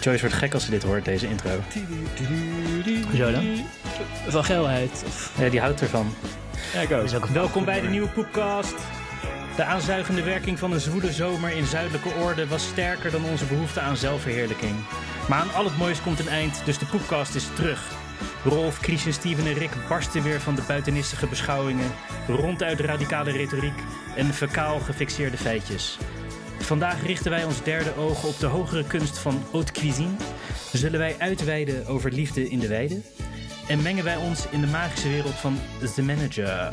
Joyce wordt gek als ze dit hoort, deze intro. Hoezo dan? Van geilheid. Of... Ja, die houdt ervan. Ja, ik ook. Welkom bij de nieuwe podcast. De aanzuigende werking van een zwoele zomer in zuidelijke orde was sterker dan onze behoefte aan zelfverheerlijking. Maar aan al het moois komt een eind, dus de podcast is terug. Rolf, Christian, Steven en Rick barsten weer van de buitenistige beschouwingen, ronduit radicale retoriek en fekaal gefixeerde feitjes. Vandaag richten wij ons derde oog op de hogere kunst van haute cuisine. Zullen wij uitweiden over liefde in de weide? En mengen wij ons in de magische wereld van The Manager.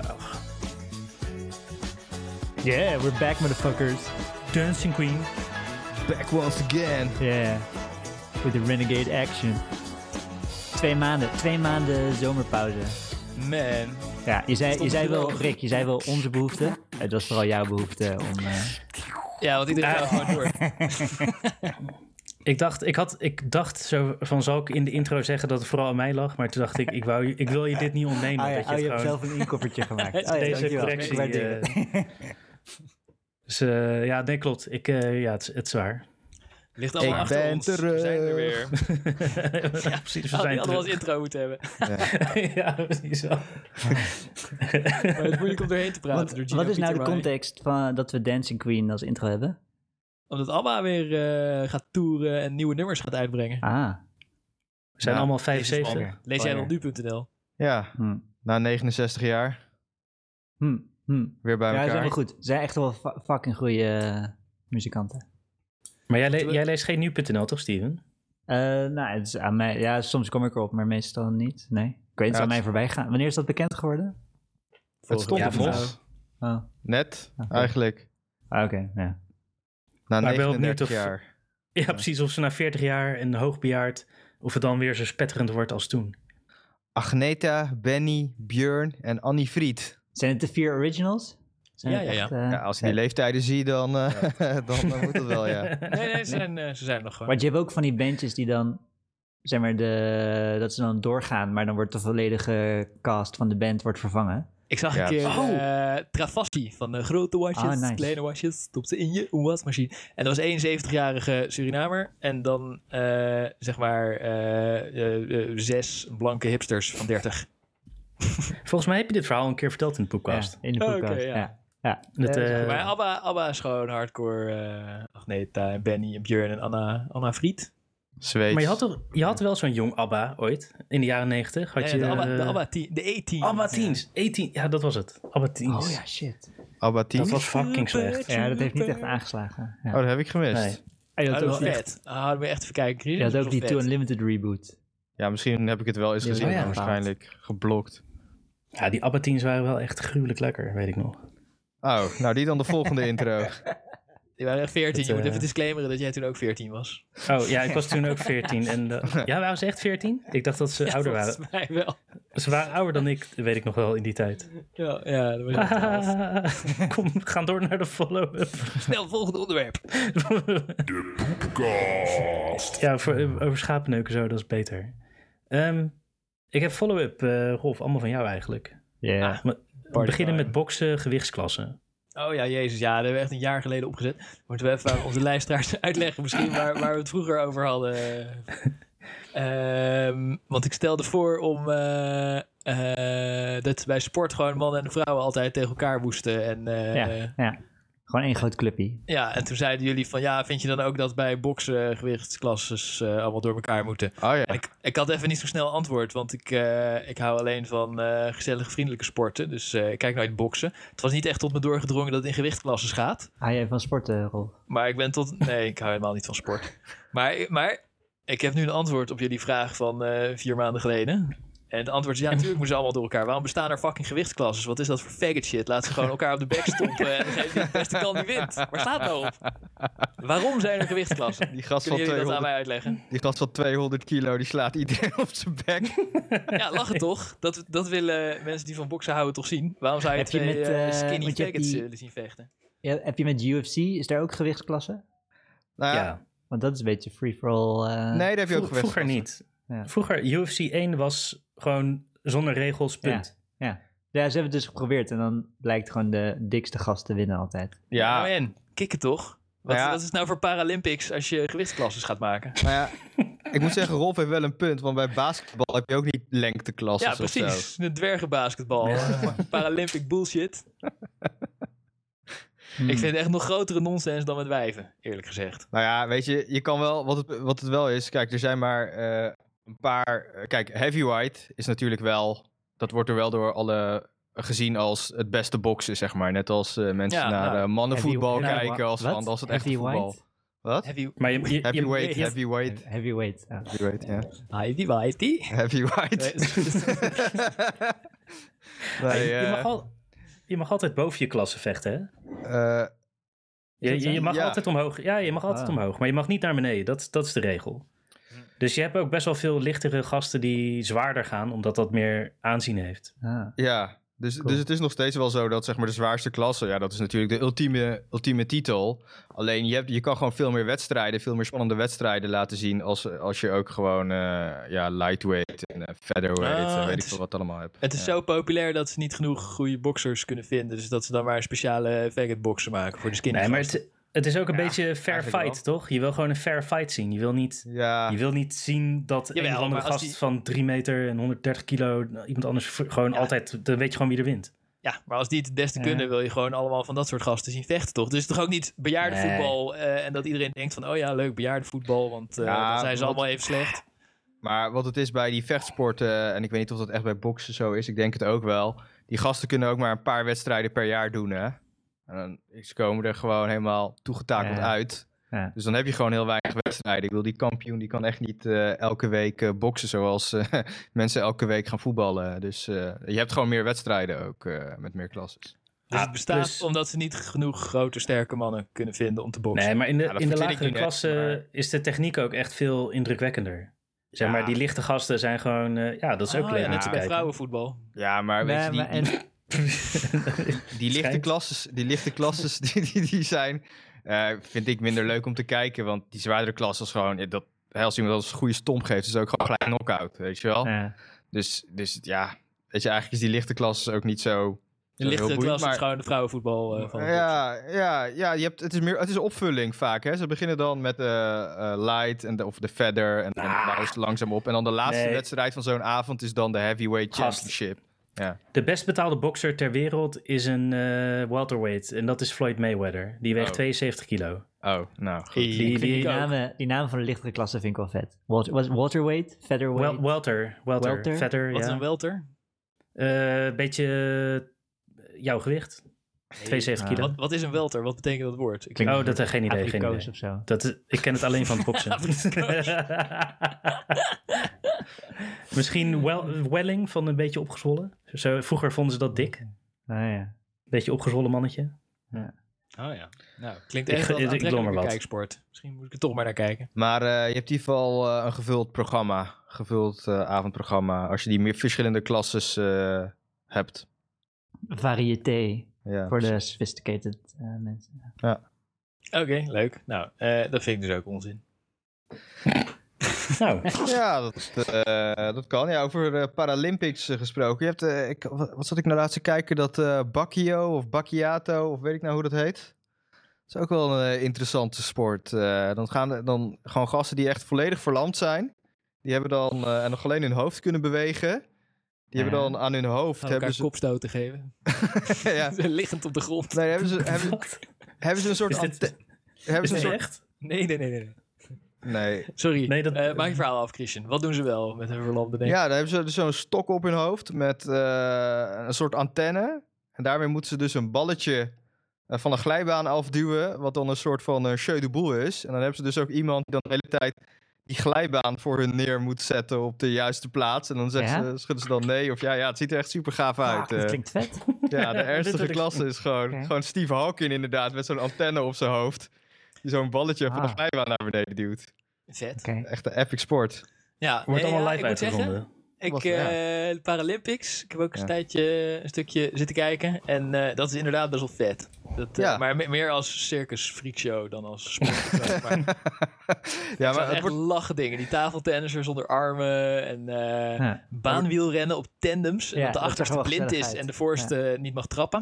Yeah, we're back, motherfuckers. Dancing Queen. Back once again. Yeah. With the renegade action. Twee maanden. Twee maanden zomerpauze. Man. Ja, je zei, je zei wel, Rick, je zei wel onze behoefte. Het was vooral jouw behoefte Ah om... eh, Ja, want iedereen gaat gewoon door. Ik dacht, ik, had, ik dacht zo van, zal ik in de intro zeggen dat het vooral aan mij lag? Maar toen dacht ik, ik, wou, je- ik wil je dit niet ontnemen. Oh, ja, dat je oh, het je hebt gewoon, zelf een inkoppertje gemaakt. Oh, ja, deze dankjewel. correctie... Ik waardeer het. eh, dus eh, ja, nee, klopt. Ik, eh, ja, het, is- het is waar. Ligt allemaal Ik achter ben ons. We zijn er weer. We ja, precies. We hadden zijn wel terug. als intro moeten hebben. ja, precies. Maar het is moeilijk om doorheen te praten. wat, door Gino wat is nou de Pietermaai. context van, dat we Dancing Queen als intro hebben? Omdat Abba weer eh, gaat toeren en nieuwe nummers gaat uitbrengen. Ah, We zijn Nou, allemaal Lees het 75. wel. Lees jij wel nu.nl. Ja, hm. Hmm. na 69 jaar Hm. Hm. weer bij Ja, ze zijn elkaar. wel goed. Ze zijn echt wel fa- fucking goede muzikanten. Maar jij, le- jij leest geen nu.nl, toch, Steven? Eh, nou, het is aan mij, ja, soms kom ik erop, maar meestal niet. Nee. Ik weet het is Ja, aan mij het- voorbij gaan. Wanneer is dat bekend geworden? Het stond Ja, op volgens- ons. Oh, ah, Net, Oké. eigenlijk. Ah, oké. ja. Maar Na ik ben wel 39 benieuwd of- jaar. Ja, precies. Of ze na 40 jaar en hoogbejaard, of het dan weer zo spetterend wordt als toen. Agneta, Benny, Björn en Annie Fried. Zijn het de vier originals? Zijn Ja, het ja, ja. eh, Ja, als je die leeftijden ziet, dan, eh, dan eh, moet het wel, ja. Nee, nee, ze zijn, eh, ze zijn er nog gewoon. Want je hebt ook van die bandjes die dan, zeg maar, de, dat ze dan doorgaan, maar dan wordt de volledige cast van de band wordt vervangen. Ik zag Ja, een keer precies. eh Travassi van de grote wasjes, Ah, nice. kleine wasjes, stop ze in je wasmachine. En dat was een 71-jarige Surinamer en dan eh, zeg maar eh, eh, eh, zes blanke hipsters van 30. Volgens mij heb je dit verhaal een keer verteld in de podcast. Ja, in de Oh, oké, podcast. ja. ja. Ja. Dat, Eh, eh, maar Abba, Abba is gewoon hardcore eh Agneta en Benny en Björn en Anna, Anna Fried. Zweeds. maar je had, toch, je had wel zo'n jong ABBA ooit, in de jaren 90. Had Ja, je, de Abba, de eh, Abba, teen, de E-team. ABBA Teens. 18, ja, dat was het. ABBA Teens. Oh ja, shit. Abba Dat Teens? was fucking slecht. Ja, dat heeft niet echt aangeslagen. Ja. Oh, dat heb ik gemist. Nee. je Ah, Ah, had Oh, dat ook was die, vet. Ah, dat moet je echt even kijken. Chris. je had Dat ook was die vet. Two Unlimited reboot. Ja, misschien heb ik het wel eens Ja, gezien, ja. maar waarschijnlijk geblokt. Ja, die ABBA Teens waren wel echt gruwelijk lekker, weet ik nog. Oh, nou die dan de volgende intro. Oh Die waren echt 14. Dat, je moet eh, even disclaimeren dat jij toen ook 14 was. Oh ja, ik was toen ook 14. En, eh, ja, waren ze echt 14? Ik dacht dat ze ouder waren. Volgens mij wel. Ze waren ouder dan ik, weet ik nog wel, in die tijd. Ja, ja dat was je twaalf. Kom, we gaan door naar de follow-up. Snel, volgende onderwerp. Ja, voor, over schapenneuken zo, dat is beter. Ehm, ik heb follow-up, eh Rolf, allemaal van jou eigenlijk. Ja. Ah, We beginnen time. met boksen, gewichtsklassen. Oh ja, jezus, ja, dat hebben we echt een jaar geleden opgezet. Moeten we even aan onze luisteraars uitleggen misschien waar, waar we het vroeger over hadden. Ehm, want ik stelde voor om eh, eh, dat bij sport gewoon mannen en vrouwen altijd tegen elkaar moesten. En, eh, ja, ja. Gewoon één groot clubje. ja, en toen zeiden jullie van ja, vind je dan ook dat bij boksen gewichtsklasses eh, allemaal door elkaar moeten? Oh ja. En Ik, ik had even niet zo snel antwoord, want ik, eh, ik hou alleen van eh, gezellige, vriendelijke sporten. Dus eh, ik kijk nooit boksen. Het was niet echt tot me doorgedrongen dat het in gewichtklasses gaat. Hou jij van sporten, Rolf? Maar ik ben tot... Nee, ik hou helemaal niet van sport. Maar, maar ik heb nu een antwoord op jullie vraag van eh, vier maanden geleden. En het antwoord is ja, natuurlijk moeten ze allemaal door elkaar. Waarom bestaan er fucking gewichtklasses? Wat is dat voor faggot shit? Laat ze gewoon elkaar op de bek stompen en degene die het beste kan, die wint. Waar staat nou op? Waarom zijn er gewichtklassen? Die gast, van Kunnen jullie dat 200, aan mij uitleggen? die gast van 200 kilo, die slaat iedereen op zijn bek. Ja, lachen toch? Dat, dat willen mensen die van boksen houden toch zien? Waarom zou je Heb je twee met, eh, eh, skinny want je hebt faggots die- willen zien vechten? Ja, heb je met UFC, is daar ook gewichtsklasse? Nou ja, ja. Want dat is een beetje free-for-all. eh, nee, daar heb je ook Vroeg- geweest. vroeger niet. Ja. Vroeger, UFC 1 was gewoon zonder regels, punt. Ja, Ja, ze hebben het dus geprobeerd en dan blijkt gewoon de dikste gast te winnen altijd. Ja, Nou en, kikken toch? Wat, Nou ja. wat is het nou voor Paralympics als je gewichtsklassen gaat maken? maar Nou ja, ik moet zeggen, Rolf heeft wel een punt. Want bij basketbal heb je ook niet lengteklassen ja, of zo. precies. De dwergenbasketbal. Paralympic bullshit. Hmm. Ik vind het echt nog grotere nonsens dan met wijven, eerlijk gezegd. Nou ja, weet je, je kan wel, wat het, wat het wel is, kijk, er zijn maar eh, een paar. eh, kijk, heavyweight is natuurlijk wel, dat wordt er wel door alle gezien als het beste boksen, zeg maar. Net als eh, mensen Ja, naar nou, eh, mannenvoetbal Heavy- kijken, als, Wat? want als het echt Heavyweight? voetbal. Wat? Heavy... Maar je, je- je- Heavyweight, je- heavyweight, Heavyweight. ah. ja. heavyweight, ja. Heavyweighty. Heavyweight. Nee, je, mag eh, al, je mag altijd boven je klasse vechten, hè? eh, Je, je, je mag Ja. altijd omhoog. Ja, je mag altijd Ah. omhoog. Maar je mag niet naar beneden. Dat, dat is de regel. Dus je hebt ook best wel veel lichtere gasten die zwaarder gaan, omdat dat meer aanzien heeft. Ah. Ja, dus, Cool. dus het is nog steeds wel zo dat zeg maar, de zwaarste klasse, ja, dat is natuurlijk de ultieme, ultieme titel. Alleen je, hebt, je kan gewoon veel meer wedstrijden, veel meer spannende wedstrijden laten zien als, als je ook gewoon eh, ja, lightweight en eh, featherweight, Ah, eh, weet het ik is- veel wat allemaal hebt. Het is Ja. zo populair dat ze niet genoeg goede boxers kunnen vinden. Dus dat ze dan maar speciale faggot boxen maken voor de skinny Nee, maar gasten. het, het is ook een Ja, beetje fair eigenlijk fight, toch? Je wil gewoon een fair fight zien. Je wil niet, Ja, je wil niet zien dat Jawel, een of andere maar als gast die- van 3 meter en 130 kilo nou, iemand anders v- gewoon Ja. altijd, dan weet je gewoon wie er wint. Ja, maar als die het des te Ja. kunnen, wil je gewoon allemaal van dat soort gasten zien vechten, toch? Dus het is toch ook niet bejaardenvoetbal eh, en dat iedereen denkt van, oh ja, leuk bejaardenvoetbal, want eh, Ja, dan zijn ze want- allemaal even slecht. maar wat het is bij die vechtsporten, eh, en ik weet niet of dat echt bij boksen zo is, ik denk het ook wel. Die gasten kunnen ook maar een paar wedstrijden per jaar doen, hè. En dan ze komen er gewoon helemaal toegetakeld Ja. uit. Ja. Dus dan heb je gewoon heel weinig wedstrijden. Ik bedoel, die kampioen die kan echt niet eh, elke week eh, boksen zoals eh, mensen elke week gaan voetballen. Dus eh, je hebt gewoon meer wedstrijden ook eh, met meer klasses. Dus Ah, het bestaat plus- omdat ze niet genoeg grote, sterke mannen kunnen vinden om te boksen. Nee, maar in de, Ja, dat in de verzin ik lagere nu net, klasse maar- is de techniek ook echt veel indrukwekkender. Zeg Ja. maar, die lichte gasten zijn gewoon... eh, ja, dat is ook Oh, leuk ja, om net te als bij kijken. vrouwenvoetbal. Ja, maar weet Nee, je, die, maar en- die, die lichte schijnt. klasses, die lichte klasses die, die, die zijn, eh, vind ik minder leuk om te kijken. Want die zwaardere klasses gewoon, ja, dat, hè, als iemand als een goede stomp geeft, is het ook gewoon gelijk knock-out, weet je wel. Ja. Dus, dus ja, weet je, eigenlijk is die lichte klasses ook niet zo... De zo heel lichtere boeiend, klasse is maar- gewoon de vrouwenvoetbal eh, van de boksen. Ja, ja, ja je hebt, het, is meer, het is opvulling vaak. Hè? Ze beginnen dan met eh, eh, light en de, of de feather en dan Ah. bouwen ze langzaam op. En dan de laatste Nee. wedstrijd van zo'n avond is dan de heavyweight Gast. championship. De best betaalde bokser ter wereld is een eh, welterweight. En dat is Floyd Mayweather. Die weegt Oh. 72 kilo. Oh, nou goed. Die- Die- Ik vind die, die- namen, die namen van de lichtere klassen vind ik wel vet. Water, was het waterweight, featherweight. Wel, welter. Welter. Welter? Vetter, Wat is ja. een welter? Eh, beetje eh, jouw gewicht. 72 Ah. kilo. Wat, wat is een welter? Wat betekent dat woord? Ik oh, dat is geen idee. Geen Abrikoos idee. of zo. Dat is- ik ken het alleen van het boksen. Misschien wel, Welling van een beetje opgezwollen. Zo, vroeger vonden ze dat dik. Ah, ja. Beetje opgezwollen mannetje. Oh ja. Nou, klinkt Ik echt ge- wel ik- ik aantrekkelijk doe maar een wat. kijksport. Misschien moet ik er toch maar naar kijken. Maar eh, je hebt in ieder geval eh, een gevuld programma, gevuld eh, avondprogramma. Als je die meer verschillende klasses eh, hebt. Variété Ja. voor de sophisticated eh, mensen. Oké, leuk. Nou, eh, dat vind ik dus ook onzin. Nou, Ja, dat, eh, dat kan. Ja, over eh, Paralympics eh, gesproken. Je hebt, eh, ik, wat wat zat ik nou laatst te kijken? Dat eh Bacchio of Bacchiato, of weet ik nou hoe dat heet. Dat is ook wel een eh, interessante sport. Eh, dan gaan er- dan gewoon gasten die echt volledig verlamd zijn. Die hebben dan, eh, en nog alleen hun hoofd kunnen bewegen. Die hebben Ja. dan aan hun hoofd... Gaan Hebben elkaar ze, kopstoten geven. ja, Liggend op de grond. nee, hebben ze, hebben, wat? hebben ze een soort... Is dit- ante- hebben Is ze dit een soort echt? Nee, nee, nee, nee. nee. nee, Sorry. Nee, dat- Eh, maak je verhaal af, Christian. Wat doen ze wel met hun verlamde nek? Ja, dan hebben ze dus zo'n stok op hun hoofd met eh, een soort antenne. En daarmee moeten ze dus een balletje eh, van een glijbaan afduwen, wat dan een soort van eh jeu de boel is. En dan hebben ze dus ook iemand die dan de hele tijd die glijbaan voor hun neer moet zetten op de juiste plaats. En dan zegt Ja? ze, schudden ze dan nee of ja, ja, het ziet er echt super gaaf uit. Ah, dat eh. klinkt vet. ja, de Dit wil ernstige ik- klasse is gewoon, Oké. gewoon Steve Hawking inderdaad, met zo'n antenne op zijn hoofd. Die zo'n balletje van de Ah. glijbaan naar beneden duwt. Vet. Oké. Echt een epic sport. Ja, Wordt nee, allemaal ja, live ik moet zeggen, uitgezonden. Ik, Was- ja. eh, de Paralympics. Ik heb ook eens een Ja. tijdje eh, een stukje zitten kijken. En eh, dat is inderdaad best wel vet. Dat, eh, Ja. Maar me- meer als circus freakshow dan als sport. maar het ja, zijn maar het echt wordt... lachen dingen. Die tafeltennissers zonder armen. En eh, Ja. baanwielrennen op tandems. En Ja, dat de dat is achterste wel blind is gezelligheid. en de voorste niet mag trappen.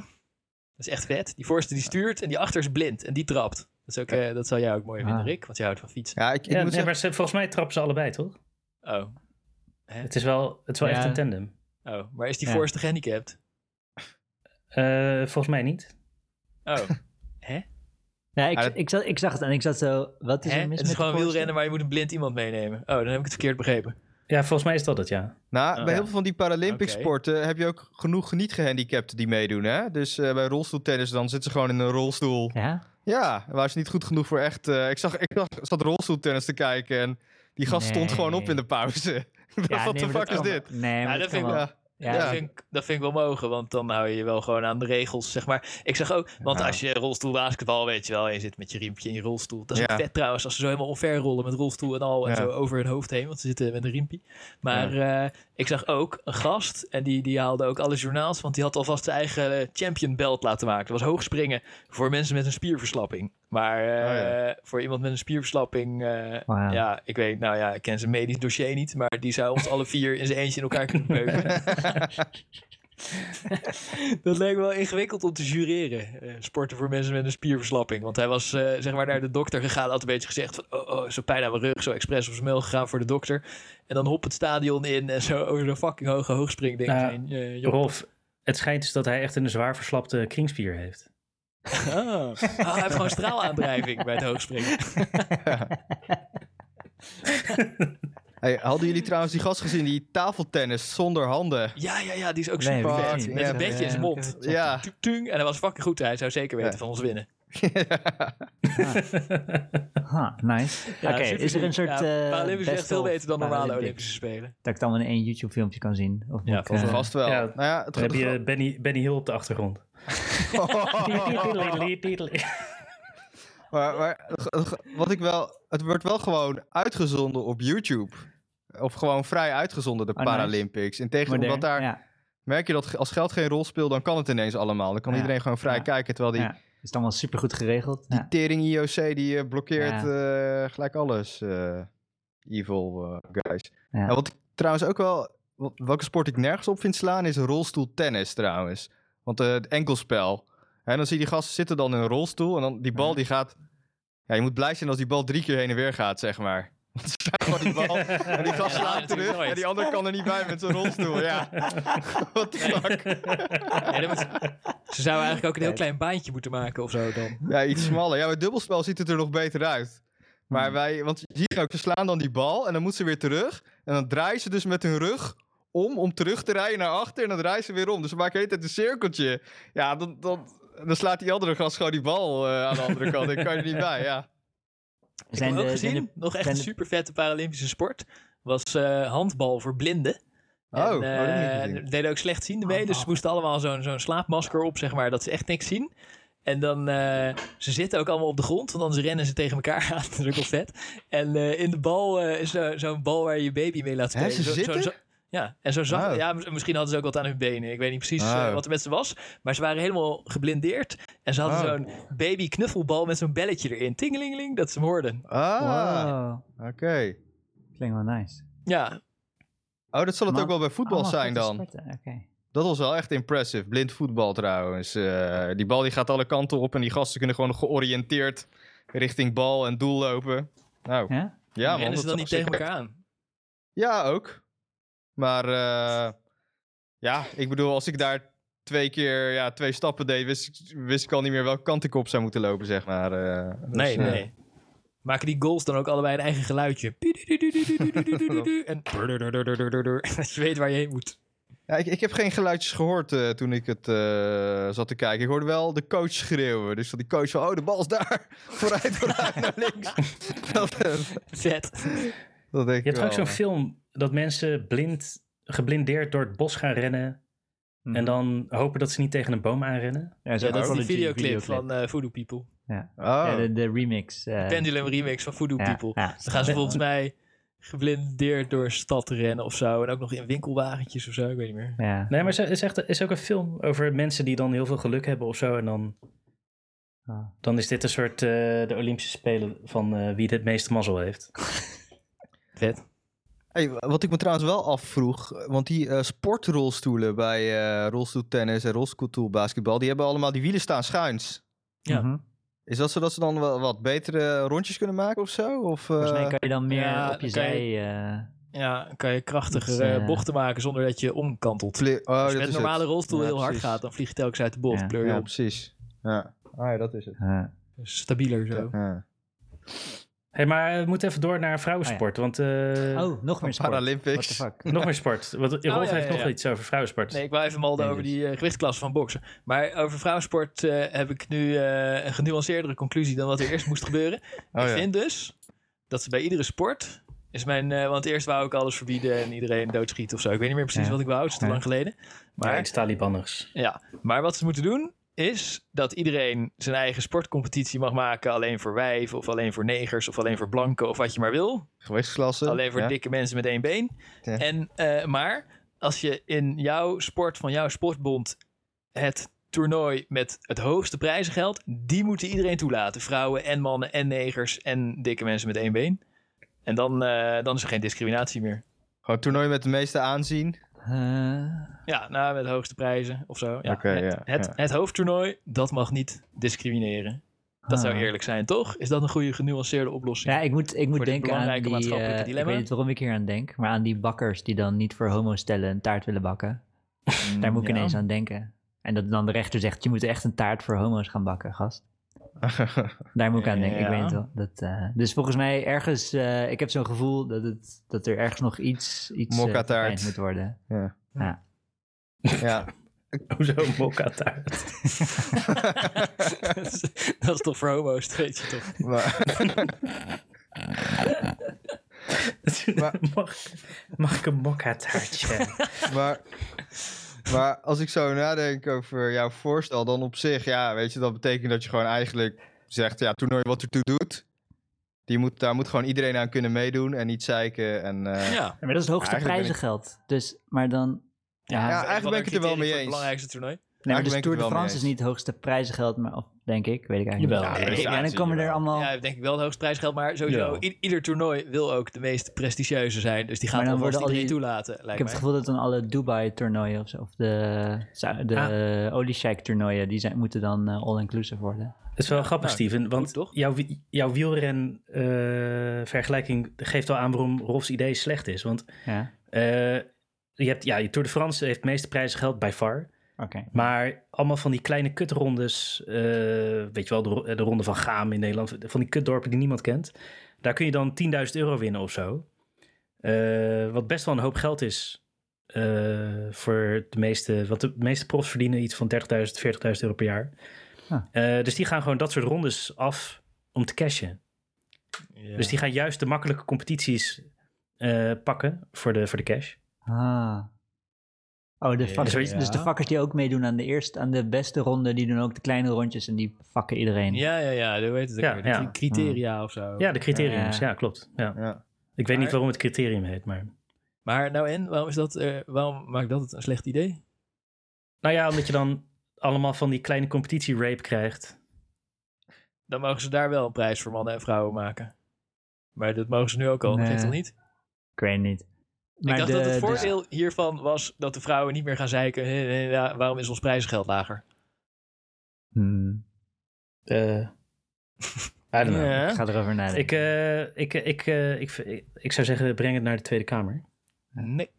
Dat is echt vet. Die voorste die stuurt en die achter is blind. En die trapt. Dat, is ook, eh, dat zou jij ook mooi vinden, Ah. Rick. Want jij houdt van fietsen. Ja, ik, ik Ja, moet nee, zeggen... maar ze- volgens mij trappen ze allebei, toch? Oh. Het is wel, het is wel Ja. echt een tandem. oh, maar is die Ja. voorste gehandicapt? Eh, volgens mij niet. Oh. Ja, ik, Ja, dat- ik, zag, ik zag het en ik zat zo, wat is Hè? er mis Het is met de gewoon voorste? wielrennen, maar je moet een blind iemand meenemen. Oh, dan heb ik het verkeerd begrepen. Ja, volgens mij is dat het, ja. Nou, Oh. bij Ja. heel veel van die Paralympic Oké. sporten heb je ook genoeg niet-gehandicapten die meedoen, hè? Dus eh, bij rolstoeltennis dan zitten ze gewoon in een rolstoel. Ja? Ja, waar ze niet goed genoeg voor echt... eh, ik, zag, ik zag, zat rolstoeltennis te kijken en die gast stond Nee. gewoon op in de pauze. Ik dacht, Ja, Wat nee, de maar fuck is dat kan dit? wel. Nee, maar Ja, dat dat kan vind ik wel. Ja, Ja, Dat, ja. vind ik, dat vind ik wel mogen, want dan hou je je wel gewoon aan de regels, zeg maar. Ik zag ook, want Ja. als je rolstoelbasketbal, weet je wel, en je zit met je riempje in je rolstoel. Dat is ook Ja. vet trouwens, als ze zo helemaal onver rollen met rolstoel en al, en Ja. zo over hun hoofd heen, want ze zitten met een riempje. Maar eh, ik zag ook een gast, en die, die haalde ook alle journaals, want die had alvast zijn eigen eh, champion belt laten maken. Dat was hoogspringen voor mensen met een spierverslapping. Maar Oh, eh, voor iemand met een spierverslapping eh, Wauw. Ja, ik weet, nou ja, ik ken zijn medisch dossier niet, maar die zou ons alle vier in zijn eentje in elkaar kunnen beuken. dat lijkt me wel ingewikkeld om te jureren. eh, sporten voor mensen met een spierverslapping. Want hij was eh, zeg maar naar de dokter gegaan, had een beetje gezegd van, oh, oh, zo pijn aan mijn rug, zo expres op zijn mail gegaan voor de dokter. En dan hop het stadion in en zo over zo'n fucking hoge hoogspringding Ja. heen. eh, joh. Rolf, het schijnt dus dat hij echt een zwaar verslapte kringspier heeft. Ah. Ah, hij heeft gewoon straalaandrijving bij het hoogspringen. Hey, hadden jullie trouwens die gast gezien die tafeltennis zonder handen? Ja, ja, ja, die is ook Nee, super fuck, vet. Met ja, een bedje in zijn ja. mond. Ja. Tung, tung. En hij was fucking goed. Hij zou zeker weten Ja. van ons winnen. Ha, nice. Oké, is er een soort... eh, Paralympics is best echt veel of beter dan normale Paralympics? Olympische Spelen. Dat ik dan in één YouTube filmpje kan zien. Of moet ik, volgens eh, Vast wel. Ja. Nou ja, het Oh. Dan heb je Benny, Benny Hill op de achtergrond. Maar, maar wat ik wel, het wordt wel gewoon uitgezonden op YouTube. Of gewoon vrij uitgezonden, de Oh, nice. Paralympics. In tegen, modern? omdat daar Ja, merk je dat ge- als geld geen rol speelt, dan kan het ineens allemaal. Dan kan Ja. iedereen gewoon vrij Ja. kijken. Terwijl die ja. Is dan wel supergoed geregeld. Ja. tering IOC, die eh, blokkeert eh, gelijk alles. eh, evil eh, guys. Ja. Ja, wat ik trouwens ook wel, wat- welke sport ik nergens op vind slaan, is rolstoeltennis trouwens. Want eh, het enkelspel. En dan zie je die gasten zitten dan in een rolstoel en dan die bal die gaat... Ja, je moet blij zijn als die bal drie keer heen en weer gaat, zeg maar. Want ze zijn gewoon die bal en die gast Ja, slaat natuurlijk terug nooit. en die andere kan er niet bij met zijn rolstoel. Ja, what the fuck. Ja, dan moet- ze zouden eigenlijk ook een heel klein baantje moeten maken of zo dan. Ja, iets smaller. Ja, bij dubbelspel ziet het er nog beter uit. Maar wij, want je ziet ook, ze slaan dan die bal en dan moet ze weer terug. En dan draaien ze dus met hun rug om, om terug te rijden naar achter. En dan draaien ze weer om. Dus ze maken de hele tijd een cirkeltje. Ja, dan, dan, dan slaat die andere gast gewoon die bal eh, aan de andere kant. Ik kan je niet bij, ja. Ik heb Zijn ook de- gezien, zijn de- nog echt zijn een de- super vette Paralympische sport, was eh, handbal voor blinden. Oh, en, oh, dat heb ik niet eh, gezien. er deden ook slechtzienden mee, dus ze Handbal. moesten allemaal zo'n zo'n slaapmasker op, zeg maar, dat ze echt niks zien. En dan, eh, ze zitten ook allemaal op de grond, want anders rennen ze tegen elkaar aan. Dat is ook wel vet. En eh, in de bal eh, is zo- zo'n bal waar je je baby mee laat Hè, spelen. ze zitten? ja, en zo zag Oh. ja, mis- misschien hadden ze ook wat aan hun benen. Ik weet niet precies eh, Oh. wat er met ze was. Maar ze waren helemaal geblindeerd. En ze hadden Oh. zo'n baby knuffelbal met zo'n belletje erin. Tingelingeling, dat ze hem hoorden. Ah, Wow, oké. klinkt wel nice. Ah, Ja, Oh, dat zal het Maar- ook wel bij voetbal Allemaal zijn vette dan. sporten, oké. Dat was wel echt impressive. Blind voetbal trouwens. Eh, die bal die gaat alle kanten op en die gasten kunnen gewoon georiënteerd richting bal en doel lopen. Nou, Ja? ja, man. rennen dat ze zag dan niet zeker- tegen elkaar aan. Ja, ook. Maar eh, ja, ik bedoel, als ik daar twee keer ja, twee stappen deed, wist, ik- wist ik al niet meer welke kant ik op zou moeten lopen, zeg maar. eh. Dus, Nee, eh, nee. Maken die goals dan ook allebei een eigen geluidje. En dat je weet waar je heen moet. Ja, ik, ik heb geen geluidjes gehoord eh, toen ik het eh, zat te kijken. Ik hoorde wel de coach schreeuwen. Dus dat die coach van, oh, de bal is daar. Vooruit, vooruit, naar links. dat, eh, Vet. dat denk Je hebt ik ook zo'n wel. film dat mensen blind, geblindeerd door het bos gaan rennen. Mhm. En dan hopen dat ze niet tegen een boom aanrennen. Ja, zo Ja, dat is van die de videoclip van eh, Voodoo People. Oh. Ja, de, de remix. eh, Pendulum remix van Voodoo ja, People. ja. Dan gaan ze volgens mij geblindeerd door een stad te rennen of zo. En ook nog in winkelwagentjes of zo, ik weet niet meer. Ja. Nee, maar er is, echt, is ook een film over mensen die dan heel veel geluk hebben of zo. En dan, Ah. dan is dit een soort eh, de Olympische Spelen van eh, wie het meeste mazzel heeft. Vet. Hey, wat ik me trouwens wel afvroeg, want die eh, sportrolstoelen bij eh rolstoeltennis en rolstoelbasketbal, die hebben allemaal die wielen staan schuins. Ja. Mhm. Is dat zodat ze dan wel wat betere rondjes kunnen maken of zo? Of, eh, Volgens mij kan je dan meer ja, op je dan kan zij... je- eh, Ja, dan kan je krachtiger Dus, eh, eh, bochten maken zonder dat je omkantelt. vle- oh, Dus Als dat je met is een normale het. rolstoel Ja, heel hard precies. gaat, dan vlieg je telkens uit de bocht. Ja. Pleur je Ja, op. precies. Ja. Ah ja, dat is het. eh, Stabieler zo. Ja. hey, maar eh, we moeten even door naar Ah, vrouwensport. Want eh, Oh, nog meer sport. What the Paralympics. fuck? nog meer sport. Want Rolf Oh, ja, heeft ja, nog ja. iets over vrouwensport. Nee, ik wou even malden Nee, over dus. die eh gewichtsklasse van boksen. Maar over vrouwensport eh, heb ik nu eh, een genuanceerdere conclusie dan wat er eerst moest gebeuren. Oh, ik ja. vind dus dat ze bij iedere sport is mijn... eh, want eerst wou ik alles verbieden en iedereen doodschieten of zo. Ik weet niet meer precies Ja. wat ik wou, het is te Ja. lang geleden. Maar Maar iets Talibanners. Ja, maar wat ze moeten doen is dat iedereen zijn eigen sportcompetitie mag maken. Alleen voor wijven of alleen voor negers of alleen voor blanken of wat je maar wil. Gewichtsklassen. Alleen voor ja. dikke mensen met één been. Ja. En, eh, maar als je in jouw sport van jouw sportbond het toernooi met het hoogste prijzengeld, die moeten iedereen toelaten. Vrouwen en mannen en negers en dikke mensen met één been. En dan, eh, dan is er geen discriminatie meer. Gewoon toernooi met de meeste aanzien. Eh, Ja, nou, met de hoogste prijzen of zo. Ja, Oké, het, ja, het, ja. het hoofdtoernooi, dat mag niet discrimineren. Dat zou ah. eerlijk zijn, toch? Is dat een goede genuanceerde oplossing? Ja, ik moet, ik moet dit denken aan belangrijke die... maatschappelijke eh, ik dilemma. weet niet waarom ik hier aan denk, maar aan die bakkers die dan niet voor homo stellen een taart willen bakken. Daar moet ik ja. ineens aan denken. En dat dan de rechter zegt, je moet echt een taart voor homo's gaan bakken, gast. Daar moet ik aan denken, ik Ja. weet het wel. Dat, eh, dus volgens mij ergens, eh, ik heb zo'n gevoel dat, het, dat er ergens nog iets, iets eh, Mokka-taart. verfijnd moet worden. ja. Hoezo mokka taart? dat, is, dat is toch voor homo's, weet je toch? Maar, Maar- mag, mag ik een mokka taartje? maar, maar als ik zo nadenk over jouw voorstel, dan op zich, ja, weet je, dat betekent dat je gewoon eigenlijk zegt, ja, toernooi wat ertoe doet. Die moet, daar moet gewoon iedereen aan kunnen meedoen en niet zeiken. En, eh, Ja. Ja, Maar dat is het hoogste Eigenlijk ben ik- prijzengeld. Dus, maar dan... Ja, Ja, eigenlijk ben ik het er wel mee Voor eens. Het belangrijkste toernooi. nee, maar eigenlijk ben ik dus het Tour de wel mee France is eens. niet het hoogste prijzengeld, maar, of, denk ik, weet ik eigenlijk Jawel. niet. Ja, Ja, prestatie, en dan komen er jawel. allemaal... Ja, denk ik wel het hoogste prijsgeld. Maar sowieso, Ja. i- ieder toernooi wil ook de meest prestigieuze zijn. Dus die Maar gaan dan dan worden al iedereen die- toelaten, lijkt ik heb mij. het gevoel dat dan alle Dubai-toernooien of zo, of de, Zou- de Ah. eh, Olie Sheikh-toernooien, die zijn, moeten dan eh, all-inclusive worden. Dat is wel grappig, nou, Steven. Want goed, toch? jouw, wi- jouw wielren-vergelijking geeft al aan waarom Rolfs idee slecht is. Want Ja, eh, je hebt, ja, je Tour de France heeft het meeste prijzengeld bij far. oké. Maar allemaal van die kleine kutrondes, eh, weet je wel, de, ro- de ronde van Gaam in Nederland, van die kutdorpen die niemand kent. Daar kun je dan 10.000 euro winnen of zo. Eh, wat best wel een hoop geld is eh, voor de meeste, want de meeste profs verdienen iets van 30.000, 40.000 euro per jaar. Ah. Eh, dus die gaan gewoon dat soort rondes af om te cashen. Ja. Dus die gaan juist de makkelijke competities eh, pakken voor de, voor de cash. Ah. Oh, de Ja, vakkers, ja. dus de vakkers die ook meedoen aan de eerste, aan de beste ronde, die doen ook de kleine rondjes en die vakken iedereen. ja, ja, ja. Dat weet het ook Ja, weer. De ja. cri- criteria of zo. Ja, de criteriums. Ja. Ja, klopt. Ja. ja. Ik weet niet Maar- waarom het criterium heet, maar... Maar nou en, waarom, is dat, eh, waarom maakt dat een slecht idee? Nou ja, omdat je dan allemaal van die kleine competitie-rape krijgt. Dan mogen ze daar wel een prijs voor mannen en vrouwen maken. Maar dat mogen ze nu ook al, dat Nee. geeft toch niet? Ik weet niet. Maar ik dacht de- dat het dus- voordeel hiervan was dat de vrouwen niet meer gaan zeiken. "Hé, hé, ja, waarom is ons prijzengeld lager? Hmm, Eh I don't know. Ja. Ik ga erover nadenken. Ik, eh, ik, ik, eh, ik, ik, ik zou zeggen, breng het naar de Tweede Kamer. Oh Nee.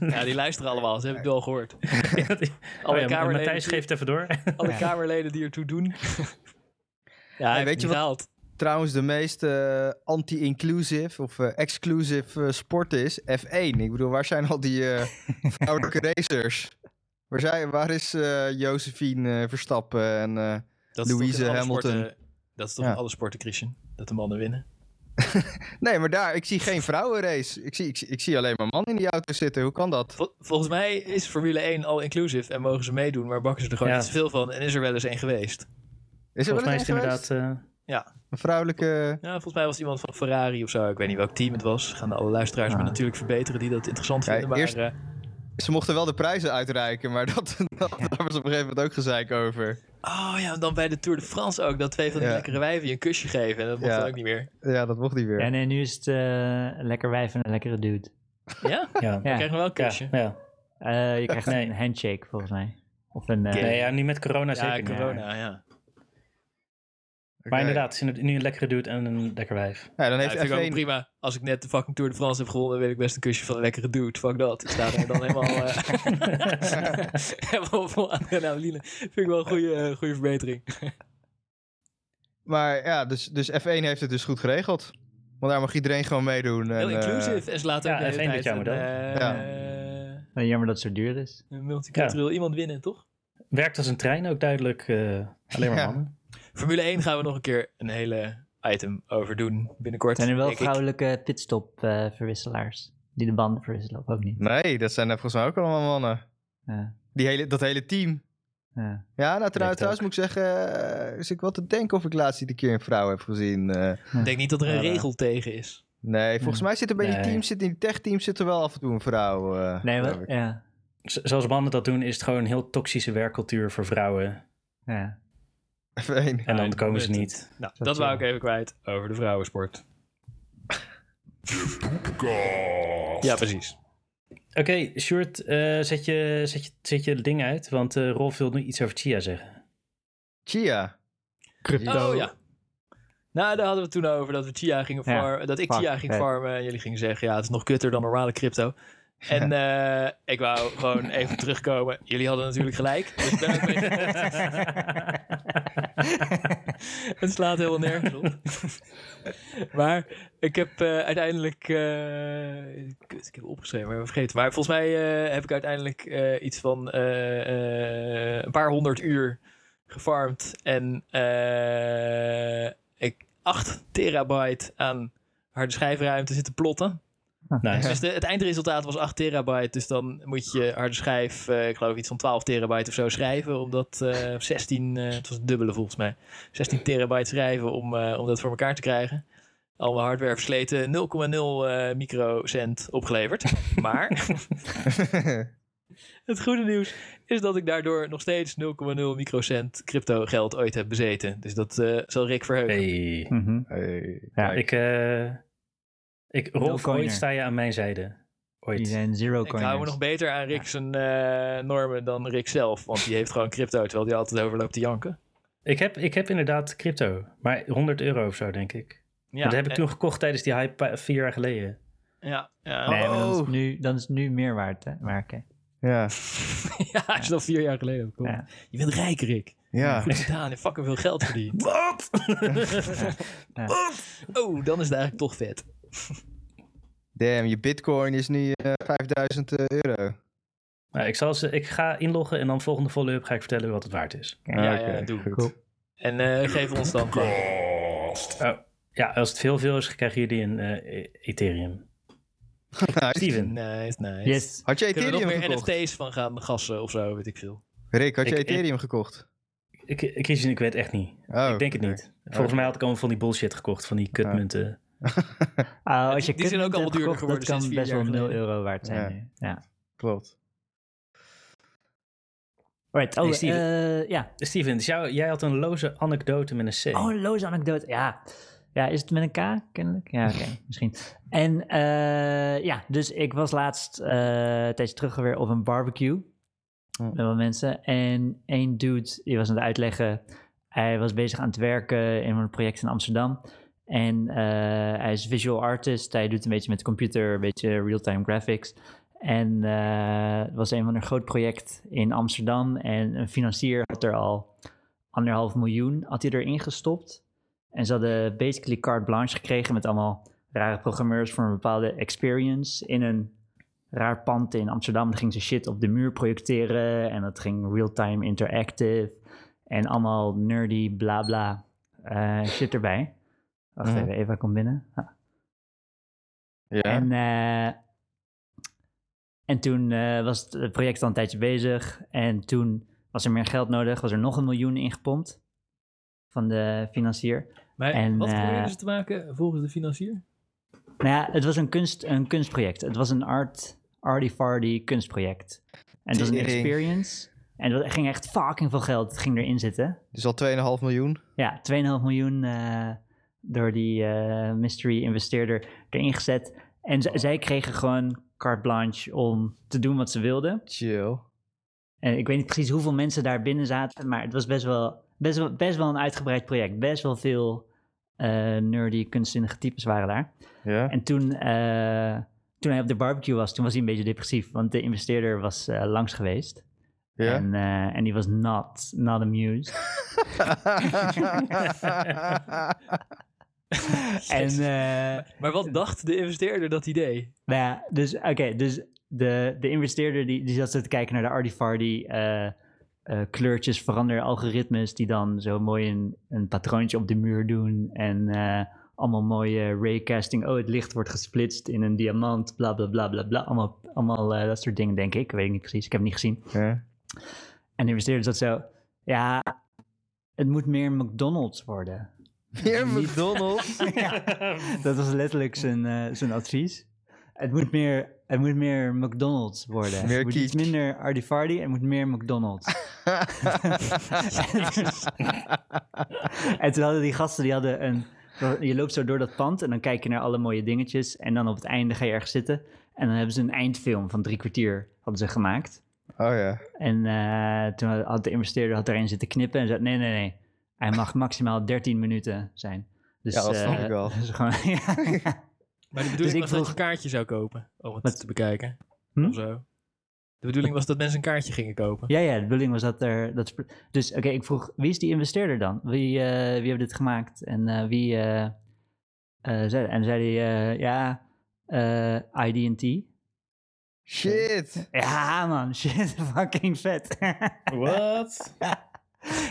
ja, die luisteren allemaal, dat heb ik wel gehoord. Oh Ja, die- Alle, oh ja, kamerleden, Matthijs die, geeft even door. alle Ja. kamerleden die ertoe doen. ja, weet je wat- Haalt. Trouwens, de meest eh, anti-inclusive of eh, exclusive eh, sport is F1. Ik bedoel, waar zijn al die eh vrouwelijke racers? Waar, zijn, waar is eh Josephine eh, Verstappen en... eh, Dat Louise is toch in alle Hamilton. sporten- dat is toch Ja. in alle sporten, Christian? Dat de mannen winnen. Nee, maar daar, ik zie geen vrouwenrace. Ik zie, ik, zie- ik zie alleen maar mannen in die auto zitten. Hoe kan dat? Vol- volgens mij is Formule 1 al inclusive en mogen ze meedoen, maar bakken ze er gewoon Ja. niet zoveel van en is er wel eens één geweest. Is er wel Volgens mij is eens het een inderdaad... eh, Ja. Een vrouwelijke... Ja, volgens mij was het iemand van Ferrari of zo. Ik weet niet welk team het was. Gaan alle luisteraars me Ah. natuurlijk verbeteren die dat interessant Ja, vinden. Maar eerst- eh, Ze mochten wel de prijzen uitreiken, maar dat, dat, daar was op een gegeven moment ook gezeik over. Oh ja, dan bij de Tour de France ook. Dat twee van die Ja. lekkere wijven je een kusje geven. En dat mocht Ja. dan ook niet meer. Ja, dat mocht niet weer. Ja, nee, nu is het eh, een lekker wijf en een lekkere dude. Ja? Ja. Je Ja, krijgt nog wel een kusje. Ja, ja. Eh, je krijgt Nee. een handshake volgens mij. Of een... eh, Nee, ja, nu met corona Ja, zeker niet, corona, ja. Maar inderdaad, het is nu een lekkere dude en een lekker wijf. Ja, dan Ja, heeft vind ik ook F1... prima. Als ik net de fucking Tour de France heb gewonnen, wil ik best een kusje van een lekkere dude. Fuck dat. Ik sta er dan helemaal, eh, helemaal vol adrenaline. Vind ik wel een goede, eh, goede verbetering. Maar ja, dus, dus F1 heeft het dus goed geregeld. Want daar mag iedereen gewoon meedoen. En, Heel eh, inclusive. En ze laten ook ja, de hele F1 dit tijd jaar een, model. eh, Ja. nou, jammer dat het zo duur is. een multicultureel iemand winnen, toch? Werkt als een trein ook duidelijk. eh, alleen maar Ja. mannen. Formule 1 gaan we nog een keer een hele item over doen binnenkort. Zijn er wel denk ik. vrouwelijke pitstop-verwisselaars? die de banden verwisselen, of ook niet? nee, dat zijn er volgens mij ook allemaal mannen. Ja, Die hele, dat hele team. ja. Ja, nou Denk trouw- het trouwens moet ik zeggen, eh, is ik wel te denken of ik laatst niet een keer een vrouw heb gezien. eh. Ik denk niet dat er een Nou, Ja, ja. regel tegen is. nee, volgens mij zit er bij Nee. die team, zit, in die tech-team zit er wel af en toe een vrouw. eh, Nee, geloof wat? ik. Ja. Z- Zoals mannen dat doen, is het gewoon een heel toxische werkcultuur voor vrouwen. ja. F1. En dan Ja, komen ze met- niet. Nou, Dat dat wou ik wel. even kwijt over de vrouwensport. Ja, precies. Oké, Sjoerd, eh, zet, je, zet, je, zet je ding uit, want eh, Rolf wil nu iets over Chia zeggen. Chia. Oh ja. Nou, daar hadden we het toen over dat we Chia gingen Ja, farmen. dat ik fuck, Chia ging vet. farmen. En jullie gingen zeggen, ja, het is nog kutter dan normale crypto. En eh, ik wou gewoon even terugkomen. Jullie hadden natuurlijk gelijk. Dus ik ben ook mee gestopt. Het slaat helemaal nergens op. maar ik heb eh, uiteindelijk. eh, kut, ik heb het opgeschreven, maar ik heb het vergeten. Maar volgens mij eh, heb ik uiteindelijk eh, iets van eh, eh, een paar honderd uur gefarmd. En eh, ik 8 terabyte aan harde schijfruimte zitten plotten. nice. Dus de, het eindresultaat was 8 terabyte. Dus dan moet je harde schijf, eh, ik geloof iets van 12 terabyte of zo schrijven. Om dat eh, 16, eh, het was het dubbele volgens mij. 16 terabyte schrijven om, eh, om dat voor elkaar te krijgen. Al mijn hardware versleten, 0,0 eh, microcent opgeleverd. Maar het goede nieuws is dat ik daardoor nog steeds 0,0 microcent crypto geld ooit heb bezeten. Dus dat eh, zal Rick verheugen. Hey. Mhm. Hey, Ja, kijk. Ik, eh ik, Rolf, coiner. ooit sta je aan mijn zijde. Die Ooit. zijn zero Ik hou me nog coiners. beter aan Rick's eh, normen dan Rick zelf. Want die heeft gewoon crypto, terwijl die altijd overloopt te janken. Ik heb, ik heb inderdaad crypto, maar 100 euro of zo, denk ik. Ja, dat heb ik eh, toen gekocht tijdens die hype eh, vier jaar geleden. Ja, ja. Nee, maar dan is, Oh. het nu, dan is het nu meer waard, hè? Maar oké. Ja. ja, als je dat vier jaar geleden hebt gekocht. Ja. Je bent rijk, Rick. Ja. Goed gedaan en fucking veel geld verdiend. Wat? Oh, dan is het eigenlijk toch vet. Damn, je bitcoin is nu eh, 5000 euro. nou, ik, zal ze, ik ga inloggen en dan volgende follow-up ga ik vertellen wat het waard is. Ja, Oké, ja, doe. goed. Cool. En eh, geef ons dan gewoon... Ja, als het veel veel is, krijgen jullie een eh, Ethereum. Nice. Steven. Nice, nice. Yes. Had je Kunnen we Ethereum nog meer gekocht? NFT's van gaan gassen of zo, weet ik veel. Rick, had je Ik- ik- Ethereum gekocht? Ik, ik, kies- ik weet echt niet. Oh, ik denk het oké. niet. Volgens mij had ik allemaal van die bullshit gekocht, van die kutmunten. Ah, als je die zijn ook kunt allemaal duurder geworden dat kan sinds vier best jaar wel 0 geleden. euro waard zijn Ja. nu. Ja. Klopt. Alright. Oh, Hey, Steven. eh, ja. Steven, dus jou- jij had een loze anekdote met een C. Oh, een loze anekdote. Ja. Ja, is het met een K kennelijk? Ja, oké, misschien. En eh, ja, dus ik was laatst eh, een tijdje terug weer op een barbecue Hm. met wat mensen. En één dude, die was aan het uitleggen, hij was bezig aan het werken in een project in Amsterdam. En eh, hij is visual artist, hij doet een beetje met de computer, een beetje real-time graphics. En eh, het was een van een groot project in Amsterdam en een financier had er al anderhalf miljoen had hij erin gestopt. En ze hadden basically carte blanche gekregen met allemaal rare programmeurs voor een bepaalde experience in een raar pand in Amsterdam. Dan ging ze shit op de muur projecteren en dat ging real-time interactive en allemaal nerdy bla bla eh, shit erbij. Wacht Mhm. even, Eva komt binnen. Ah. Ja. En, eh, en toen eh, was het project al een tijdje bezig. En toen was er meer geld nodig. Was er nog een miljoen ingepompt van de financier. Maar En, wat eh, probeerden ze te maken volgens de financier? Nou ja, het was een, kunst, een kunstproject. Het was een art, arty-farty kunstproject. En het was een Tering. experience. En het ging echt fucking veel geld ging erin zitten. Dus al 2,5 miljoen. Ja, 2,5 miljoen eh, door die eh, mystery investeerder erin gezet. En z- zij kregen gewoon carte blanche om te doen wat ze wilden. Chill. En ik weet niet precies hoeveel mensen daar binnen zaten, maar het was best wel, best wel, best wel een uitgebreid project. Best wel veel eh, nerdy, kunstzinnige types waren daar. Ja. En toen, eh, toen hij op de barbecue was, toen was hij een beetje depressief, want de investeerder was eh, langs geweest. Ja. En, eh, en die was not, not amused. en, Jezus. eh, Maar wat dacht de investeerder dat hij deed? Nou ja, dus oké, dus de, de investeerder die, die zat zo te kijken naar de Artifardi eh eh kleurtjes veranderen algoritmes die dan zo mooi een, een patroontje op de muur doen en eh, allemaal mooie raycasting. Oh, het licht wordt gesplitst in een diamant, bla bla bla bla bla. Allemaal, allemaal eh, dat soort dingen denk ik, weet ik niet precies, ik heb het niet gezien. ja. En de investeerder zat zo, ja, het moet meer McDonald's worden. Weer McDonald's. Dat was letterlijk zijn, eh, zijn advies. Het moet, meer, het moet meer McDonald's worden. Meer het moet kiek. iets minder Ardifardi, het moet meer McDonald's. en toen hadden die gasten, die hadden een... Je loopt zo door dat pand en dan kijk je naar alle mooie dingetjes. En dan op het einde ga je ergens zitten. En dan hebben ze een eindfilm van drie kwartier hadden ze gemaakt. Oh ja. En eh, toen had- had de investeerder had erin zitten knippen en zei: nee, nee, nee. Hij mag maximaal 13 minuten zijn. Dus, Ja, dat snap eh, ik wel. dus gewoon, ja. Maar de bedoeling Dus ik was dat vroeg- je een kaartje zou kopen om het Wat? te bekijken. Hm? Of zo. De bedoeling was dat mensen een kaartje gingen kopen. ja, ja, de bedoeling was dat er. Dat, sp- dus oké, ik vroeg: wie is die investeerder dan? Wie, eh, wie heeft dit gemaakt? En eh, wie. eh, eh, zei, en zei hij: eh, ja, eh IDT. Shit. Ja, man, shit, fucking vet. Wat?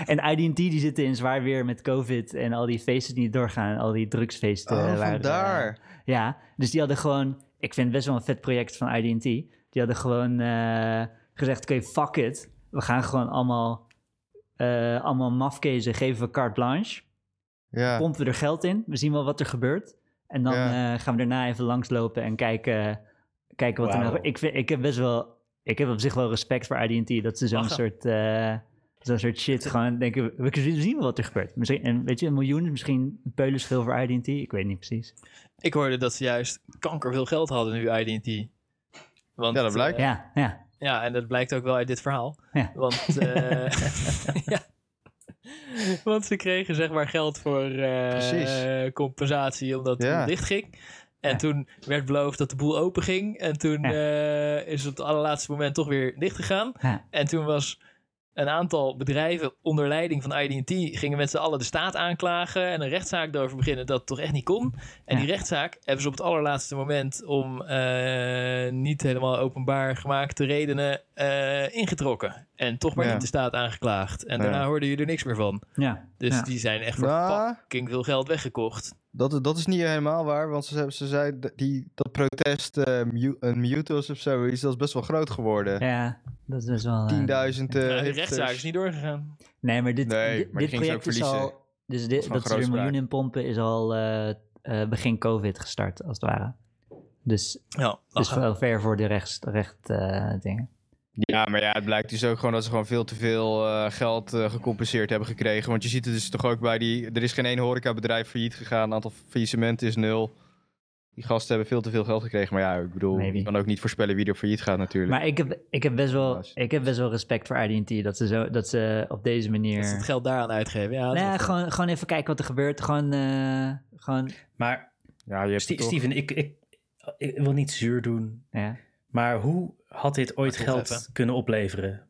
en IDT die zitten in zwaar weer met COVID en al die feesten die niet doorgaan, al die drugsfeesten. Oh, waar ze- vandaar. Ja, dus die hadden gewoon... Ik vind het best wel een vet project van IDT. Die hadden gewoon eh, gezegd, oké, fuck it. We gaan gewoon allemaal, eh allemaal mafkezen, geven we carte blanche. Ja. Pompen we er geld in, we zien wel wat er gebeurt. En dan Ja. eh, gaan we daarna even langslopen en kijken, kijken wat er Wauw. nog... Ik, vind, ik heb best wel... Ik heb op zich wel respect voor IDT. Dat ze zo'n Lachen. soort... eh, Zo'n soort shit, gewoon denken, we we zien wel wat er gebeurt. Misschien, en weet je, een miljoen is misschien een peulenschil voor IDT. Ik weet niet precies. Ik hoorde dat ze juist kanker veel geld hadden nu, IDT. Want, Ja, dat blijkt. eh, Ja, ja. ja, en dat blijkt ook wel uit dit verhaal. Ja. Want, eh, ja. Want ze kregen zeg maar geld voor eh, Precies. compensatie omdat het Ja. boel dicht ging. En Ja. toen werd beloofd dat de boel open ging. En toen Ja. eh, is het op het allerlaatste moment toch weer dicht gegaan. Ja. En toen was een aantal bedrijven onder leiding van IDT... gingen met z'n allen de staat aanklagen en een rechtszaak erover beginnen dat het toch echt niet kon. En Ja. die rechtszaak hebben ze op het allerlaatste moment... om eh, niet helemaal openbaar gemaakte redenen eh, ingetrokken. En toch maar Ja. niet de staat aangeklaagd. En Nee. daarna hoorde je er niks meer van. Ja. Dus ja. die zijn echt voor Nou, fucking veel geld weggekocht. dat, dat is niet helemaal waar, want ze, hebben- ze zei dat die, dat protest, eh, mu- een mute was of zoiets, dat is best wel groot geworden. Ja, dat is best wel... eh, 10.000 eh, Ja, Nou, de hipsters. rechtszaak is niet doorgegaan. Nee, maar dit, Nee, dit, maar die dit ging ze ook project is al... verliezen. Dus dit, gewoon dat ze er een grootspraak. miljoen in pompen is al eh, eh, begin COVID gestart, als het ware. Dus, Ja, dus lachen. wel ver voor de rechts, recht eh, dingen. Ja, maar ja, het blijkt dus ook gewoon dat ze gewoon veel te veel eh, geld eh, gecompenseerd hebben gekregen. Want je ziet het dus toch ook bij die... Er is geen één horecabedrijf failliet gegaan. Het aantal faillissementen is nul. Die gasten hebben veel te veel geld gekregen. Maar ja, ik bedoel, Maybe. je kan ook niet voorspellen wie er failliet gaat natuurlijk. Maar ik heb, ik, heb best wel, Helaas. ik heb best wel respect voor IDT dat ze, zo, dat ze op deze Dat ze manier... het geld daaraan uitgeven. Ja, dat is nou, ja, wel- gewoon, gewoon even kijken wat er gebeurt. Gewoon, eh, gewoon Maar ja, je hebt Ste- het toch- Steven, ik, ik, ik wil niet zuur doen, ja. maar hoe had dit ooit Wacht geld even, hè? kunnen opleveren?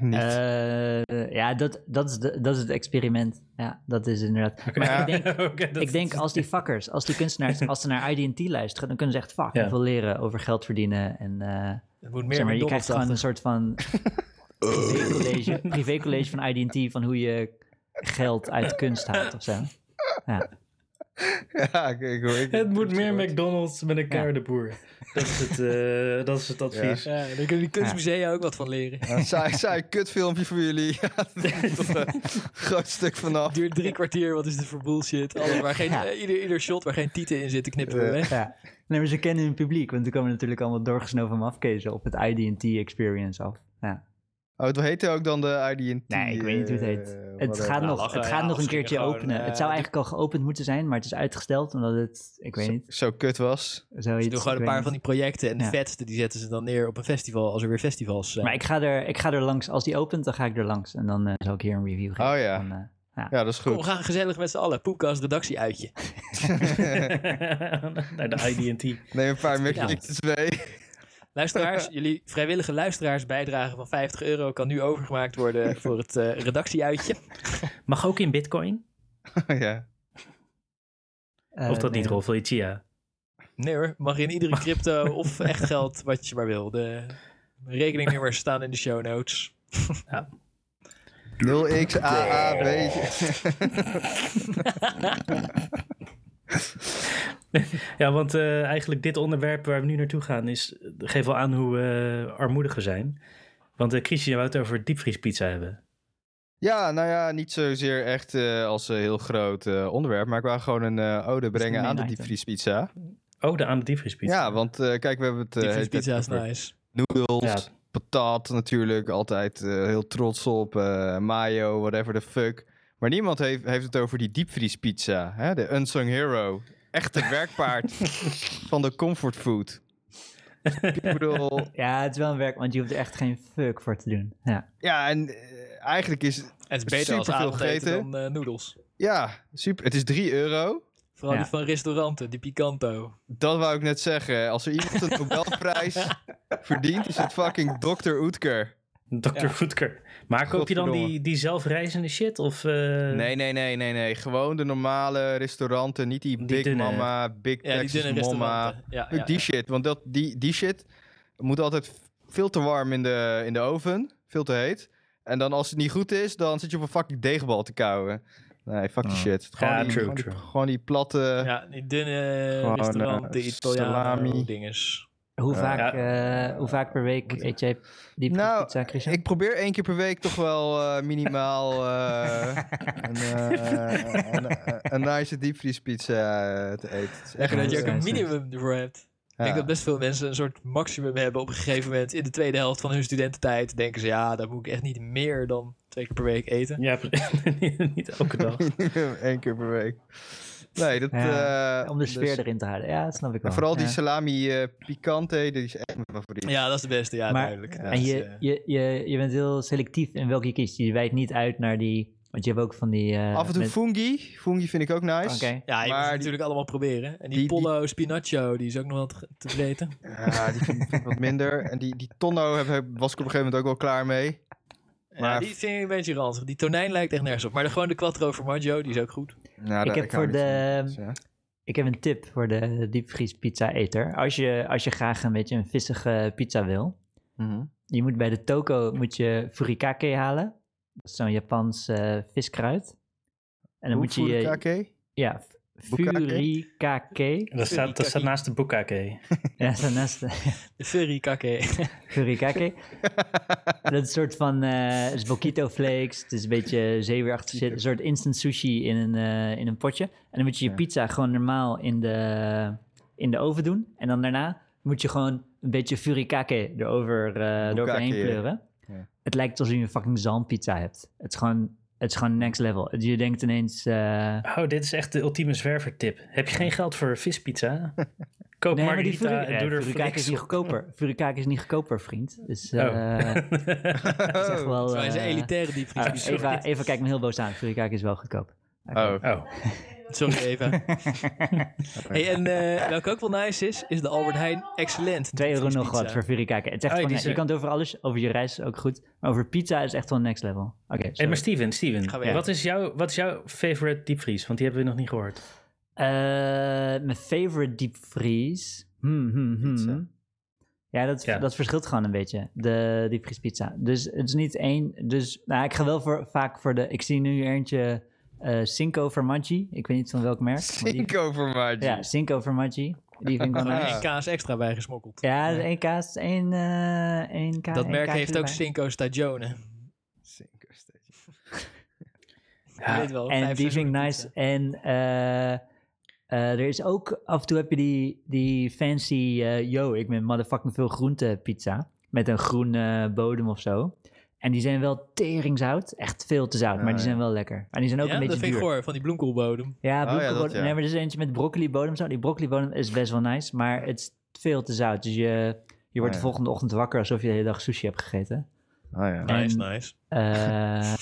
niet. Eh, ja, dat, dat, is de, dat is het experiment. Ja, dat is inderdaad. Oké. Maar Ja. ik denk, Oké, dat- ik denk als die fuckers, als die kunstenaars, als ze naar IDT luisteren, dan kunnen ze echt fucking Ja. veel leren over geld verdienen. En eh het moet meer zeg maar, je krijgt McDonald's gewoon achter. een soort van privécollege, privécollege van IDT van hoe je geld uit kunst haalt of zo. ja, ik, ik, ik, Het moet ik- meer McDonald's met een Ja. keiharde boer. Dat is het, eh, dat is het advies. Ja, daar kunnen die kunstmusea ook wat van leren. Ja, Saai, saai kutfilmpje voor jullie. Ja, dat is toch een groot stuk vanaf. Duurt drie kwartier, wat is dit voor bullshit? Alles waar geen, Ja. eh, ieder, ieder shot waar geen tieten in zitten knippen we Eh. weg. Ja. Nee, maar ze kennen hun publiek, want toen komen natuurlijk allemaal doorgesnoven mafkezen op het ID&T-experience af. Ja. Oh, het heette ook dan de ID&T. Nee, ik weet niet hoe het heet. eh, Het whatever. gaat, Nou, nog, lachen, het ja, gaat nog een misschien keertje gewoon, openen. eh, het zou de- eigenlijk al geopend moeten zijn, maar het is uitgesteld omdat het, ik weet Zo- niet, Zo kut was. zoiets. Ze doen gewoon ik een weet paar van niet. die projecten en de Ja. vetste die zetten ze dan neer op een festival als er weer festivals zijn. Maar ik ga, er, ik ga er langs, als die opent, dan ga ik er langs en dan eh, zal ik hier een review geven. Oh ja. van, eh, Ja, dat is Kom, we goed. gaan gezellig met z'n allen. Poepkast redactie uitje. Naar de ID&T. Neem een paar Ja. McDonald's mee. Luisteraars, jullie vrijwillige luisteraarsbijdrage van 50 euro kan nu overgemaakt worden voor het eh, redactieuitje. Mag ook in bitcoin? Oh ja. eh, Of dat nee, niet, Rolf? Wil je het Chia? Nee hoor, mag in iedere crypto of echt geld wat je maar wil. De rekeningnummers staan in de show notes. Eh, 0xAAB. Ja, want eh, eigenlijk dit onderwerp waar we nu naartoe gaan is, geeft wel aan hoe eh, armoedig we zijn. Want eh, Christian wou het over diepvriespizza hebben. Ja, nou ja, niet zozeer echt eh, als een heel groot eh, onderwerp. Maar ik wou gewoon een eh, ode brengen main aan de item. diepvriespizza. Oh, de aan de diepvriespizza. Ja, want eh, kijk, we hebben het... eh, Die hele tijd pizza is over nice. Noedels, Ja. patat natuurlijk. Altijd eh, heel trots op. eh, mayo, whatever the fuck. Maar niemand heeft, heeft het over die diepvriespizza. Hè? De unsung hero. Echte werkpaard van de comfortfood. Ik bedoel, Ja, het is wel een werk, want je hoeft er echt geen fuck voor te doen. Ja. ja, en eh, eigenlijk is... En het is beter als Superveel avondeten gegeten. dan eh, noedels. Ja, super. Het is 3 euro. Vooral Ja. die van restauranten, die Picanto. Dat wou ik net zeggen. Als er iemand een Nobelprijs verdient, is het fucking Dr. Oetker. Dr. Ja. Voetker. Maar koop je dan die, Godverdomme. die zelfreizende shit? Of, eh, Nee, nee, nee, nee, nee. Gewoon de normale restauranten. Niet die, Die Big dunne. Mama, Big Ja, die Texas dunne Mama. restauranten. Ja, ja, Eh, die shit. Want dat, die, die shit moet altijd veel te warm in de, in de oven. Veel te heet. En dan als het niet goed is, dan zit je op een fucking deegbal te kauwen. Nee, fuck die shit. Gewoon, Ja, die, true, gewoon, die- true. gewoon die platte... ja. ja, die dunne Gewoon, eh, restauranten, Italiano salami. dinges. Hoe, Ja. Nou, vaak, eh, hoe vaak per week eet jij diepvriespizza, Christian? Ik probeer één keer per week toch wel eh, minimaal eh, een, eh, een, een, een nice diepvriespizza eh, te eten. Het is echt Lekker dat je ook een- een nice. minimum ervoor hebt. Ik denk ja. dat best veel mensen een soort maximum hebben op een gegeven moment. In de tweede helft van hun studententijd denken ze... ja, daar moet ik echt niet meer dan twee keer per week eten. Ja, pre- niet elke dag. Eén keer per week. Nee, dat... Ja, eh, Om de dus- sfeer erin te houden. Ja, dat snap ik wel. en vooral die Ja. salami eh, picante, die is echt mijn favoriet. Ja, dat is de beste. Ja, Maar- duidelijk. ja. dus, Dat En is, je, eh, je, je, je bent heel selectief in welke je kiest. Je wijkt niet uit naar die... Want je hebt ook van die... eh, Af en toe met- fungi. Fungi vind ik ook nice. Oké. ja, je moet maar het die- natuurlijk allemaal proberen. En die, die- die- Pollo Spinaccio, die is ook nog wel te- te vreten. Ja, die vind ik wat minder. En die, die tonno heb, heb- was ik op een gegeven moment ook wel klaar mee. ja, Maar- die vind ik een beetje ranzig. Die tonijn lijkt echt nergens op. Maar de, gewoon de Quattro Formaggio, die is ook goed. Nou, Ik daar- heb hou niet voor de- van dus, ja. Ik heb een tip voor de diepvriespizza-eter. Als je, als je graag een beetje een vissige pizza wil... Je moet bij de toko moet je furikake halen. Dat is zo'n Japans eh, viskruid. En dan Hoe moet je... voel ik je- kake? ja, f- Bukkake? furikake. Dat staat, dat staat naast de boekkake. Ja, zo naast De furry kakke. furikake. dat is een soort van... eh het is Bokito flakes. Het is een beetje zeeweerachtig shit. Een soort instant sushi in een, eh, in een potje. En dan moet je je Ja. pizza gewoon normaal in de, in de oven doen. En dan daarna moet je gewoon een beetje furikake erover, eh eroverheen Bukkake, ja. pleuren. Ja. Het lijkt alsof je een fucking zalmpizza hebt. Het is gewoon, het is gewoon next level. Je denkt ineens... eh, Oh, dit is echt de ultieme zwervertip. Heb je geen geld voor vispizza? Koop Nee, maar die margarita furi- en eh, doe er furikake is flex niet op. goedkoper. Furikake is niet goedkoper, vriend. Dus eh Oh. dat is echt wel... Hij is een eh, elitaire ah, diepvries. Eva, Eva kijkt me heel boos aan. Furikake is wel goedkoop. Oh. oh, Sorry, Eva. hey, en eh, welke ook wel nice is, is de Albert Heijn Excellent. 2 euro nog diepvriespizza. wat voor furikake. Het is Oh, echt ja, van, die je is er. kan het over alles, over je reis ook goed. Maar over pizza is echt wel next level. Oké, hey, sorry. maar Steven, Ga Steven weer. wat, is jouw, wat is jouw favorite diepvries? Want die hebben we nog niet gehoord. Eh, mijn favorite diepvries. Hmm, hmm, hmm. Pizza. Ja, dat, Ja. dat verschilt gewoon een beetje. De diepvriespizza. Dus het is niet één. Dus nou, ik ga wel voor, vaak voor de. Ik zie nu eentje eh Cinco Formaggi. Ik weet niet van welk merk. maar die- Cinco Ah. voor Margie. Ja, Cinco Formaggi. Die vind ik wel Er nice. één kaas extra bij gesmokkeld. Ja, dat is één kaas, één, eh één kaas. dat merk heeft ook Cinco Stagione. Cinco steeds. Je weet wel, En vijf die vind ik nice. seizoenen En eh, eh, er is ook, af en toe heb je die, die fancy, eh, yo, ik ben motherfucking veel groente pizza. Met een groene bodem of zo. En die zijn wel teringzout. Echt veel te zout, maar Ah, die ja. zijn wel lekker. En die zijn ook ja, een beetje dat vind duur. ik goor, van die bloemkoolbodem. Ja, Oh ja, bloemkoolbodem. dat, ja. Nee, maar er is eentje met broccolibodem. Zo. Die broccolibodem is best wel nice, maar het is veel te zout. Dus je, Oh, je wordt ja. de volgende ochtend wakker alsof je de hele dag sushi hebt gegeten. Oh ja. En- Nice, nice. Eh,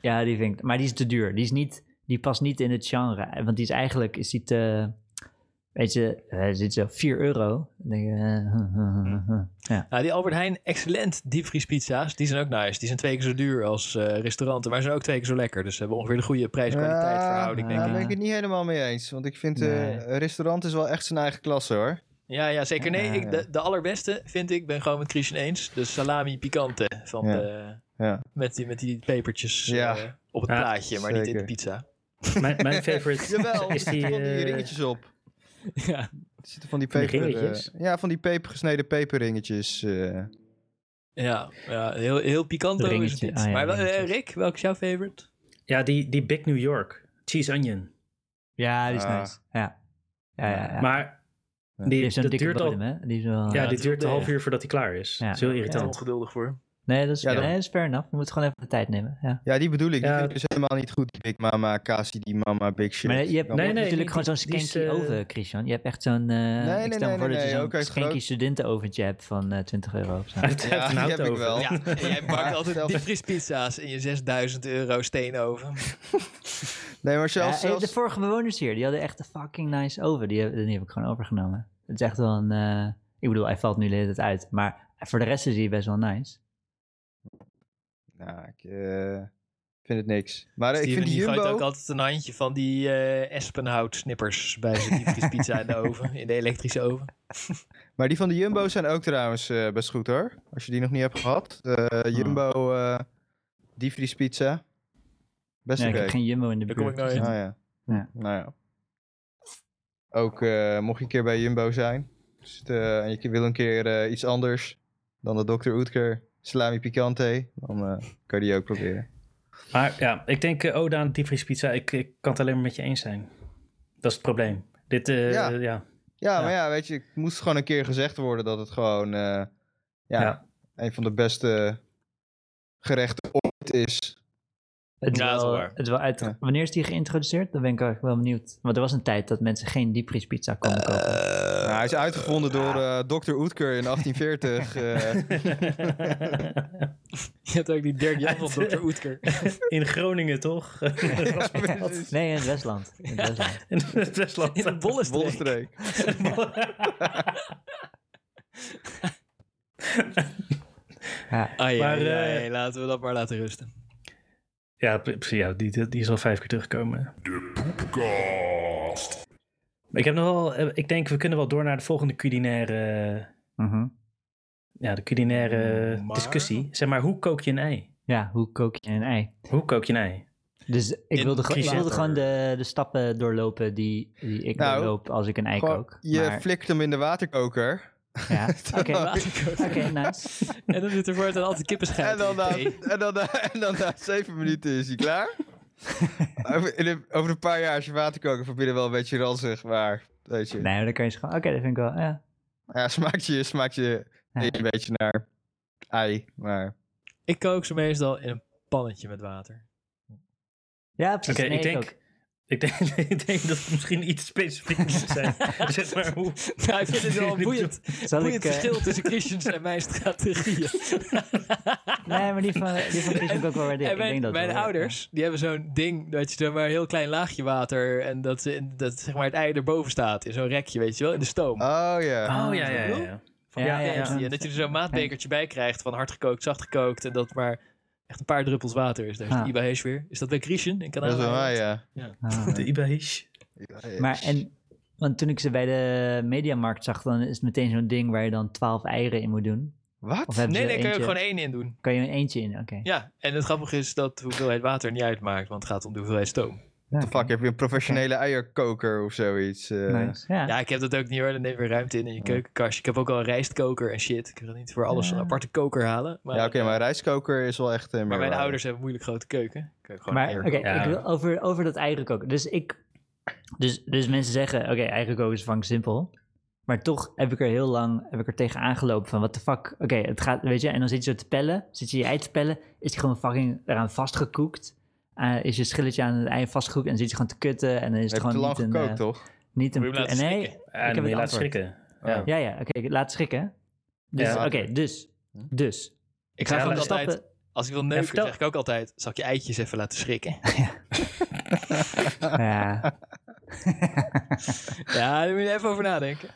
ja, die vind ik... Maar die is te duur. Die, is niet, die past niet in het genre. Want die is eigenlijk... Is die te... Weet je, eh, er zit zo 4 euro. Dan denk je... eh, Nou, die Albert Heijn, excellent diepvriespizza's. Die zijn ook nice. Die zijn twee keer zo duur als eh, restauranten, maar ze zijn ook twee keer zo lekker. Dus ze hebben ongeveer de goede prijs-kwaliteit verhouding, Ja. denk Daar ik. ben ik het niet helemaal mee eens. Want ik vind, eh, Nee. een restaurant is wel echt zijn eigen klasse hoor. Ja, ja, zeker. Nee, Ja, ja. ik, de, de allerbeste vind ik, ben gewoon met Christian eens, de salami pikante van Ja. de, Ja. met, die, met die pepertjes Ja. eh, op het Ja, plaatje, maar niet in de zeker. pizza. Mijn, mijn favorite Jawel, er is die... zitten van die eh, ringetjes op. Ja. Er zitten van die Van die peper... eh, ringetjes? ja, van die peper, gesneden peperringetjes. eh. Ja, heel, heel picanto is Ringetje. het niet. Ah, ja, maar wel- eh, ringetjes. Rick, welk is jouw favorite? ja, die, die Big New York. Cheese Onion. Ja, die is Ah. nice. Ja. Ja, ja, ja. Maar Ja. die die, heeft zo'n dat dikke duurt bodem, al... hè? Die is Ja, wel... Ja, dit het duurt een duurt, half eh, uur voordat hij klaar is. Ja. Dat is heel Ik ben er irritant. ongeduldig voor. Nee, dat is, Ja, nee, dan- dat is fair enough. Je moet gewoon even de tijd nemen. Ja. Ja, die bedoel ik. Die Ja. vind ik dus helemaal niet goed. Die Big Mama, Kasi, die Mama, Big Shit. Maar je hebt Nee, nee, natuurlijk die- gewoon zo'n die is, skanky eh, oven, Christian. Je hebt echt zo'n... eh nee, ik stel me nee, voor nee, dat je nee, ook zo'n uit skanky groot- studentenoventje hebt van eh, 20 euro of zo. Hij heeft hij Ja, heeft een die auto heb ik over. wel. Ja, en jij bakt altijd zelf- Ah, diepvriespizza's in je 6000 euro steenoven. Nee, maar Ja, zelfs... hey, zelfs... De vorige bewoners hier, die hadden echt een fucking nice oven. Die heb, die heb ik gewoon overgenomen. Het is echt wel een... eh, ik bedoel, hij valt nu de hele tijd uit. Maar voor de rest is hij best wel nice. Nou, ik eh, vind het niks. Maar eh, ik Steven, vind die die gooit Jumbo... ook altijd een handje van die eh Espenhout snippers bij zijn diepvriespizza in de oven, in de elektrische oven. Maar die van de Jumbo zijn ook trouwens eh, best goed hoor. Als je die nog niet hebt gehad. De Ah. Jumbo eh diepvriespizza. Best Ja, ik oké. heb geen Jumbo in de Daar buurt. kom ik nooit. Ah, ja. Ja. Nou ja. Ook eh, mocht je een keer bij Jumbo zijn. Dus het, eh, en je wil een keer eh, iets anders dan de Dr. Oetker salami picante. Dan eh, kan je die ook proberen. Maar ja, ik denk eh, Oda aan diepvriespizza. Ik, ik kan het alleen maar met je eens zijn. Dat is het probleem. Dit, eh, Ja. ja. Ja, Ja. maar ja, weet je, het moest gewoon een keer gezegd worden dat het gewoon eh, ja, Ja. een van de beste gerechten ooit is. Het, Ja, dat is wel, wel waar. het is wel uit... Ja. Wanneer is die geïntroduceerd? Dan ben ik eigenlijk wel benieuwd. Want er was een tijd dat mensen geen diepvriespizza konden kopen. Nou, hij is uitgevonden door eh Dr. Oetker in 1840. eh. Je hebt ook die Dirk Jan van Dr. Oetker. In Groningen toch? Nee, in het Westland. In het Westland. In het Westland. In een bolle Bollenstreek. Ja. Ah, ja, Maar, ja, eh, ja, laten we dat maar laten rusten. Ja, pre- precies, ja die, die- die is al vijf keer teruggekomen. De poepkast. Ik heb nog wel, eh, ik denk we kunnen wel door naar de volgende culinaire, eh, Mhm. ja, de culinaire Maar? discussie. Zeg Mm, maar, hoe kook je een ei? Ja, hoe kook je een ei? Hoe kook je een ei? Dus ik In wilde, gewoon- ik wilde Crescendo. gewoon de, de stappen doorlopen die, die ik Nou, doorloop als ik een ei Gewoon, kook. je Maar, flikt hem in de waterkoker. ja, oké, Terwijl- oké, nou. nice. En dan zit er voor het een altijd kippenschijf. En dan, in na, je thee. en, dan na, en dan na zeven minuten is hij klaar. over, in een- over een paar jaar is je waterkoker van binnen wel een beetje ranzig, maar weet je. Nee, maar dan kan je ze gewoon, oké, dat vind ik wel, ja. Ja, smaakt je, smaakt je Ja. een beetje naar ei, maar... Ik kook ze meestal in een pannetje met water. Ja, precies. Oké, nee, ik, denk, ook. ik, denk, ik denk dat het misschien iets specifiek moet zijn. zeg maar, hoe, Nou, ik vind het wel een boeiend, Zal boeiend ik, eh, verschil tussen Christians en mijn strategieën. Nee, maar die van, die van Chris ook wel weer dik. en Ik mijn, denk dat mijn wel. ouders, die hebben zo'n ding dat je zomaar een heel klein laagje water en dat, ze- dat zeg maar het ei erboven staat in zo'n rekje, weet je wel, in de stoom. Oh ja. oh ja, ja, ja. ja. Van Ja, ja, ja, ja. En dat je er zo'n maatbekertje bij krijgt van hard gekookt, zacht gekookt. En dat maar echt een paar druppels water is. Daar is Ah. de Iba Hees weer. Is dat bij Christian in Canada? Dat is wel waar, ja. Ah. De Ibahish. Maar en, want toen ik ze bij de mediamarkt zag, dan is het meteen zo'n ding waar je dan twaalf eieren in moet doen. Wat? Of hebben Nee, ze nee, kan je ook eentje- gewoon één in doen. Kan je er eentje in? Oké. Ja, en het grappige is dat de hoeveelheid water niet uitmaakt, want het gaat om de hoeveelheid stoom. What the fuck? Heb je een professionele eierkoker of zoiets? eh? Nice. Ja. Ja, ik heb dat ook niet hoor. Dan neem je ruimte in in je keukenkastje. Ik heb ook al een rijstkoker en shit. Ik kan niet voor alles Ja. een aparte koker halen. Maar, Ja, oké, maar rijstkoker is wel echt... eh, maar mijn meerwaarde. ouders hebben moeilijk grote keuken. Ik heb gewoon Maar een oké, airco- Ja. ik wil over, over dat eieren koken. Dus, ik, dus, dus mensen zeggen, oké, eieren koken is vang simpel. Maar toch heb ik er heel lang heb ik er tegen aangelopen van, wat de fuck. Oké, het gaat, weet je, en dan zit je zo te pellen, zit je je ei te pellen. Is die gewoon fucking eraan vastgekoekt. Eh, is je schilletje aan het ei vastgekoekt en zit je gewoon te kutten. En dan is Heb het je te gewoon lang niet een, gekookt, eh, toch? niet Moet een... je hem laten nee, schrikken? heb En het Ah, je laat antwoord. schrikken. Ja. Ja. ja, ja, oké, laat schrikken. Dus, Ja. oké, dus, Hm? dus. Ik ga Ja, gewoon dat is altijd, als ik wil neuken, vertel. zeg ik ook altijd, zal ik je eitjes even laten schrikken? Ja, ja, daar moet je even over nadenken.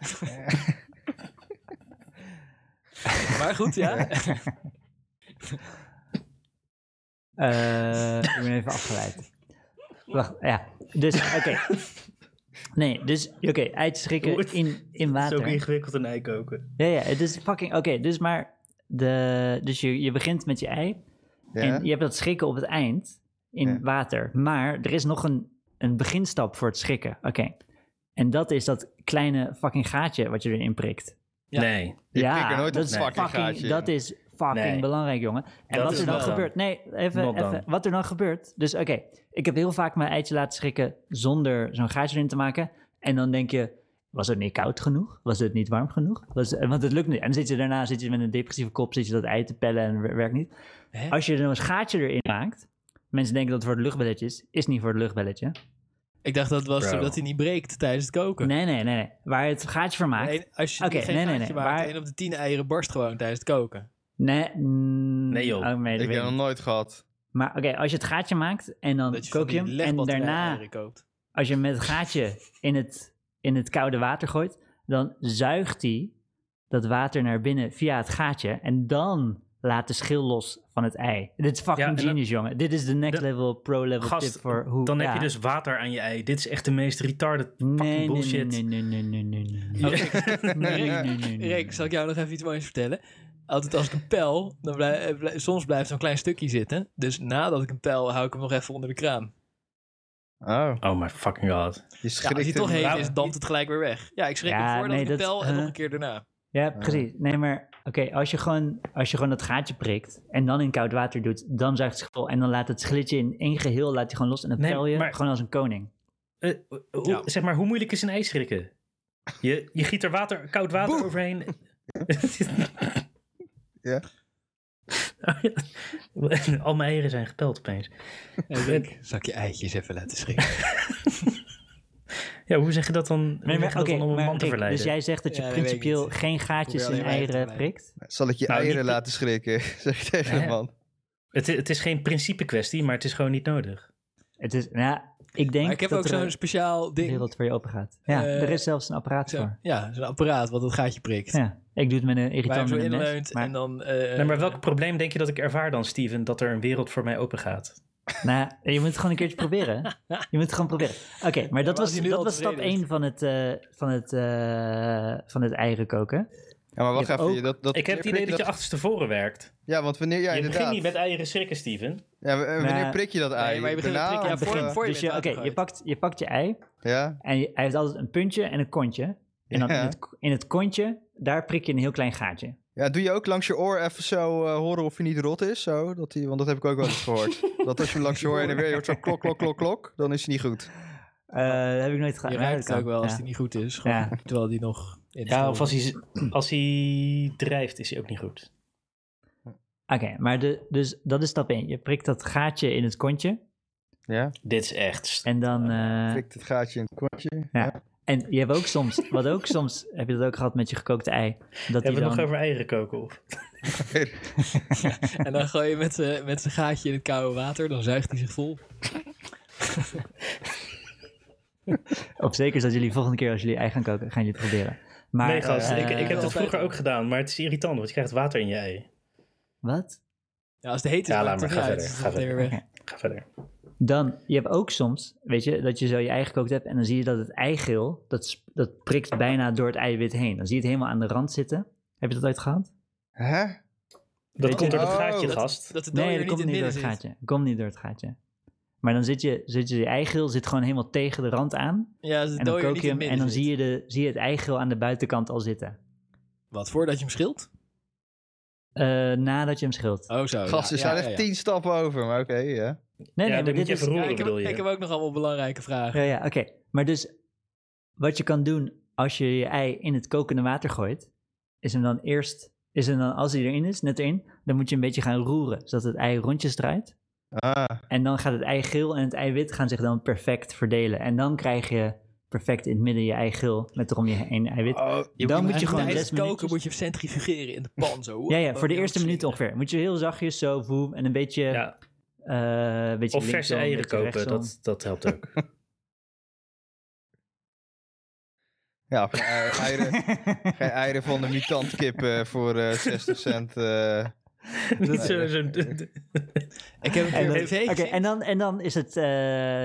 maar goed, ja. Eh, ik ben even afgeleid. Wacht, ja. Dus, oké. Nee, dus, oké, eitjes Oei. schrikken in, in Het is ook water. ingewikkeld een ei koken. Ja, ja, het is fucking... Oké, dus maar... De, dus je, je begint met je ei Ja? en je hebt dat schrikken op het eind in Ja. water. Maar er is nog een, een beginstap voor het schrikken. Oké. En dat is dat kleine fucking gaatje wat je erin prikt. Ja. Nee. Je prikt er nooit dat op is een fucking gaatje in. Dat is fucking Nee. belangrijk, jongen. En Dat wat is er dan not gebeurt. Nee, even, Not even. done. Wat er dan gebeurt. Dus oké, ik heb heel vaak mijn eitje laten schrikken zonder zo'n gaatje erin te maken. En dan denk je. Was het niet koud genoeg? Was het niet warm genoeg? Was, eh, want het lukt niet. En dan zit je daarna zit je met een depressieve kop, zit je dat ei te pellen en wer- werkt niet. Hè? Als je er een gaatje erin maakt, mensen denken dat het voor het luchtbelletje is, is niet voor het luchtbelletje. Ik dacht dat was Bro. omdat hij niet breekt tijdens het koken. Nee, nee, nee, nee. Waar je het gaatje voor maakt. Nee, als je Oké, geen nee, nee, gaatje nee, maakt, maar- één op de tien eieren barst gewoon tijdens het koken. Nee, mm, Nee, joh. oh, nee, dat ik weet heb nog nooit gehad. Maar oké, als je het gaatje maakt en dan Dat je kook je van hem. die En legbatterij daarna, eieren koopt. als je hem met het gaatje in het, in het koude water gooit, dan zuigt hij dat water naar binnen via het gaatje. En dan laat de schil los van het ei. Dit is Ja, en fucking dan- genius, jongen. Dit is de next Dan- level, pro level Gast, tip voor hoe... Dan heb je ja. dus water aan je ei. Dit is echt de meest retarded Nee, fucking nee, bullshit. Nee, nee, nee, nee, nee, nee, nee. Oh, Rick, Nee, nee, nee, nee. Rick, zal ik jou nog even iets moois vertellen? Altijd als ik een pijl, dan blij- eh, blij- soms blijft zo'n klein stukje zitten. Dus nadat ik een pijl, hou ik hem nog even onder de kraan. Oh, Oh my fucking god. je Ja, schrikt als hij hem. toch heet blauwe. is, dampt het gelijk weer weg. Ja, ik schrik Ja, hem voordat nee, ik een dat- eh, pijl en huh? nog een keer daarna. Ja, Eh. precies. Nee, maar oké, als je gewoon als je gewoon dat gaatje prikt en dan in koud water doet, dan zuigt het schil en dan laat het schilletje in één geheel laat je gewoon los en dan Nee, pel je maar- gewoon als een koning. Eh, hoe, Ja. Zeg maar, hoe moeilijk is een ei schrikken? Je, je giet er water, koud water Boe. overheen. Ja. Al mijn eieren zijn gepeld opeens. Eh, En Rick, zal ik je eitjes even laten schrikken? Ja, hoe zeg je dat dan, hoe zeg je dat oké, dan om een maar man te Rick, verleiden? dus jij zegt dat je Ja, dat weet ik principieel niet. geen Probeer gaatjes in alleen maar even te eieren blijven. prikt? Zal ik je Nou, eieren niet- laten schrikken? Zeg ik tegen Ja. de man. het, het is geen principe kwestie, maar het is gewoon niet nodig. Het is, nou, ik denk Maar ik heb dat ook er zo'n speciaal de ding. wereld voor je open gaat. Ja, Eh, er is zelfs een apparaat Zo, voor. ja, zo'n apparaat wat dat gaatje prikt. Ja, ik doe het met een Waar je hem irritant zo met een mes. inleunt Maar, en dan... eh, nee, maar welk probleem denk je dat ik ervaar dan, Steven, dat er een wereld voor mij open gaat? nou, je moet het gewoon een keertje proberen. Je moet het gewoon proberen. Oké, maar dat maar was, als je nu dat al was stap tevreden is. 1 van het, eh, van het, eh, van het eieren koken. Ja, maar wacht Je hebt even. ook- je- dat, dat, Ik heb het idee dat je dat- achterstevoren werkt. Ja, want wanneer... Ja, je begint inderdaad. niet met eieren schrikken, Steven. Ja, w- eh, wanneer Maar- prik je dat ei? Nou, maar je begint te prikken, ja, of, voor- eh, voor- je dus met je, oké, water je, gooit. pakt, je pakt je ei ja? en je- hij heeft altijd een puntje en een kontje. En dan in, Ja. het, in het kontje, daar prik je een heel klein gaatje. ja, doe je ook langs je oor even zo eh, horen of hij niet rot is? Zo, dat die, want dat heb ik ook wel eens gehoord. dat als je hem langs je oor en dan weer je hoort zo klok, klok, klok, klok, dan is hij niet goed. Eh, dat heb ik nooit gedaan. Oh. Je maar ruikt dat het ook kan, wel als ja. die niet goed is. Gewoon, Ja. Terwijl die nog... in de Ja, stoel of als hij, als hij drijft, is hij ook niet goed. Oké, maar de, dus dat is stap 1. Je prikt dat gaatje in het kontje Ja, Dit is echt... en Oh, dan... eh, prikt het gaatje in het kontje. en je hebt ook soms, wat ook soms, heb je dat ook gehad met je gekookte ei? Dat die Hebben we het dan, nog over eieren koken? Of? En dan gooi je met zijn met z'n gaatje in het koude water, dan zuigt hij zich vol. op zeker is dat jullie volgende keer als jullie ei gaan koken, gaan jullie het proberen. Maar, nee, gast. eh, ik, ik heb dat altijd vroeger al. ook gedaan, maar het is irritant, want je krijgt water in je ei. Wat? Ja, als het heet is, Ja, laat maakt het maar, ga niet uit. verder, Dan ga is het weer weg. Ga verder. Dan, je hebt ook soms, weet je, dat je zo je ei gekookt hebt en dan zie je dat het eigeel, dat, sp- dat prikt bijna door het eiwit heen. Dan zie je het helemaal aan de rand zitten. Heb je dat ooit gehad? Hè? Dat je- komt door dat Oh, gaatje, dat- gast. Dat de dooi Nee, er dat niet komt in niet door midden het zit. gaatje. Komt niet door het gaatje. Maar dan zit je, zit je, je eigeel zit gewoon helemaal tegen de rand aan. Ja, de En dan dooi er kook niet je in hem midden en dan zit. zie je, de, zie je het eigeel aan de buitenkant al zitten. Wat, voordat je hem schilt? Eh, nadat je hem schilt. Oh zo. Gast, ja, er ja, staan ja, echt ja. tien stappen over, maar oké, ja. Nee, Ja, dan nee, maar moet dit je is... even roeren, Ja, ik, heb, bedoel je. ik heb ook nog allemaal belangrijke vragen. Ja, ja oké. Maar dus, wat je kan doen als je je ei in het kokende water gooit, is hem dan eerst, is hem dan, als hij erin is, net erin, dan moet je een beetje gaan roeren, zodat het ei rondjes draait. Ah, En dan gaat het ei geel en het ei wit gaan zich dan perfect verdelen. En dan krijg je perfect in het midden je ei geel met erom je heen ei wit. Oh. dan moet je gewoon Tijdens zes het koken minuutjes... moet je hem centrifugeren in de pan zo. Ja, ja, voor de Oh, eerste shit. minuut ongeveer. Moet je heel zachtjes zo, voem, en een beetje, Ja. eh, een beetje Of verse linksom, een eieren beetje kopen, rechtsom. dat, dat helpt ook. ja, geen ei- eieren, geen eieren van de mutantkip eh, voor eh 60 cent. eh. Niet zo- zo'n Ik heb een En keer dan, op tv oké, gezien. en, dan, en dan is het eh,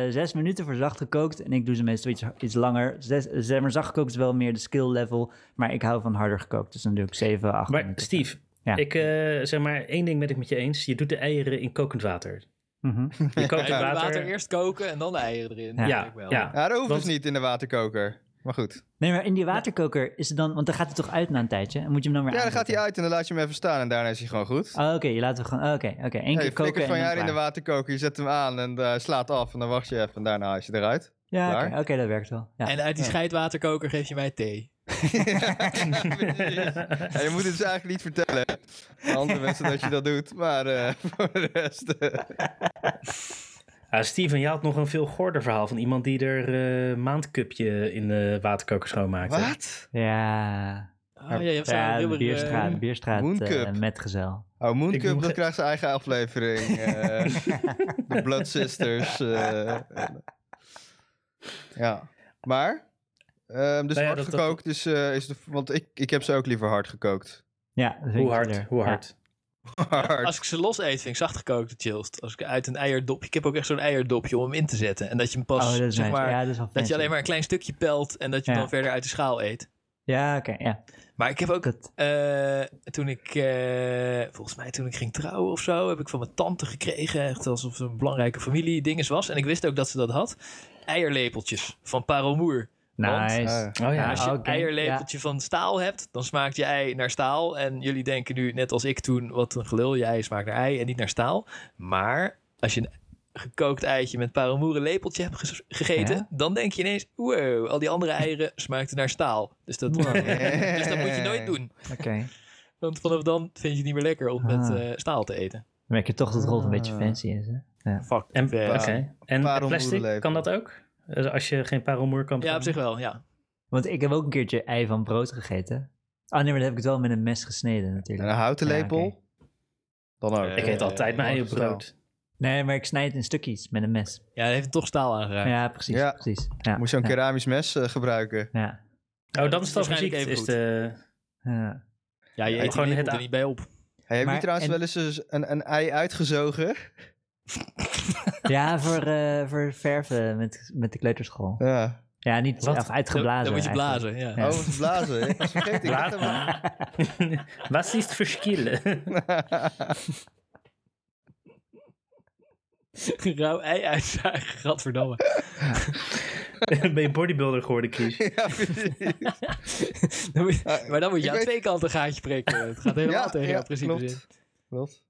zes minuten voor zacht gekookt. En ik doe ze meestal iets, iets langer. Zes, zeg maar, zacht gekookt is wel meer de skill level. Maar ik hou van harder gekookt. Dus dan doe ik zeven, acht Maar minuten. Steve, Ja. ik eh, zeg maar één ding ben ik met je eens. Je doet de eieren in kokend water. Mhm. Je kookt Ja, het water... water. eerst koken en dan de eieren erin. Ja. Ja, ik wel. ja. Ja, dat hoeft Want- dus niet in de waterkoker. Maar goed. Nee, maar in die waterkoker is het dan... Want dan gaat het toch uit na een tijdje? En moet je hem dan weer Ja, dan gaat hij aanzetten? uit en dan laat je hem even staan en daarna is hij gewoon goed. Oh, oké, je laat hem gewoon... oh, Oké, oké. één Ja, keer je flikkert koken en van dan jaar in de klaar. waterkoker, je zet hem aan en eh, slaat af en dan wacht je even en daarna haal je ze eruit. Ja, oké, Klaar. oké, dat werkt wel. Ja. En uit die Ja. scheidwaterkoker geef je mij thee. Ja, je moet het dus eigenlijk niet vertellen aan andere mensen dat je dat doet, maar eh, voor de rest... eh, Ah, Steven, je had nog een veel goorder verhaal van iemand die er eh, maandcupje in de waterkoker schoonmaakte. wat? Ja, Oh, ja, je hebt zo'n ja, de rubber, Bierstraat, de eh, Bierstraat Mooncup. eh, metgezel. Oh, Ik Mooncup, noem dat ge- krijgt zijn eigen aflevering. eh, de Blood Sisters. eh, ja, maar... ehm, dus Nou ja, hard dat- dat- gekookt is, eh, is de... Want ik, ik heb ze ook liever hard gekookt. Ja, dat vind ik Hoe hard? leuk. Hoe Ja. hard? Hard. Als ik ze los eet, vind ik zacht gekookt het chillst. Als ik uit een eierdopje... Ik heb ook echt zo'n eierdopje om hem in te zetten. En dat je hem pas, Oh, dat is zeg nice. maar... ja, dat is wel Dat je fancy. alleen maar een klein stukje pelt en dat je hem Ja. dan verder uit de schaal eet. Ja, oké, ja. Maar ik heb ook, Dat... eh, toen ik, eh, volgens mij toen ik ging trouwen of zo, heb ik van mijn tante gekregen, echt alsof het een belangrijke familie dinges was. En ik wist ook dat ze dat had. Eierlepeltjes van parelmoer. Want- Nice. Eh, Oh ja, Ja, Als je een Ah, oké, eierlepeltje van staal hebt, dan smaakt je ei naar staal. En jullie denken nu, net als ik toen, wat een gelul, je ei smaakt naar ei en niet naar staal. Maar als je een gekookt eitje met parelmoeren lepeltje hebt ges- gegeten, Ja. dan denk je ineens, wow, al die andere eieren smaakten naar staal. Dus dat, dus dat moet je nooit doen. eh, Oké. Want vanaf dan vind je het niet meer lekker om met Ah. eh, staal te eten. Dan merk je toch dat het rolt een beetje Ah. fancy is, hè? Fuck. En, Eh, oké. en Parelmoer plastic, leven. kan dat ook? Eh, Als je geen parelmoer kan Ja, op betalen? zich wel, ja. Want ik heb ook een keertje ei van brood gegeten. Ah nee, maar dat heb ik het wel met een mes gesneden En natuurlijk. een houten Ja, lepel? oké. Dan ook. Ik eet Eh, altijd mijn eh, ei op brood. Nee, maar ik snijd het in stukjes met een mes. Ja, hij heeft toch staal aangeraakt. Ja, precies, Ja. precies. Ja. Moet zo'n ja. keramisch mes eh, gebruiken. Ja. Oh, dan is het eh, al Waarschijnlijk fysiek. even Is goed. de... ja. Ja, je Ja, eet gewoon gewoon het er a- niet bij op. Hey, heb Maar- je trouwens en- wel eens eens een, een ei uitgezogen? Ja, voor, eh, voor verven met, met de kleuterschool. Ja. Ja, niet Wat? of Dan, uitgeblazen. dan moet je eigenlijk. blazen, Ja. ja. Oh, het blazen. Ik was vergeten. Ik dacht dat we- Wat is het verschil? Rauw ei uitzagen, gadverdamme. ben je bodybuilder geworden, Kies? ja, precies. Dan moet je- maar dan moet je Eh, Ik aan weet- twee kanten een gaatje prikken. Het gaat helemaal tegen jouw principe in. klopt. klopt.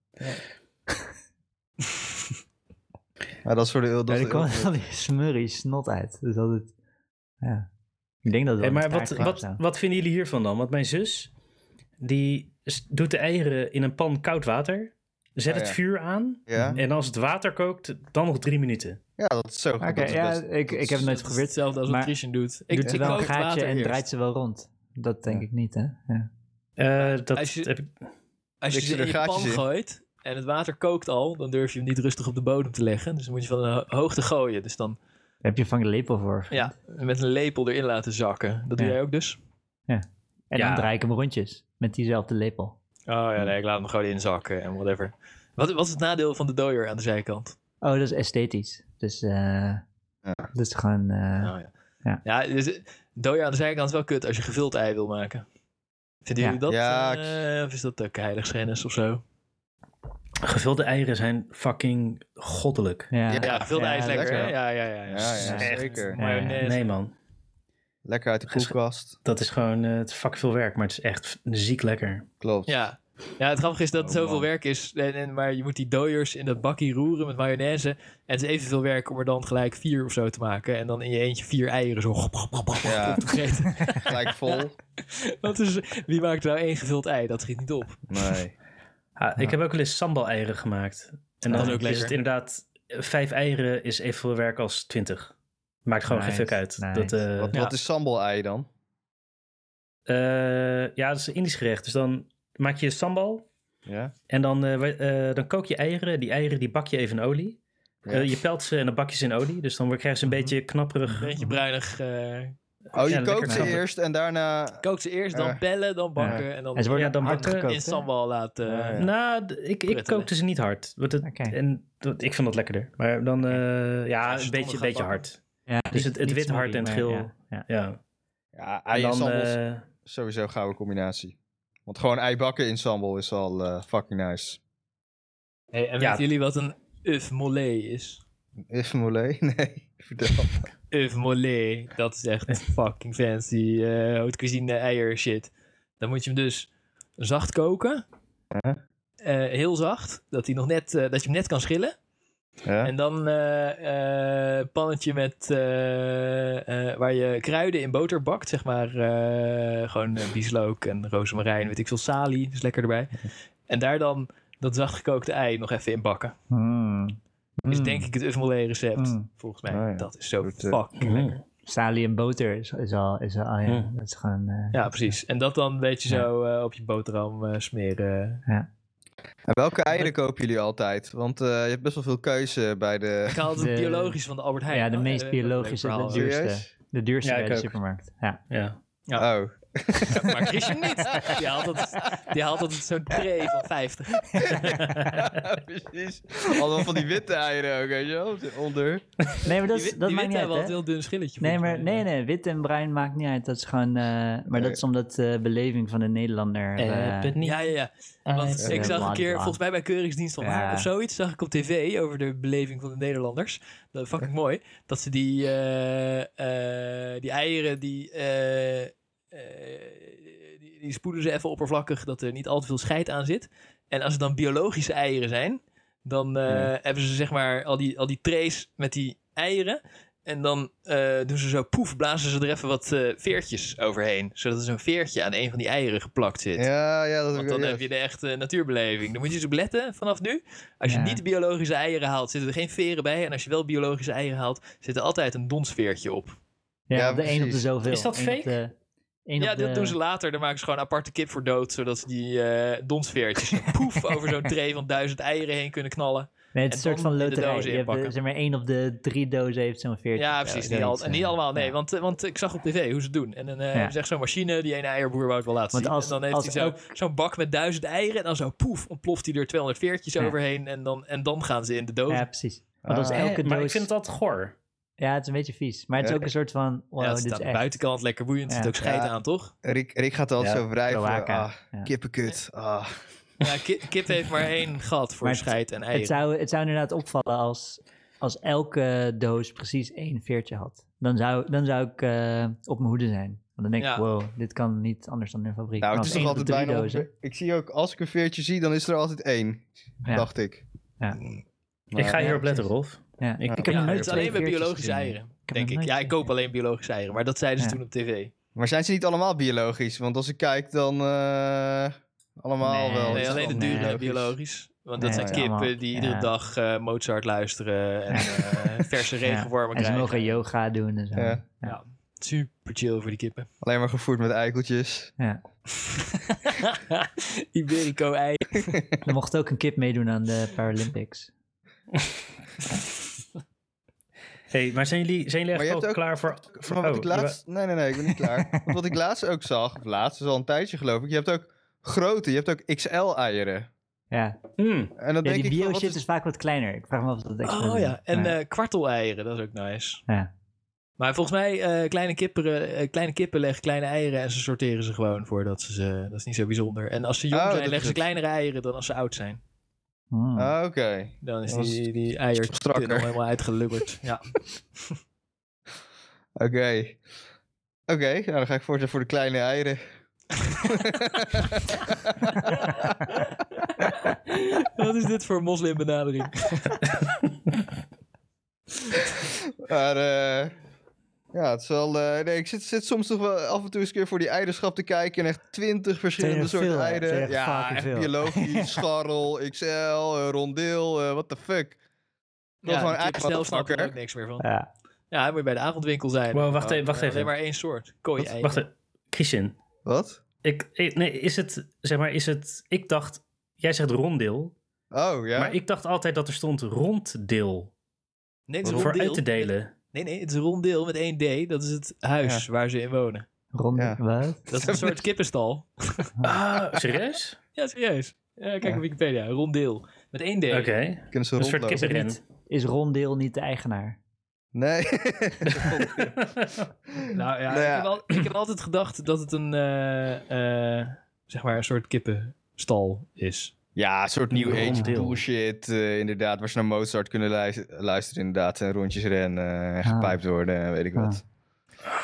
Maar dat is voor de dat Ja, is er de kwam ultimate. al die smurrie snot uit. Dus dat het... Ja. Ik denk dat het Hey, wel maar met wat, taart kwam of wat, zo. wat vinden jullie hiervan dan? Want mijn zus, die s- doet de eieren in een pan koud water, zet Oh, het ja. vuur aan Ja? en als het water kookt, dan nog drie minuten. ja, dat is zo. Oké, dat is ja, best- ik, dat ik is- heb het nooit Dat is geprobeerd. hetzelfde als maar- wat Christian doet. Ik, Doet ze ik wel een kook water gaatje en eerst. draait ze wel rond. Dat denk Ja. ik niet, hè? Ja. Eh, dat Als je- heb ik- Als je Ik zie ze in er je pan gaatjes in. gooit en het water kookt al, dan durf je hem niet rustig op de bodem te leggen. Dus dan moet je van een ho- hoogte gooien. Dus dan Daar heb je van de lepel voor. ja, met een lepel erin laten zakken. Dat doe Ja. jij ook dus? En Ja. dan draai ik hem rondjes met diezelfde lepel. Oh ja, nee, ik laat hem gewoon inzakken en whatever. Wat, wat is het nadeel van de dooier aan de zijkant? Oh, dat is esthetisch. Dus eh, dat is gewoon... eh, Nou Oh, ja. Ja. dus, eh, dooier aan de zijkant is wel kut als je gevuld ei wil maken. Vinden Ja. jullie dat? Ja, eh, of is dat ook heiligschennis of zo? Gevulde eieren zijn fucking goddelijk. Ja, Ja, Ja, veel ijs lekker. lekker. hè? Ja, ja, ja. Ja, ja. ja, echt. zeker. Ja, ja. Mayonaise. Nee man, Lekker uit de Hij is- koelkast. dat is gewoon, eh, het is fucking veel werk, maar het is echt f- ziek lekker. Klopt. Ja. Ja, het grappige is dat het Oh, zoveel man. werk is. En, en, maar je moet die dooiers in dat bakkie roeren met mayonaise. En het is evenveel werk om er dan gelijk vier of zo te maken. En dan in je eentje vier eieren zo op Ja. te vreten. Gelijk vol. Dat is, wie maakt nou één gevuld ei? Dat schiet niet op. Nee. Ah, Ik heb ook wel eens sambal-eieren gemaakt. En Dat dan is ook is lekker. het inderdaad, eh, vijf eieren is evenveel werk als twintig. Maakt gewoon Nice, geen fuck uit. nice. Dat, eh, Wat, Ja. wat is sambal-ei dan? eh, ja, dat is een Indisch gerecht. Dus dan maak je sambal Ja. en dan, eh, we- eh, dan kook je eieren. Die eieren die bak je even in olie. Ja. Eh, je pelt ze en dan bak je ze in olie. Dus dan word- krijg je ze een Mhm. beetje knapperig. Een beetje bruinig. eh Oh, je Ja, lekker kookt ze knabbelen. eerst en daarna... kook ze eerst, dan Ja. bellen, dan bakken. En En ze dan worden Ja, dan hard bakken- gekookt, in hè? sambal laten. Ja, ja. Nou, d- ik, ik Pruttelen. kookte ze niet hard. Want het, Oké. en, dat- ik vond dat lekkerder. Maar dan, eh, ja, Als je een het beetje, beetje gaat bakken. hard. Ja, Dus het- het niet wit hard smoky, en maar geel. Ja, ja. Ja. Ja, En ei en, dan, sambal is eh, sowieso een gouden combinatie. Want gewoon ei bakken in sambal is al eh, fucking nice. Hey, en Ja. weten jullie wat een œuf mollet is? Even molee? Nee, vertel. Oeuf mollet. Dat is echt fucking fancy eh haute cuisine eier shit. Dan moet je hem dus zacht koken. Ja. Eh, heel zacht. Dat, hij nog net, eh, dat je hem net kan schillen. Ja? En dan eh, eh, pannetje met eh, eh, waar je kruiden in boter bakt. Zeg maar eh, gewoon eh, bieslook en rozemarijn. Weet ik veel salie. is lekker erbij. Mhm. En daar dan dat zachtgekookte ei nog even in bakken. Mm. Is Mm. Dus denk ik het oeuf mollet recept. Mm. Volgens mij. Oh ja. Dat is zo Goed, eh, fucking mm. lekker. Salie en boter is, is al, is al, ah ja, Mm. dat is gewoon... eh, Ja, precies. En dat dan een beetje Ja. zo eh, op je boterham eh, smeren. En welke eieren kopen jullie altijd? Want eh, je hebt best wel veel keuze bij de... Ik haal het De- biologisch van de Albert Heijn. ja, de Oh, meest eh, biologische, leuk de verhaal. duurste. Serieus? De duurste Ja, bij ik de ook. supermarkt. Ja. ja. Ja. Oh. Maar Christian niet. Die haalt altijd, die haalt altijd zo'n tray van 50. precies. Allemaal van die witte eieren ook, weet je wel? Zit Onder. Nee, maar dat, die is- dat maakt wit- die witte niet uit, hebben altijd hè? een heel dun schilletje. Nee, volgens maar mij. nee, nee, wit en bruin maakt niet uit. Dat is gewoon... eh, maar Nee. dat is omdat de beleving van de Nederlander... eh, Eh, Ja, ja, ja. Ah, Want eh, ik zag een keer, blablabla. volgens mij bij Keuringsdienst van Ja. Waar of zoiets, zag ik op tv over de beleving van de Nederlanders. Dat fucking mooi. Dat ze die, eh, eh, die eieren, die, eh, eh, die, die spoelen ze even oppervlakkig, dat er niet al te veel scheid aan zit. En als het dan biologische eieren zijn, dan eh, Ja. hebben ze zeg maar al die, al die trays met die eieren. En dan eh, doen ze zo poef, blazen ze er even wat eh, veertjes overheen. Zodat er zo'n veertje aan een van die eieren geplakt zit. Ja, ja, dat heb Want ik dan ook. heb je de echte natuurbeleving. Dan moet je dus op letten vanaf nu. Als je Ja. niet biologische eieren haalt, zitten er geen veren bij. En als je wel biologische eieren haalt, zit er altijd een donsveertje op. Ja, Ja, op de één op de precies. zoveel. Is dat Eén op fake? de- één Ja, op de- dat doen ze later. Dan maken ze gewoon een aparte kip voor dood. Zodat ze die eh, donsveertjes zo poef over zo'n tray van duizend eieren heen kunnen knallen. Nee, het en is een soort dan van in de loterij. dozen Je hebt eh, inpakken. zeg maar één op de drie dozen heeft zo'n veertje. Ja, of zo, precies. Niet, al, zoiets, en niet eh. allemaal, nee. ja. Want, eh, want ik zag op tv hoe ze het doen. En dan eh Ja. hebben ze echt zo'n machine die een eierboer wou het wel laten Want zien. als- en dan heeft als hij zo, zo'n bak met duizend eieren. En dan zo poef, ontploft hij er 200 veertjes Ja. overheen. En dan, en dan gaan ze in de doos. Ja, precies. Want als Ah. elke Eh, doos... maar ik vind het altijd goor. Ja, het is een beetje vies. Maar het is Ja. ook een soort van... Wow, ja, het dit staat is aan de echt... buitenkant lekker boeiend. Er Ja. zit ook scheid Ja. aan, toch? Rick, Rick gaat altijd Ja, zo wrijven. kloaka. Ah, Ja. kippenkut. Ah. Ja, ki- kip, heeft maar één gat voor Maar het- scheid en Het eieren. zou, het zou inderdaad opvallen als, als elke doos precies één veertje had. Dan zou, dan zou ik eh, op mijn hoede zijn. Want dan denk ik, Ja. wow, dit kan niet anders dan in een fabriek. Nou, Maar het is als toch één altijd op de drie bijna... dozen- ongeveer- Ik zie ook, als ik een veertje zie, dan is er altijd één. Ja. Dacht ik. Ja. Maar- ik ga ja, hierop letten, precies. Rolf. Ja. Ik- Ik Ja, heb nog Ja, nooit het is twee alleen bij veertjes biologische gezien. eieren, heb denk nog ik. nooit Ja, ik koop gezien. alleen biologische eieren, maar dat zeiden ze Ja. toen op tv. Maar zijn ze niet allemaal biologisch? Want als ik kijk, dan eh, allemaal Nee, wel. dat Nee, is alleen de wel dure biologisch. biologisch. Want dat Nee, zijn ja. kippen allemaal- die ja. iedere dag eh, Mozart luisteren en eh, verse Ja. regenwormen En ze mogen krijgen. yoga doen en zo. Ja. Ja, super chill voor die kippen. Alleen maar gevoerd met eikeltjes. Ja. Iberico ei. Er mocht ook een kip meedoen aan de Paralympics. Hey, maar zijn jullie, zijn jullie Maar echt je ook, hebt klaar voor... voor Maar wat oh, ik laatst... Nee, nee, nee, ik ben niet klaar. Want wat ik laatst ook zag, of laatst is al een tijdje geloof ik. Je hebt ook grote, je hebt ook XL-eieren. Ja, jawel. Mm, En dan ja denk die ik van, wat bio-shit is- is vaak wat kleiner. Ik vraag me af of dat extra Oh is. ja, en Maar- eh kwarteleieren, dat is ook nice. Ja. Maar volgens mij, eh, kleine, kipperen, eh, kleine kippen leggen kleine eieren en ze sorteren ze gewoon voordat ze ze... Dat is niet zo bijzonder. En als ze jong Oh, zijn, dat leggen ze is het. kleinere eieren dan als ze oud zijn. Hmm. Ah, Oké. Dan is Dat was die, die eier strakker. nog helemaal uitgelubberd. ja. Oké. Oké, nou dan ga ik voortaan voor de kleine eieren. Wat is dit voor moslimbenadering? Maar eh, ja, het is wel... eh, nee, ik zit, zit soms toch wel af en toe eens een keer voor die eierschap te kijken. En echt twintig verschillende Tegen soorten veel, hè? eieren. Tegen ja, fucking echt veel. biologisch, scharrel, XL, eh, rondeel, eh what the fuck. Ja, gewoon die eieren, snel snap je er ook motherfucker. niks meer van. Ja. Ja, hij moet bij de avondwinkel zijn. Wow, wacht Ja, even, wacht ja, even. Alleen maar één soort. Kooi eieren. Wacht, even, Christian. Wat? Ik, ik- nee, is het, zeg maar, is het, ik dacht, jij zegt ronddeel, Oh, ja? maar ik dacht altijd dat er stond ronddeel, Nee, het is voor ronddeel. uit te delen. Nee, nee, het is ronddeel met één D. Dat is het huis waar ze in wonen. Rond, Ja. wat? Dat is een soort kippenstal. Ah, serieus? Ja, serieus. Ja, kijk Ja. op Wikipedia. Ronddeel. Met één D. Oké, Kunnen ze een soort rondlopen? kippenren. Niet. Is Rondeel niet de eigenaar? Nee. Nou ja, Nou Ik, ja. heb al- ik heb altijd gedacht dat het een, eh, eh, zeg maar, een soort kippenstal is. ja, een soort New Age Ronddeel. bullshit, eh, inderdaad. Waar ze naar Mozart kunnen luis- luisteren, inderdaad. En rondjes rennen eh, en Ah. gepijpt worden en weet ik Ah. wat.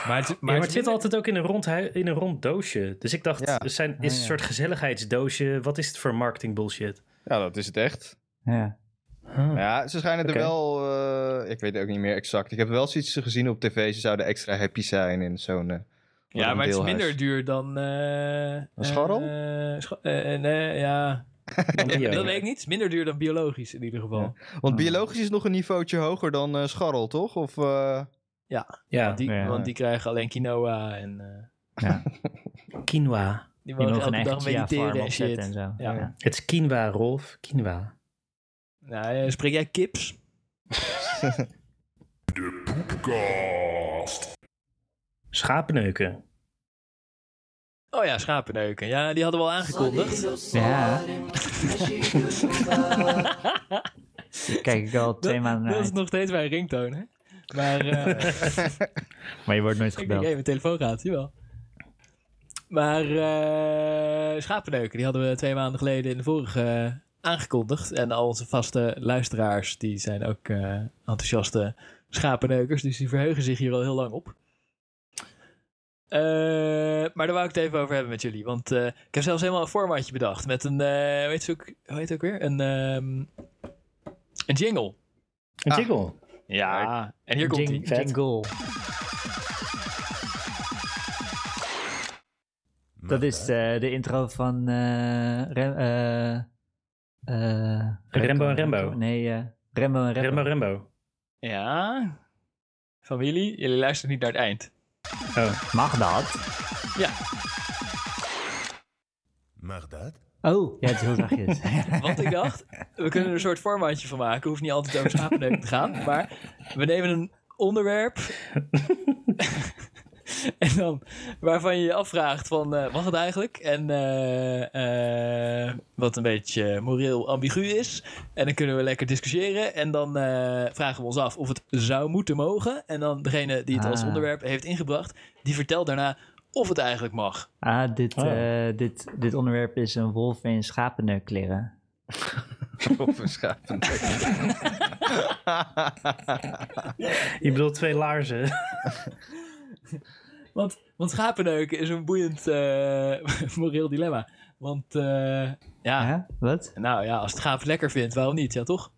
Maar het, Maar, het zit minder- altijd ook in een, rond hui- in een rond doosje. Dus ik dacht, Ja. het zijn, is Ah, een ja. soort gezelligheidsdoosje. Wat is het voor marketing bullshit? Ja, dat is het echt. Ja. Hm. Maar Ja, ze schijnen Oké. er wel... eh, ik weet het ook niet meer exact. Ik heb wel zoiets gezien op tv. Ze zouden extra happy zijn in zo'n... eh, Ja, maar het is deelhuis. minder duur dan... eh, een scharrel? eh, nee, ja. Ja. Dat weet ik niet. Het is Minder duur dan biologisch in ieder geval. Want Ah. biologisch is nog een niveautje hoger dan eh, scharrel, toch? Of... eh, Ja, Want, die, Ja. want die krijgen alleen quinoa en... eh, quinoa. die Je mogen mag een elke eigen dag chia-farm mediteren en shit. opzetten en zo. Ja. Het is quinoa, Rolf. Quinoa. Nou, eh, spreek jij kips? Schapeneuken. Oh ja, schapenneuken. Ja, die hadden we al aangekondigd. Ja. Die Kijk ik al twee maanden naar Dat is uit. nog steeds mijn ringtoon, hè? Maar eh, Maar je wordt nooit ik denk, gebeld. hé, mijn telefoon gaat, jawel. Maar eh schapenneuken, die hadden we twee maanden geleden in de vorige eh, aangekondigd. En al onze vaste luisteraars, die zijn ook eh, enthousiaste schapenneukers. Dus die verheugen zich hier al heel lang op. Eh, maar daar wou ik het even over hebben met jullie. Want eh, ik heb zelfs helemaal een formaatje bedacht. Met een, eh weet je ook, hoe heet het ook weer? Een, ehm, een jingle. Een Ah. jiggle. Ja, en hier komt Jing- hij. Jingle. Dat is eh, de intro van eh, Rem- eh, eh, Rembo en Rembo. Nee, eh, Rembo en Rembo, Rembo. Rembo. Ja. Familie, jullie luisteren niet naar het eind. Oh, Mag dat? Mag dat? Oh, ja, het is heel zachtjes. Want ik dacht, we kunnen er een soort formatje van maken. Hoeft niet altijd over schapenneuk te gaan. Maar we nemen een onderwerp. en dan waarvan je je afvraagt van, eh mag het eigenlijk? En eh, eh, wat een beetje moreel ambigu is. En dan kunnen we lekker discussiëren. En dan eh, vragen we ons af of het zou moeten mogen. En dan degene die het als Ah. onderwerp heeft ingebracht, die vertelt daarna of het eigenlijk mag. ah, dit, Oh. eh, dit, dit onderwerp is een wolf in schapenneukkleren. of een schapenneuk. je bedoelt twee laarzen. Want, want schapenneuken is een boeiend eh, moreel dilemma. Want eh, ja, Hè? Wat? nou ja, als het gaaf lekker vindt, waarom niet? Ja, toch?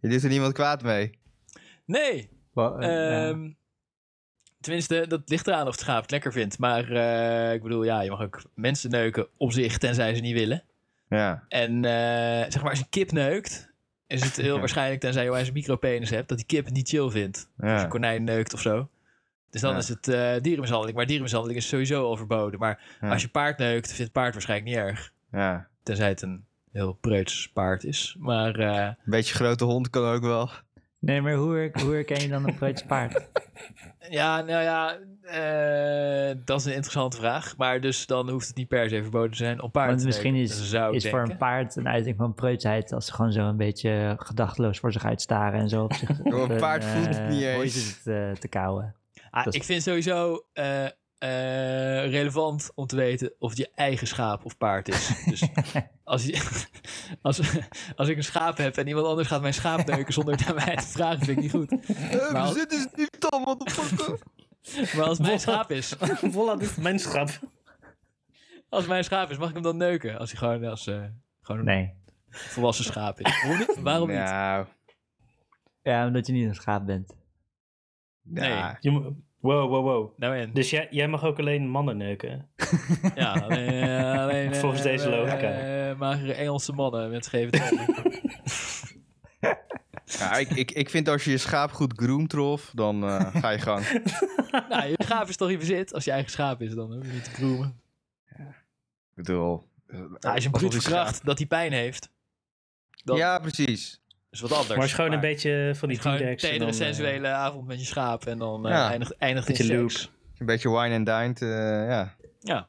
Je doet er niemand kwaad mee. Nee! Oh, Wel, eh, ja. ehm, Tenminste, dat ligt eraan of het schaap het lekker vindt. Maar eh, ik bedoel, ja, je mag ook mensen neuken op zich, tenzij ze niet willen. Ja. En eh, zeg maar, als een kip neukt, is het heel waarschijnlijk, tenzij je een micropenis hebt, dat die kip het niet chill vindt. Als ja. een konijn neukt of zo. Dus dan Ja. is het eh, dierenmishandeling. Maar dierenmishandeling is sowieso al verboden. Maar Ja. als je paard neukt, vindt het paard waarschijnlijk niet erg. ja. Tenzij het een heel preuts paard is. Maar eh, Een beetje grote hond kan ook wel. Nee, maar hoe, her- hoe herken je dan een Kreutz paard? Ja, nou ja, eh, dat is een interessante vraag. Maar dus dan hoeft het niet per se verboden te zijn om paarden Want te misschien rijden. is, Dat zou ik is voor denken. een paard een uiting van preutsheid als ze gewoon zo een beetje gedachteloos voor zich uitstaren en zo op zich. een op paard voelt het eh, niet hooitje eens. zit, eh, te kauwen. Ah, Dat is- ik vind sowieso eh, eh, relevant om te weten of het je eigen schaap of paard is. Dus als, je, als, als ik een schaap heb en iemand anders gaat mijn schaap neuken zonder het aan mij te vragen, vind ik niet goed. Eh, Maar we als- zitten ze niet dan, wat de fuck? Maar als mijn schaap is, Volla is mijn schap. als mijn schaap is, mag ik hem dan neuken? Als hij gewoon, als, eh, gewoon een Nee. volwassen schaap is. Waarom niet? Waarom niet? Nou, Ja, omdat je niet een schaap bent. Nee. ja. Je mo- Wow, wow, wow. Nou en? Dus jij, jij mag ook alleen mannen neuken. Ja, alleen, eh, alleen, eh, Volgens deze eh, logica. eh, magere Engelse mannen met scheve tanden. Ja, ik, ik, ik vind als je je schaap goed groomt, trof, dan eh, ga je gang. nou, je schaap is toch je bezit? Als je eigen schaap is, dan hoef je niet te groemen. Ik bedoel... Nou, als je hem goed verkracht dat hij pijn heeft. Dan Ja, precies. is wat anders. Maar als je gewoon een beetje van die gewoon een T-Rex. en tedere dan, eh, sensuele avond met je schaap en dan eh, Ja. eindigt, eindigt in Met je seks. Een beetje wine and dined, eh, ja. Ja.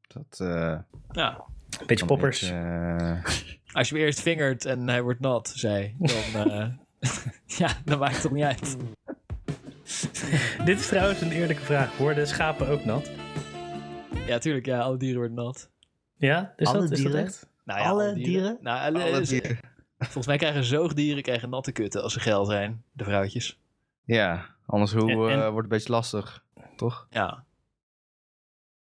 Dat... eh, Ja. Een beetje kan poppers. ik, eh, Als je hem eerst vingert en hij wordt nat, zei, dan, eh, ja, dan maakt het toch niet uit. Dit is trouwens een eerlijke vraag. Worden schapen ook nat? Ja, tuurlijk, ja, alle dieren worden nat. Ja? Is, Alle dat, is dat dieren? echt? Nou, ja, Alle dieren? Nou, alle, alle is- dieren. Volgens mij krijgen zoogdieren krijgen natte kutten als ze geil zijn, de vrouwtjes. Ja, anders hoe, En- en- eh, wordt het een beetje lastig, toch? Ja.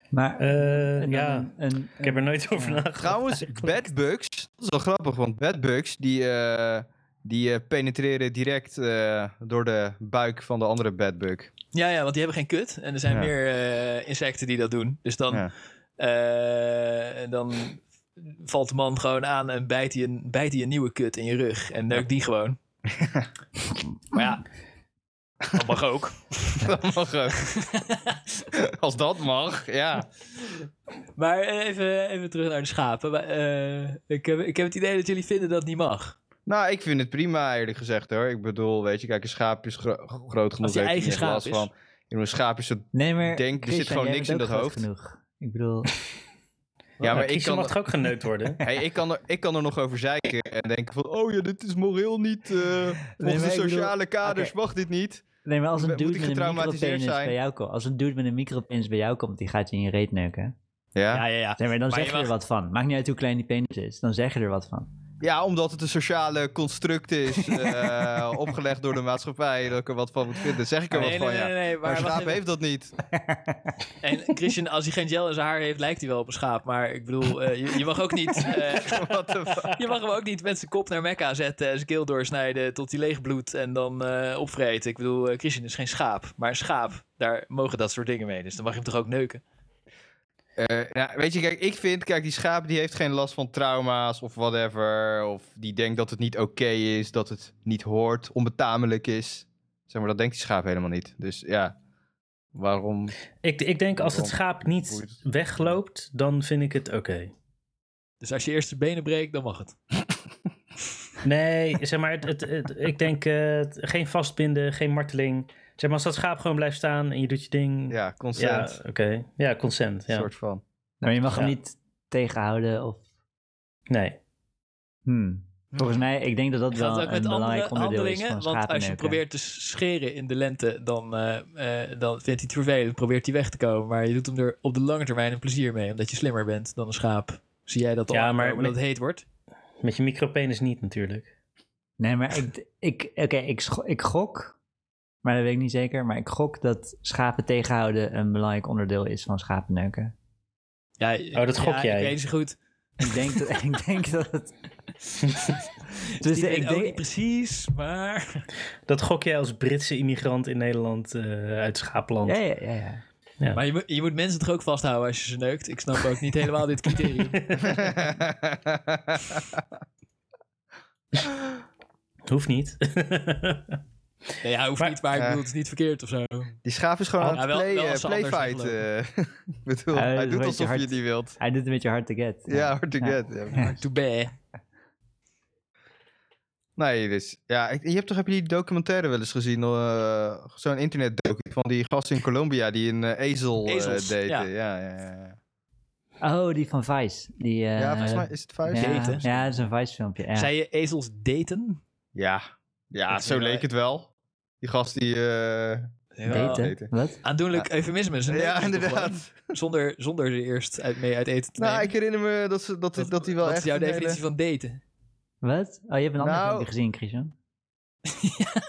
Maar Eh, en dan ja, een- een- ik heb er nooit over Ja. nagedacht. Trouwens, bedbugs, dat is wel grappig, want bedbugs die, eh, die eh, penetreren direct eh, door de buik van de andere bedbug. Ja, ja, want die hebben geen kut. En er zijn Ja. meer eh, insecten die dat doen. Dus dan, Ja. eh, dan valt de man gewoon aan en bijt hij een, bijt hij een nieuwe kut in je rug. En neukt die gewoon. maar ja, dat mag ook. Dat mag ook. Als dat mag, ja. Maar eh, even, even terug naar de schapen. Maar, eh, ik, heb, ik heb het idee dat jullie vinden dat het niet mag. Nou, ik vind het prima eerlijk gezegd hoor. Ik bedoel, weet je, kijk, een schaap is gro- groot genoeg. je heeft eigen hij geen last schaap is. van. Ik bedoel, Een schaap is het... Nee, maar Ik denk, er zit Christian, gewoon jij niks bent in ook dat groot hoofd. genoeg. Ik bedoel, Ja, maar ik Kiesje kan, Nou, mag toch ook geneukt worden? hey, ik, kan er, ik kan er nog over zeiken en denken van... Oh ja, dit is moreel niet... eh, volgens maar de ik bedoel- sociale kaders mag dit niet. nee, maar als een Moet dude ik met een getraumatiseerd micropenis zijn? bij jou komt, als een dude met een micropenis bij jou komt, die gaat je in je reet neuken. Ja. Ja, ja, ja. Nee, maar dan Maar zeg je je er mag- wat van. Maakt niet uit hoe klein die penis is, dan zeg je er wat van. Ja, omdat het een sociale construct is, eh, opgelegd door de maatschappij, dat ik er wat van moet vinden. Zeg ik er wat Nee, van, nee, nee, ja. nee, nee, Maar maar een wacht schaap even. heeft dat niet. En Christian, als hij geen gel in zijn haar heeft, lijkt hij wel op een schaap. Maar ik bedoel, eh, je, je mag ook niet... eh, What the fuck? Je mag hem ook niet met zijn kop naar Mekka zetten en zijn keel doorsnijden tot hij leeg bloedt en dan eh, opvreten. Ik bedoel, eh, Christian is geen schaap, maar een schaap, daar mogen dat soort dingen mee. Dus dan mag je hem toch ook neuken? Eh, nou, weet je, kijk, ik vind, kijk, die schaap die heeft geen last van trauma's of whatever. Of die denkt dat het niet oké is, dat het niet hoort, onbetamelijk is. Zeg maar, dat denkt die schaap helemaal niet. Dus ja, waarom? Ik, ik denk als het schaap niet Boeit. wegloopt, dan vind ik het oké. Dus als je eerst de benen breekt, dan mag het. Nee, zeg maar, het, het, het- ik denk eh, het- geen vastbinden, geen marteling. Zeg maar, als dat schaap gewoon blijft staan en je doet je ding. Ja, Ja, consent, oké. Ja, consent. Ja. soort van. Maar je mag hem Ja. niet tegenhouden of... Nee. Hmm. Volgens mij, ik denk dat dat Gaat wel het ook een met andere belangrijk onderdeel is handelingen? van Want als je schapenneuken. probeert te scheren in de lente, dan, eh, eh, dan vindt hij het vervelend, probeert hij weg te komen. Maar je doet hem er op de lange termijn een plezier mee, omdat je slimmer bent dan een schaap. Zie jij dat al Ja, aankomen maar- dat het heet wordt? Met je micropenis niet natuurlijk. Nee, maar ik, ik, oké, ik, scho- ik gok, maar dat weet ik niet zeker, maar ik gok dat schapen tegenhouden een belangrijk onderdeel is van schapenneuken. Ja, Oh, dat gok ja, jij. Ik weet niet zo goed. Ik denk dat, ik denk dat het... Dus Dus ik denk, precies, maar... Dat gok jij als Britse immigrant in Nederland eh, uit schaapland. Ja, ja, ja. ja. Maar je, moet- je moet mensen toch ook vasthouden als je ze neukt? Ik snap ook niet helemaal dit criterium. Hoeft niet. Nee, ja, hoeft Maar- niet, maar ik Ja. bedoel, het is niet verkeerd of zo. Die schaap is gewoon Oh, aan het nou, wel- play, wel eh, als ze anders playfight. eh. Ik bedoel, hij Hij is doet een alsof je beetje het niet wilt. Hij doet het een beetje hard to get. Ja, hard to Ja. get. ja. Too bad. Nee, dus, ja, ik- je hebt toch heb je die documentaire wel eens gezien? eh, Zo'n internetdocu van die gast in Colombia die een eh, ezel eh, Ezels, deed. ja. Ja, ja, ja. ja. Oh, die van Vice. Die, eh, ja volgens mij is het vuist. ja, Daten. ja, dat is een Vice filmpje. Ja. Zei je ezels daten? Ja, ja Dat zo is, eh, leek het wel. Die gast die... eh, Daten? daten. Wat? Aandoenlijk eufemisme. is een ja, dating toch inderdaad. gewoon? Zonder, zonder ze eerst uit, mee uit eten te Nou, nemen. ik herinner me dat, ze, dat, dat hij wel Wat echt... is jouw een hele- definitie van daten? Wat? Oh, je hebt een ander Nou- filmpje gezien, Christian.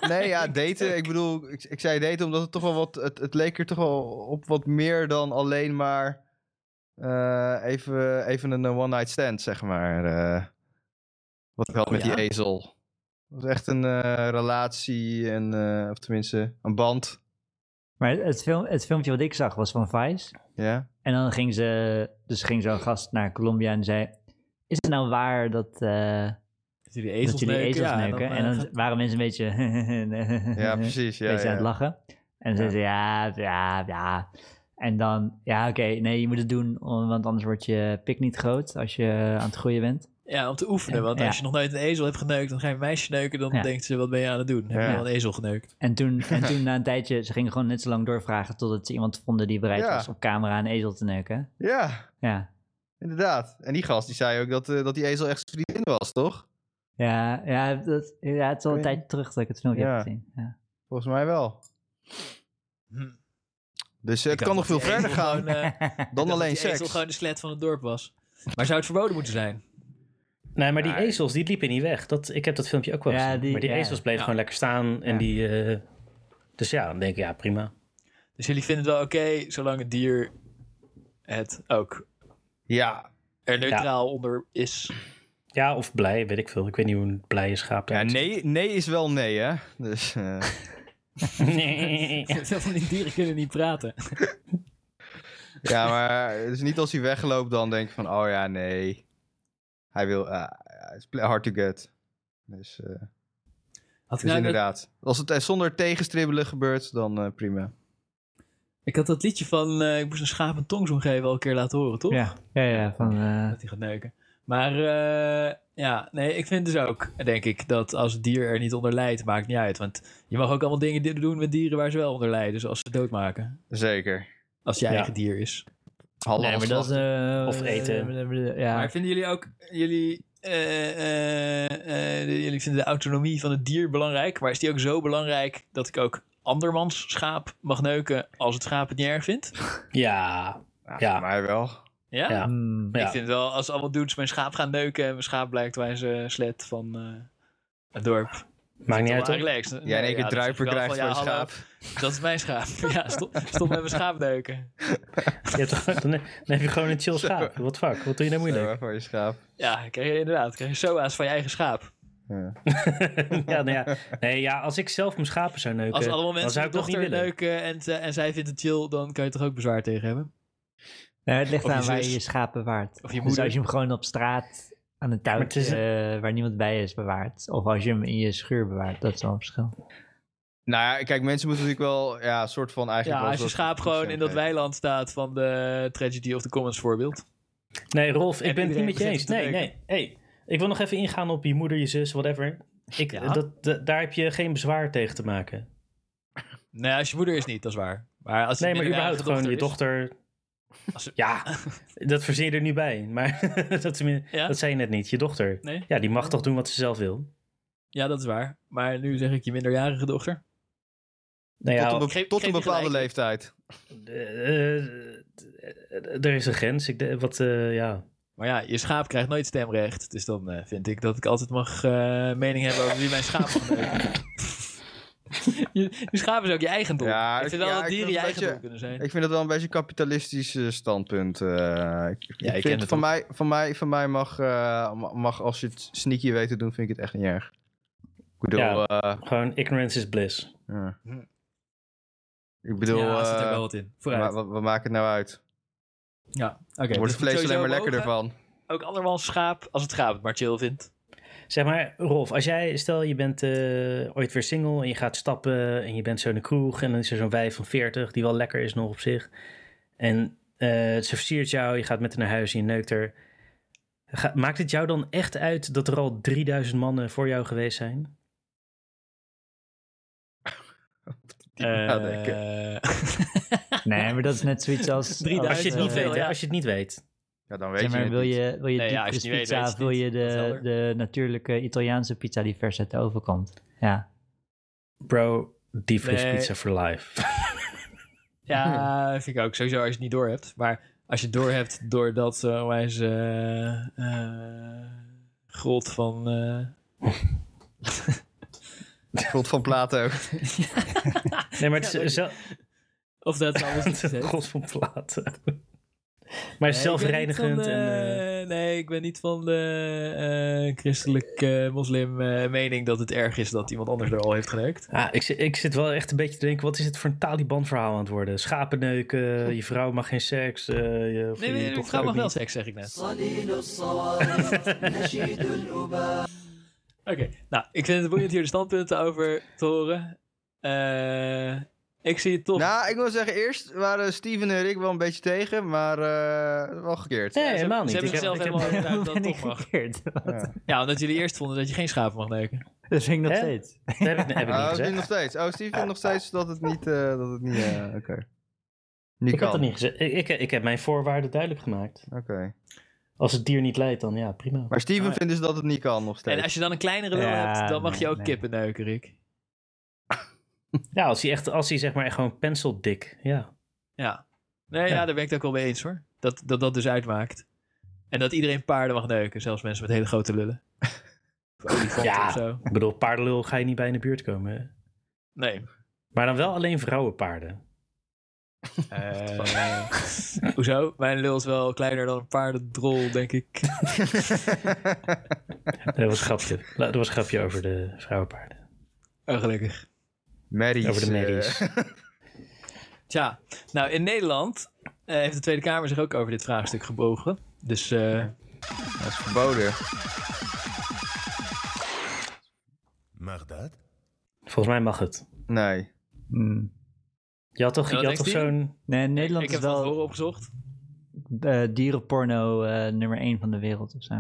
Nee, ja, daten. Ik bedoel, ik, ik zei daten omdat het toch wel wat. Het, het leek er toch wel op wat meer dan alleen maar. eh, even, even een eh, one-night stand, zeg maar. eh, wat ik had met Oh ja? die ezel. Het was echt een eh, relatie, en, eh, of tenminste een band. Maar het, film, het filmpje wat ik zag was van Vice. Ja. En dan ging ze, dus ging zo'n gast naar Colombia en zei... Is het nou waar dat, eh, Dat jullie dat ezels jullie neuken, ezels ja, neuken? dan, en eh, dan gaat- waren mensen een beetje... Ja, precies. Ja, een beetje aan ja. het lachen. En ze Ja. zei ja, ja, ja. En dan, ja, oké, nee, je moet het doen, om- want anders wordt je pik niet groot als je aan het groeien bent. Ja, om te oefenen. Want Ja. als je nog nooit een ezel hebt geneukt, dan ga je een meisje neuken. Dan Ja. denkt ze, wat ben je aan het doen? Heb Ja. je al een ezel geneukt? En toen, en toen na een tijdje, ze gingen gewoon net zo lang doorvragen totdat ze iemand vonden die bereid Ja. was op camera een ezel te neuken. ja, Ja, inderdaad. En die gast die zei ook dat, eh, dat die ezel echt zijn vriendin was, toch? ja, ja, dat, ja het is al een Ik weet tijdje terug dat ik het filmpje Ja. heb gezien. Ja. Volgens mij wel. Hm. Dus eh, Ik het kan dacht nog veel dat verder die ezel gaan gewoon, eh, ik dacht dan dat alleen die ezel seks. gewoon de slet van het dorp was. Maar zou het verboden moeten zijn? Nee, maar die Nee. ezels, die liepen niet weg. Dat, ik heb dat filmpje ook wel Ja, gezien. die- maar die ja. ezels bleven Ja. gewoon lekker staan. En Ja. die, eh, dus ja, dan denk ik, ja, prima. Dus jullie vinden het wel oké, zolang het dier het ook Ja, er neutraal onder is. Ja, of blij, weet ik veel. Ik weet niet hoe een blije schaap ja daar nee, nee is wel nee, hè? Dus. eh, nee. Zelfs die dieren kunnen niet praten. Ja, maar het is niet als hij wegloopt dan denk je van, oh ja, nee. Hij wil, ah, ja, het is pl- hard to get. Dus, eh, Had dus ik, nou dat- inderdaad, als het eh, zonder tegenstribbelen gebeurt, dan eh, prima. ik had dat liedje van eh, ik moest een schaap een tongzoen geven al een keer laten horen, toch? Ja, ja, ja, van, eh, Dat hij gaat neuken. Maar eh, ja, nee, ik vind dus ook, denk ik, dat als het dier er niet onder lijdt, maakt niet uit. Want je mag ook allemaal dingen di- doen met dieren waar ze wel onder lijden. Zoals ze doodmaken. Zeker. Als het je Ja. eigen dier is. Hallo, nee, maar dat is, eh, Of eten. eh, Ja, Maar vinden jullie ook, jullie, eh, eh, eh, de- jullie vinden de autonomie van het dier belangrijk. Maar is die ook zo belangrijk dat ik ook andermans schaap mag neuken als het schaap het niet erg vindt? Ja, ja. mij wel. Ja? Ja. Hmm. ja. Ik vind wel, als allemaal dudes mijn schaap gaan neuken en mijn schaap blijkt wij ze slet van eh, het dorp. maakt niet uit. hoor. Relaxed. Jij in één keer druiper krijgt voor ja, je hallo, schaap. Dat is mijn schaap. Ja, stop, stop met mijn schaap neuken. Je hebt toch- dan, dan heb je gewoon een chill schaap. Wat fuck, wat doe je nou Zo, moeilijk? hè, voor je schaap. Ja, dan krijg je inderdaad. dan Krijg je SOA's van je eigen schaap. ja, nou ja. Nee, ja, als ik zelf mijn schapen zou neuken, Als allemaal dan mensen zou hun ik dat niet dochter willen. neuken en, ze- en zij vindt het chill, dan kan je toch ook bezwaar tegen hebben? Nou, het ligt Of je aan waar je zus. je schaap bewaart. Of je Dus moeder. als je hem gewoon op straat aan een het touwtje is- eh, waar niemand bij is bewaart. Of als je hem in je schuur bewaart, dat is wel een verschil. Nou ja, kijk, mensen moeten natuurlijk wel, ja, soort van eigenlijk Ja, wel als je soort schaap van gewoon in dat consent weiland staat van de Tragedy of the Commons voorbeeld. Nee, Rolf, ik En ben het niet iedereen met je begint eens. te Nee, neuken. nee. Hey, ik wil nog even ingaan op je moeder, je zus, whatever. Ik, Ja? dat, dat- daar heb je geen bezwaar tegen te maken. Nee, als je moeder is niet, dat is waar. Maar als het Nee, maar überhaupt minderjarige gewoon je is- dochter. Als ze- Ja, dat verzin je er nu bij. Maar dat, is meer- Ja? dat zei je net niet. Je dochter. Nee? Ja, die mag toch doen wat ze zelf wil? Ja, dat is waar. Maar nu zeg ik je minderjarige dochter. Nou ja, heeft. Tot een, Geef- be- tot geef een je bepaalde gelijk. leeftijd. eh, eh, eh, er is een grens. Ik, de- wat, eh, ja. Maar ja, je schaap krijgt nooit stemrecht. Dus dan eh, vind ik dat ik altijd mag eh, mening hebben over wie mijn schaap mag neuken. je, je schaap is ook je eigendom. Ja, ik ik- vind wel ja, dat ik dieren vind je het een eigendom beetje- kunnen zijn. Ik vind dat wel een beetje een kapitalistisch eh, standpunt. eh. ik, ik ken vind het van ook. mij, van mij, van mij mag, eh, ma- mag, als je het sneaky weet te doen, vind ik het echt niet erg. Ik bedoel, Ja. eh, Gewoon ignorance is bliss. ja. Hm. ik bedoel ja, er zit er eh, wel wat in. wa- Vooruit. wa- wat maakt het nou uit? ja, oké. dus Wordt het moet vlees sowieso alleen maar lekkerder mogen. van? Ook andermans schaap, als het schaap het maar chill vindt. Zeg maar, Rolf, als jij, stel je bent eh, ooit weer single en je gaat stappen en je bent zo in de kroeg en dan is er zo'n wijf van 40 die wel lekker is nog op zich. En eh, ze versiert jou, je gaat met haar naar huis en je neukt er. Ga- maakt het jou dan echt uit dat er al 3000 mannen voor jou geweest zijn? Diep Eh, nadenken. Nee, maar dat is net zoiets als... 3000 als eh, Als je het niet wel, weet, hè? ja. Als je het niet weet. Ja, dan weet Zeg maar, het wil niet. je, wil je Nee, ja, als je diepvries het niet weet, pizza weet of je het wil je niet. Dat is de, helder. de natuurlijke Italiaanse pizza die vers uit de oven komt? Ja. Bro, die fris Nee. pizza for life. Ja, vind ik ook. Sowieso als je het niet door hebt. Maar als je het door hebt doordat eh onwijs eh, eh, grot van... eh, Grond van Plato. Nee, maar het is Ja, dat- zelf- of dat alles niet gezet. God van platen. Maar het is Nee, ik ben niet zelfreinigend. van, en, eh, eh, nee, ik ben niet van de eh christelijk-moslim mening dat het erg is dat iemand anders er al heeft geneukt. ah, ik, zit- ik zit wel echt een beetje te denken, wat is het voor een Taliban-verhaal aan het worden? Schapenneuken, je vrouw mag geen seks. eh, je, of Nee, je nee, nee, dochter vrouw ook mag wel niet. seks, zeg ik net. Oké, nou, ik vind het boeiend hier de standpunten over te horen. Eh, ik zie het toch. Nou, ik wil zeggen, eerst waren Steven en Rick wel een beetje tegen, maar eh, wel gekeerd. Nee, Ja, ze helemaal niet. hebben- Ik Ze heb- hebben ik zichzelf heb- helemaal overtuigd dat ben het ik toch mag. verkeerd? Ja, omdat jullie eerst vonden dat je geen schapen mag neuken. Dat vind ik nog Hè? steeds. Dat heb ik, heb ik Oh, niet die gezegd. nog steeds. Oh, Steven vindt nog steeds dat het niet... eh, dat het niet eh, Oké. Nu Ik had kan. het niet gezegd. Ik, ik, ik heb mijn voorwaarden duidelijk gemaakt. Oké. Als het dier niet leidt, dan ja, prima. Maar Steven vindt dus dat het niet kan nog steeds. En als je dan een kleinere wil Ja, hebt, dan mag je nee, ook nee. kippen neuken, Rick. Ja, als hij, echt, als hij zeg maar echt gewoon pencil dik. Ja. Ja. Nee, ja. Ja. daar ben ik het ook wel mee eens hoor. Dat, dat dat dus uitmaakt. En dat iedereen paarden mag neuken, zelfs mensen met hele grote lullen. Of olifanten Ja. of zo. Ik bedoel, paardenlul ga je niet bij in de buurt komen. hè? Nee. Maar dan wel alleen vrouwenpaarden. Eh, hoezo? Mijn lul is wel kleiner dan een paardendrol, denk ik. Dat Eh, was een grapje. La- Dat was een grapje over de vrouwenpaarden. Oh, gelukkig. Mary's. Over de eh, Mary's. Tja, nou in Nederland eh, heeft de Tweede Kamer zich ook over dit vraagstuk gebogen. Dus eh, dat is verboden. Mag dat? Volgens mij mag het. Nee. Hmm. Je had toch, En wat je had toch denkt hij? zo'n... Nee, Nederland ik is heb wel wel horen opgezocht. eh, dierenporno eh, nummer 1 van de wereld of zo.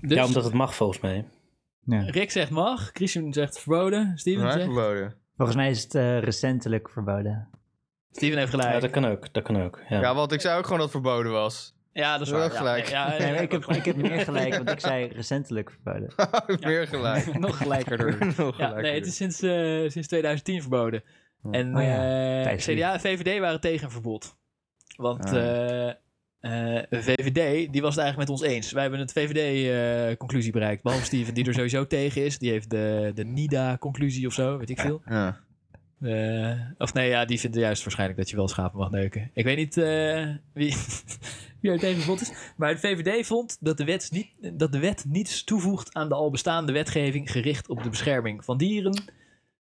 Dus Ja, omdat het mag volgens mij. Ja. Rick zegt mag, Christian zegt verboden, Steven Maar zegt... verboden. Volgens mij is het eh, recentelijk verboden. Steven heeft gelijk. Ja, dat kan ook. Dat kan ook. Ja. Ja, want ik zei ook gewoon dat het verboden was. Ja, dat is Wel waar. ja. gelijk. Ja, ja, Nee, ja, maar ik, heb, ik heb meer gelijk, want ik zei recentelijk verboden. Meer gelijk. nog gelijkerder. Nog Ja, nee, het gelijker. is sinds, eh, sinds 2010 verboden. En Oh ja, eh, tijdens die- CDA en VVD waren tegen een verbod. Want Ah. eh, eh, VVD die was het eigenlijk met ons eens. Wij hebben het VVD-conclusie eh, bereikt. Behalve Steven, die er sowieso tegen is. Die heeft de, de NIDA-conclusie of zo, weet ik veel. Ja. Eh, of nee, ja, die vinden juist waarschijnlijk dat je wel schapen mag neuken. Ik weet niet eh, wie, wie er tegen verbod is. Maar de VVD vond dat de, wet niet, dat de wet niets toevoegt aan de al bestaande wetgeving gericht op de bescherming van dieren.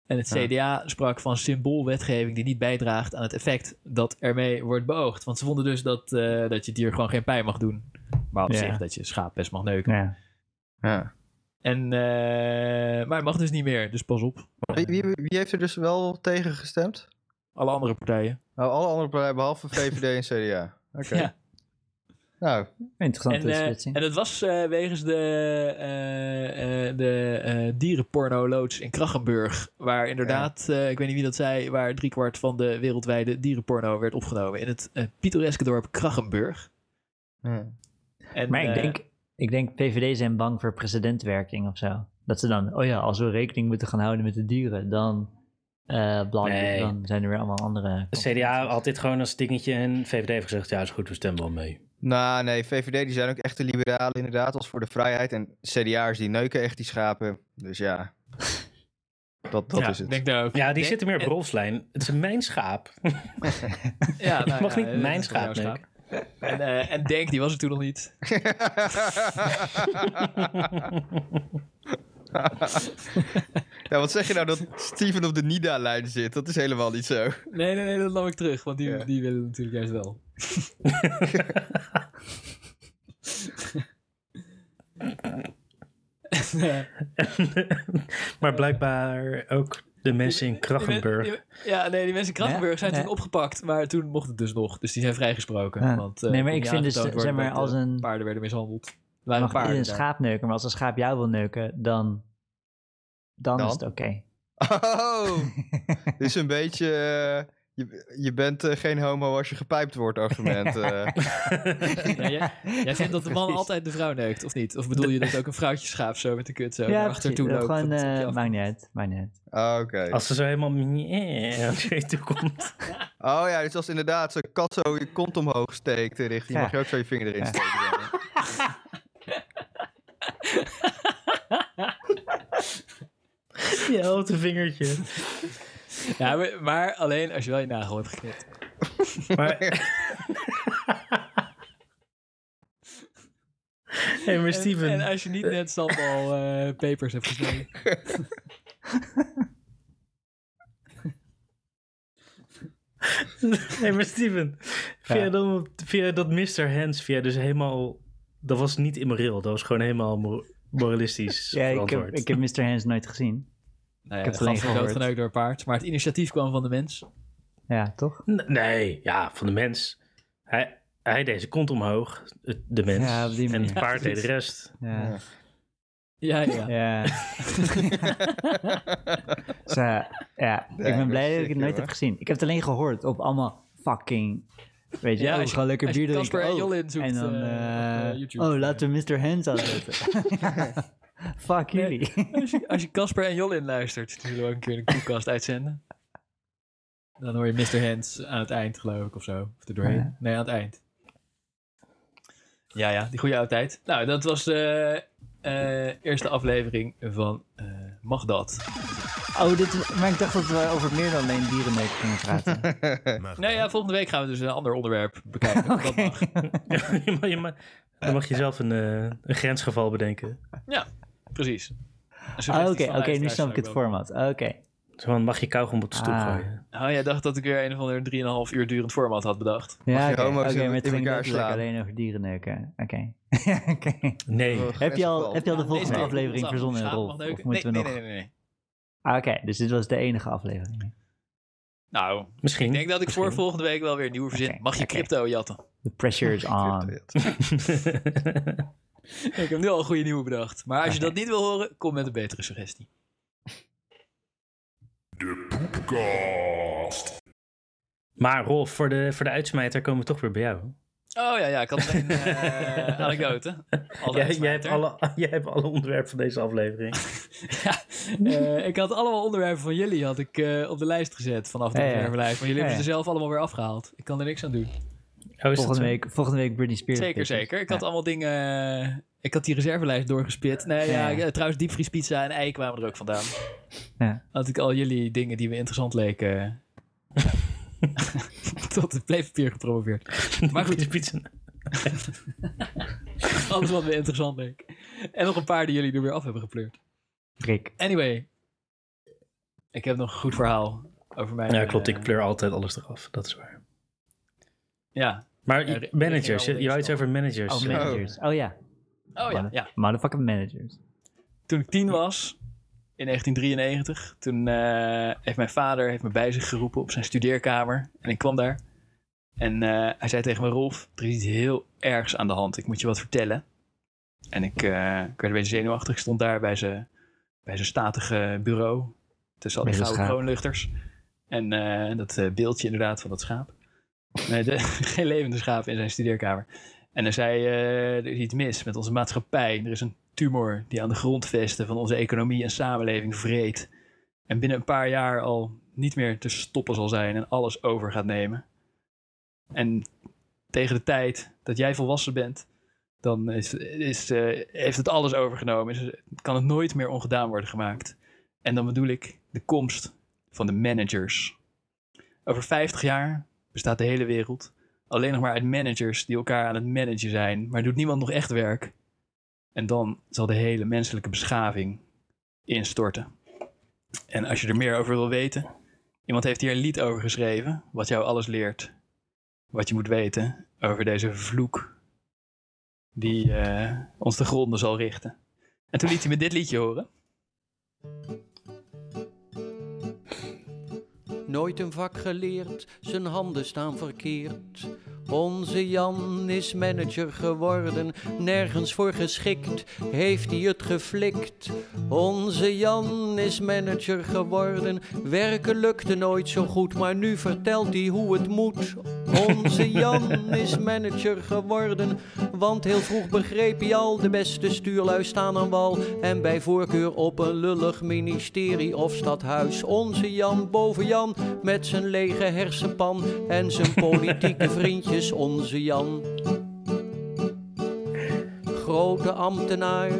En het Ja. CDA sprak van symboolwetgeving die niet bijdraagt aan het effect dat ermee wordt beoogd. Want ze vonden dus dat, eh, dat je dier gewoon geen pijn mag doen. Maar op Ja. zich dat je schaap best mag neuken. Ja. Ja. En, eh, maar het mag dus niet meer, dus pas op. Wie, wie, wie heeft er dus wel tegen gestemd? Alle andere partijen. Nou, alle andere partijen behalve VVD en CDA. Oké. Ja. Nou, Interessante En, eh, splitsing. en dat was eh, wegens de, eh, eh, de eh dierenporno-loods in Krachenburg. Waar inderdaad, eh, ik weet niet wie dat zei, waar driekwart van de wereldwijde dierenporno werd opgenomen. In het eh, pittoreske dorp Krachenburg. ja. En, maar ik eh, denk, ik denk PVD zijn bang voor precedentwerking of zo. Dat ze dan, oh ja, als we rekening moeten gaan houden met de dieren, dan, eh bla, Nee. dan zijn er weer allemaal andere. De CDA had dit gewoon als dingetje en VVD heeft gezegd, ja is goed, we stemmen wel mee. Nou, nee, VVD die zijn ook echte liberalen inderdaad, als voor de vrijheid. En CDA'ers die neuken echt die schapen. Dus ja, dat, dat ja, is het. ik Denk daar ook. Ja, die Denk- zitten meer op Rolfslijn. Het is mijn schaap. Ja, Je mag niet dat mijn is voor jou schaap En, eh, en Denk, die was er toen nog niet. ja, wat zeg je nou dat Steven op de NIDA-lijn zit? Dat is helemaal niet zo. Nee, nee, nee, dat nam ik terug. Want die, Ja. die willen natuurlijk juist wel. En, eh, eh, maar blijkbaar ook De mensen in Krachtenburg. Die men- die- Ja, nee, die mensen in Krachtenburg zijn Nee. toen opgepakt, maar toen mocht het dus nog. Dus die zijn vrijgesproken. Ja. Want, eh, Nee, maar kon ik niet vind dus, aangetoond zeg worden maar, dat, als eh, een- Paarden werden mishandeld. Het waren mag paarden. niet een daar. schaap neuken, maar als een schaap jou wil neuken, dan, dan, Dan? is het oké. Oh, dit is een beetje... eh, je, je bent eh, geen homo als je gepijpt wordt argument. eh. Ja, jij, jij vindt dat de man Precies. altijd de vrouw neukt, of niet? Of bedoel je dat ook een vrouwtje schaap zo met de kut zo ja, precies. achtertoe Eh, loopt? gewoon, dat het op je eh af- maakt niet uit, maakt niet uit. Ah, Oké. Als ze zo helemaal eh, meh op je toe komt. Oh ja, dus als inderdaad zo'n kat zo je kont omhoog steekt eh, richting, Ja. mag je ook zo je vinger erin Ja. steken. ja. Je houten vingertje. Ja, maar, maar alleen als je wel je nagel hebt geknipt. Maar... hey, maar Eh, Steven. En, en als je niet net sambal eh papers hebt gesneden. Hey, maar Steven. Via, dat, via dat Mr. Hands, via dus helemaal... Dat was niet immoreel. Dat was gewoon helemaal mor- moralistisch Ja, ik heb, verantwoord. ik heb Mr. Hands nooit gezien. Nou ja, heb het alleen gans werd gehoord. doodgeneukt door een paard. Maar het initiatief kwam van de mens. Ja, toch? N- Nee, ja, van de mens. Hij, hij deed zijn kont omhoog, het- de mens. Ja, op en die het manier. paard deed de rest. Ja. Ja, ja. ja. Dus, eh, ja, ik ben maar blij dat sick, ik het nooit joh. heb gezien. Ik heb het alleen gehoord op allemaal fucking... Weet je, Ja, oh, als je- gewoon lekker als je bier drinken. Casper en oh. Jolin zoekt, en dan, eh, op, eh, eh, YouTube. oh, laten we Mr. Hands aanzetten. Fuck jullie. Als je- Als je Casper en Jolin luistert, die zullen we ook een keer een koelkast uitzenden. Dan hoor je Mr. Hands aan het eind, geloof ik, of zo. Of er doorheen. Ja. Nee, aan het eind. Ja, ja, die goede oude tijd. Nou, dat was de eh, eerste aflevering van eh Mag Dat? Oh, dit, maar ik dacht dat we over meer dan alleen dierenneuken gingen praten. Mardad. Nou ja, volgende week gaan we dus een ander onderwerp bekijken. Oké. Dat mag. Je mag- je mag- dan mag je zelf een, eh, een grensgeval bedenken. Ja, precies. Suggesties Ah, Oké, van oké, nu luisteraars snap ik het zijn ook format. Oké. Zo van, mag je kauwgom op de stoel Ah. gooien? wel- Oh, jij dacht dat ik weer een of ander 3,5 uur durend format had bedacht. Ja, je oké, homo's oké, in- met in ging elkaar dat lekker slaan? alleen over dierenneuken. Oké. Oké. Nee. Oh, Heb je al, grensgeval. heb je al de Deze volgende keer aflevering komt ons af, verzonnen, schaap Rolf? mag Of neuken. moeten we nee, nog... nee, nee, nee, nee. Ah, Oké, dus dit was de enige aflevering. Nou, Misschien. Ik denk dat ik voor Misschien. volgende week wel weer een nieuwe verzin. Oké, Mag je oké. crypto jatten? The pressure is on. Ik heb nu al een goede nieuwe bedacht. Maar als je dat niet wil horen, kom met een betere suggestie. De poepkast. maar Rolf, voor de, voor de uitsmijter komen we toch weer bij jou. Oh ja, ja ik had een eh, anekdote. Als Jij, jij, hebt uitsmijter. alle, jij hebt alle onderwerpen van deze aflevering. Ja, eh, ik had allemaal onderwerpen van jullie had ik, eh, op de lijst gezet vanaf de Ja, ja. onderwerpenlijst. Maar jullie Ja, hebben ze ja. zelf allemaal weer afgehaald. Ik kan er niks aan doen. Oh, is dat Volgende zo? week, volgende week Britney Spears. Zeker, bitches. zeker. Ik had allemaal dingen... eh, Ik had die reservelijst doorgespit. Nee, ja, Ja. eh, trouwens, diepvriespizza en ei kwamen er ook vandaan. Ja. Had ik al jullie dingen die me interessant leken... eh, tot het pleefpapier gepromoveerd. Maar goed. Die pizza. Alles wat me interessant leek. En nog een paar die jullie er weer af hebben gepleurd. Rick. Anyway. Ik heb nog een goed verhaal over mijn... Ja, klopt. eh, Ik pleur altijd alles eraf. Dat is waar. Ja. Maar Ja, de- de- managers, de- de- je, je had iets over managers. Oh, managers. Oh ja. Oh ja, ja. Motherfucking managers. Toen ik tien was, in 1993, toen eh, heeft mijn vader heeft me bij zich geroepen op zijn studeerkamer. En ik kwam daar. En eh, hij zei tegen me, Rolf, er is iets heel ergs aan de hand. Ik moet je wat vertellen. En ik, eh, ik werd een beetje zenuwachtig. Ik stond daar bij zijn, bij zijn statige bureau. Tussen al die Met een gouden schaap. kroonluchters. En eh, dat eh, beeldje inderdaad van dat schaap. Nee, de- geen levende schaap in zijn studeerkamer. En hij zei, eh, er is iets mis met onze maatschappij. Er is een tumor die aan de grondvesten van onze economie en samenleving vreet. En binnen een paar jaar al niet meer te stoppen zal zijn en alles over gaat nemen. En tegen de tijd dat jij volwassen bent, dan is, is, eh, heeft het alles overgenomen. Is, kan het nooit meer ongedaan worden gemaakt. En dan bedoel ik de komst van de managers. Over 50 jaar bestaat de hele wereld alleen nog maar uit managers die elkaar aan het managen zijn, maar doet niemand nog echt werk. En dan zal de hele menselijke beschaving instorten. En als je er meer over wil weten, iemand heeft hier een lied over geschreven, wat jou alles leert. Wat je moet weten over deze vloek die eh, ons de gronden zal richten. En toen liet hij me dit liedje horen. nooit een vak geleerd, zijn handen staan verkeerd. Onze Jan is manager geworden, nergens voor geschikt, heeft hij het geflikt. Onze Jan is manager geworden, werken lukte nooit zo goed, maar nu vertelt hij hoe het moet. Onze Jan is manager geworden, want heel vroeg begreep hij al, de beste stuurlui staan aan wal. En bij voorkeur op een lullig ministerie of stadhuis. Onze Jan boven Jan, met zijn lege hersenpan en zijn politieke vriendjes, onze Jan. Grote ambtenaar,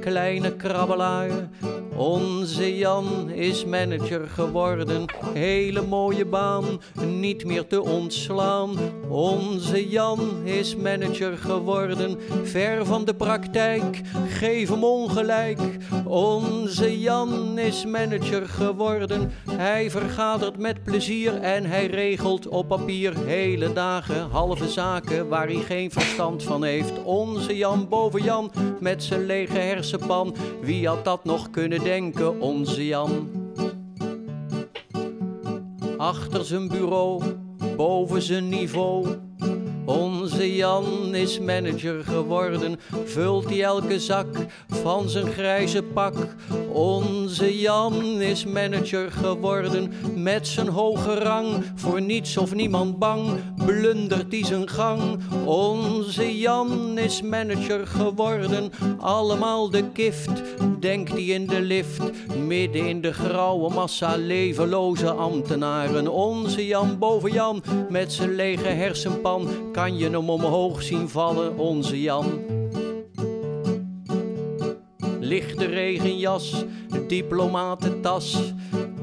kleine krabbelaar. Onze Jan is manager geworden, hele mooie baan, niet meer te ontslaan. Onze Jan is manager geworden, ver van de praktijk, geef hem ongelijk. Onze Jan is manager geworden, hij vergadert met plezier en hij regelt op papier hele dagen halve zaken waar hij geen verstand van heeft. Onze Jan boven Jan met zijn lege hersenpan, wie had dat nog kunnen denken, onze Jan? Achter zijn bureau, boven zijn niveau. Onze Jan is manager geworden, vult hij elke zak van zijn grijze pak. Onze Jan is manager geworden, met zijn hoge rang, voor niets of niemand bang, blundert hij zijn gang. Onze Jan is manager geworden, allemaal de kift, denkt hij in de lift, midden in de grauwe massa levenloze ambtenaren. Onze Jan boven Jan, met zijn lege hersenpan, kan je hem omhoog zien vallen, onze Jan. Lichte regenjas, diplomatentas.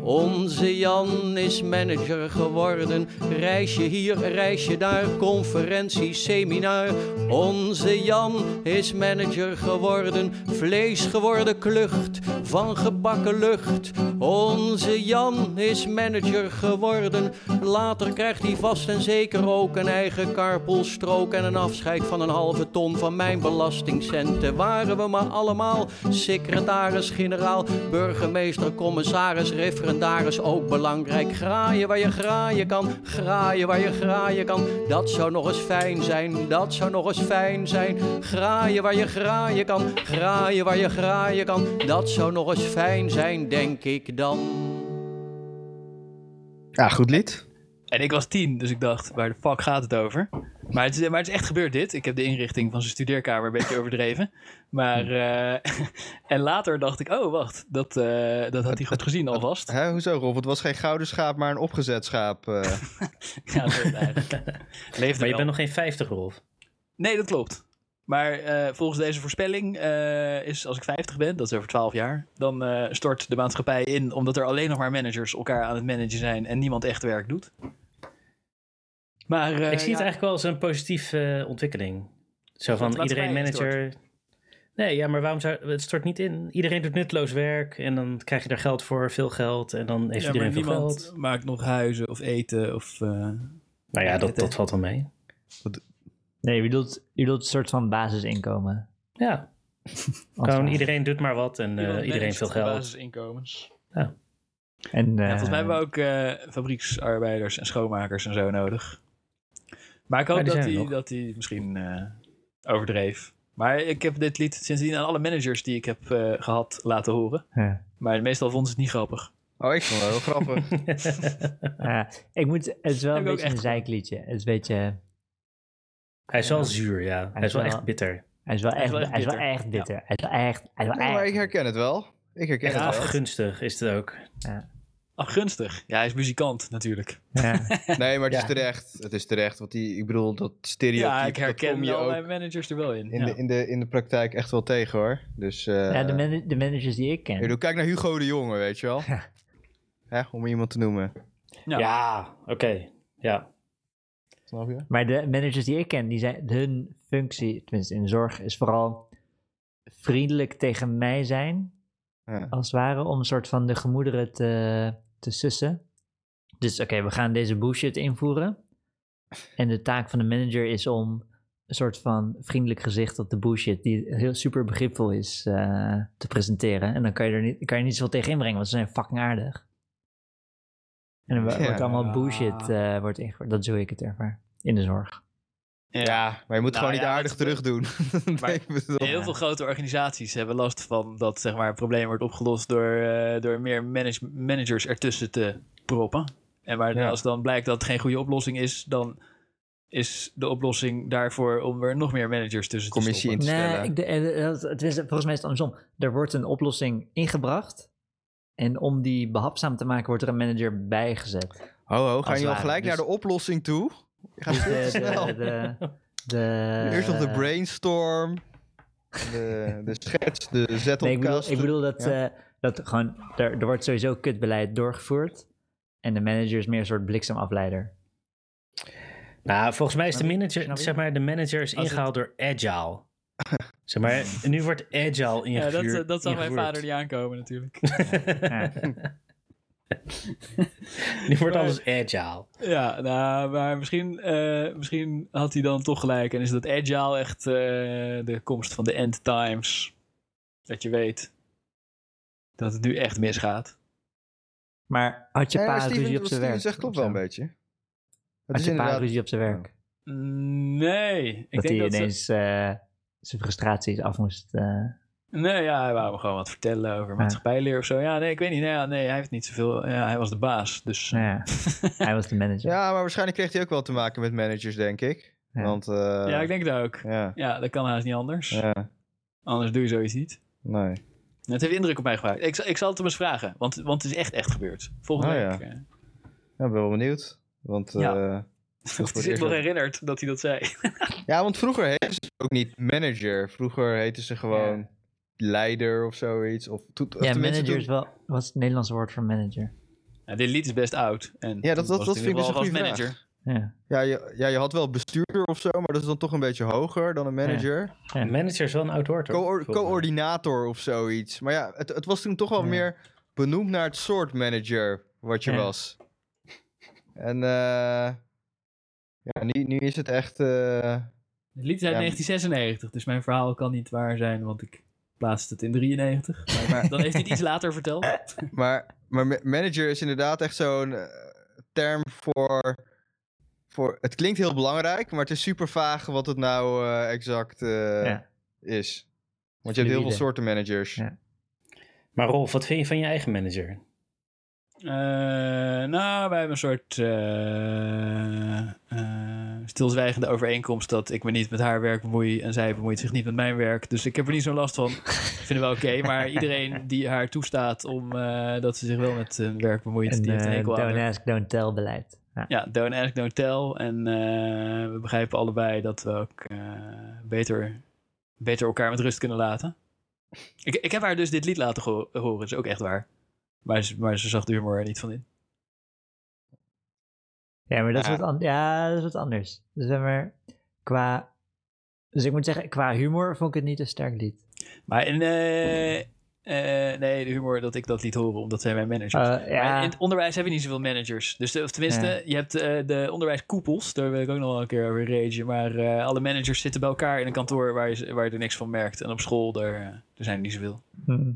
Onze Jan is manager geworden. Reisje hier, reisje daar, conferentie, seminar. Onze Jan is manager geworden. Vlees geworden klucht van gebakken lucht. Onze Jan is manager geworden. Later krijgt hij vast en zeker ook een eigen karpelstrook en een afscheid van een halve ton van mijn belastingcenten. Waren we maar allemaal secretaris, generaal, burgemeester, commissaris, referendaris ook belangrijk. Graaien waar je graaien kan, graaien waar je graaien kan. Dat zou nog eens fijn zijn, dat zou nog eens fijn zijn. Graaien waar je graaien kan, graaien waar je graaien kan. Dat zou nog eens fijn zijn, denk ik dan. Ja, goed lied. En ik was tien, dus ik dacht, waar de fuck gaat het over? Maar het, is- eh, maar het is echt gebeurd dit. Ik heb de inrichting van zijn studeerkamer een beetje overdreven. Maar, eh, en later dacht ik, oh wacht, dat, eh, dat had hij goed gezien alvast. Hè, hoezo, Rob? Het was geen gouden schaap, maar een opgezet schaap. eh. Ja, dat werd eigenlijk. Leefde Maar je wel. bent nog geen 50, Rolf. Nee, dat klopt. Maar eh, volgens deze voorspelling eh, is als ik 50 ben, dat is over 12 jaar, dan eh, stort de maatschappij in omdat er alleen nog maar managers elkaar aan het managen zijn en niemand echt werk doet. Maar eh, ik zie het ja, eigenlijk wel als een positieve eh, ontwikkeling. Zo Dat van laat iedereen mij manager. Nee, ja, maar waarom zou het stort niet in? Iedereen doet nutteloos werk en dan krijg je daar geld voor, veel geld en dan heeft ja, maar iedereen veel niemand geld. maakt nog huizen of eten of... eh, Nou ja, dat, het, eh, dat valt wel mee. Nee, je bedoelt, je bedoelt een soort van basisinkomen. Ja, Als gewoon waar. iedereen doet maar wat en eh, Iemand iedereen managt veel de geld. Basisinkomens. En, eh, Ja, volgens mij hebben we ook Ehm. eh, fabrieksarbeiders en schoonmakers en zo nodig. Maar ik hoop Maar die dat, zijn er hij, nog. dat hij misschien eh, overdreef. Maar ik heb dit lied sindsdien aan alle managers die ik heb eh, gehad laten horen. ja. Maar meestal vonden ze het niet grappig. Oh, ik vond het wel grappig. Ja, eh, ik moet, het is wel Heb een ik ook beetje een echt- zeikliedje. Het is een beetje... Hij is wel zuur, ja. Hij is wel wel- echt bitter. Hij is wel is echt, wel echt hij is wel bitter. echt bitter. Hij is wel echt, hij is wel Nee, maar echt- ik herken het wel. Ik herken Echt het wel. afgunstig is het ook. Afgunstig. Ja, hij is muzikant natuurlijk. Ja. Nee, maar het is Ja. terecht. Het is terecht, want die, ik bedoel, dat stereotype, ja, ik dat kom herken je al ook mijn managers er wel in. in, ja. de, in, de, in de praktijk echt wel tegen, hoor. Dus, eh Ja, de, mana- de managers die ik ik ken. bedoel, kijk naar Hugo de Jonge, weet je wel. Hè, om iemand te noemen. Ja. Ja, oké. Ja. Snap je? Maar de managers die ik ken, die zijn, hun functie, tenminste in de zorg, is vooral vriendelijk tegen mij zijn. Ja. Als het ware, om een soort van de gemoederen te, te sussen. Dus oké, we gaan deze bullshit invoeren. En de taak van de manager is om een soort van vriendelijk gezicht op de bullshit, die heel super begripvol is, eh, te presenteren. En dan kan je er niet, kan je niet zoveel tegen inbrengen, want ze zijn fucking aardig. En dan wo- Ja. wordt allemaal bullshit Ah. eh, wordt ingevoerd. Dat is hoe ik het ervaar. In de zorg. Ja. maar je moet Nou gewoon niet ja, aardig dat terug is- doen. Maar- Heel veel grote organisaties hebben last van dat zeg maar, het probleem wordt opgelost door, eh, door meer manage- managers ertussen te proppen. En maar Ja. als dan blijkt dat het geen goede oplossing is, dan is de oplossing daarvoor om er nog meer managers tussen te Commissie stoppen. in te Nee, stellen. ik, de- eh, dat- het is, volgens mij is het andersom. Er wordt een oplossing ingebracht. En om die behapzaam te maken, wordt er een manager bijgezet. Ho, ho, Als gaan je al ware, gelijk dus- naar de oplossing toe? Je gaat Dus veel te de- snel. de- de- de- Eerst nog de brainstorm. De, de schets, de zet op Nee, ik bedoel, kast. ik bedoel dat, eh, dat gewoon, er, er wordt sowieso kutbeleid doorgevoerd. En de manager is meer een soort bliksemafleider. Nou, volgens mij is de manager, snap je? zeg maar, de manager is Als het- ingehaald door Agile. Zeg maar, nu wordt Agile Ja, dat, ingevoerd. eh, dat zal mijn ingevoerd. vader niet aankomen natuurlijk. Ja. nu wordt Maar- alles Agile. ja, nou, maar misschien, eh, misschien had hij dan toch gelijk. En is dat agile echt eh, de komst van de end times? Dat je weet dat het nu echt misgaat. Maar had je Ja, pa maar Eh, Steven- ruzie op wat zijn Steven werk? zegt klopt of wel een zo? beetje. Het Had is je pa inderdaad... Oh. ruzie op zijn werk? Nee, ik dat hij denk dat ze- ineens eh, zijn frustraties af moest... eh, Nee, ja, hij wou me gewoon wat vertellen over maatschappijleer of zo. Ja, nee, ik weet niet. Nee, ja, nee hij heeft niet zoveel. Ja, hij was de baas, dus... nou ja, hij was de manager. Ja, maar waarschijnlijk kreeg hij ook wel te maken met managers, denk ik. Ja. Want, eh, ja, ik denk dat ook. Ja, Ja, dat kan haast niet anders. ja, Anders doe je zoiets niet. nee. Het heeft indruk op mij gemaakt. Ik, zal- ik zal het hem eens vragen, want, want het is echt echt gebeurd. Volgende Oh, week. ja. eh, Ja, ik ben wel benieuwd. Want, eh, Ja. ja. Want hij het zich eerst nog ook. herinnert dat hij dat zei. want vroeger heette ze ook niet manager. Vroeger heette ze gewoon leider of zoiets. Of, to- of Ja, tenminste manager is toen- wel, was het Nederlandse woord voor manager. Ja, dit lied is best oud. En Ja, toen dat, dat, was dat vind het in ik ieder dus een geval goede als manager. manager. Ja. Ja je, ja, je had wel bestuurder of zo, maar dat is dan toch een beetje hoger dan een manager. Een manager is wel een oud woord, hoor. Coor- Volgens mij. coördinator of zoiets. Maar ja, het, het was toen toch wel Ja. meer benoemd naar het soort manager wat je Ja. was. En eh, ja, nu, nu is het echt. eh, Het lied is uit Ja. 1996, dus mijn verhaal kan niet waar zijn, want ik plaatste het in 93. maar, Dan heeft hij het iets later verteld. maar, maar ma- manager is inderdaad echt zo'n eh, term voor, voor. Het klinkt heel belangrijk, maar het is super vaag wat het nou eh, exact eh, Ja. is. Want je hebt heel Fluïde. veel soorten managers. Ja. Maar Rolf, wat vind je van je eigen manager? Eh, nou, wij hebben een soort eh, eh, stilzwijgende overeenkomst dat ik me niet met haar werk bemoei en zij bemoeit zich niet met mijn werk. Dus ik heb er niet zo'n last van. ik vind het wel oké, maar iedereen die haar toestaat om eh, dat ze zich wel met hun werk bemoeit, En die heeft een eh, hekel aan. don't haar. ask, don't tell beleid. Ja. Ja, don't ask, don't tell. En eh, we begrijpen allebei dat we ook eh, beter, beter elkaar met rust kunnen laten. Ik, ik heb haar dus dit lied laten go- horen, dat is ook echt waar. Maar, ze- maar ze zag de humor er niet van in. Ja, maar dat is Ja. wat, an- ja, dat is wat anders. Dus zeg maar, qua... Dus ik moet zeggen, qua humor vond ik het niet een sterk lied. Maar in, eh, eh, nee, de humor dat ik dat liet horen, omdat zij mijn manager. Eh, ja, Maar in het onderwijs hebben we niet zoveel managers. Dus de- of tenminste, Ja. je hebt eh, de onderwijskoepels, daar wil ik ook nog wel een keer over ragen. Maar eh, alle managers zitten bij elkaar in een kantoor waar je, waar je er niks van merkt. En op school, daar, eh, daar zijn er niet zoveel. Hm.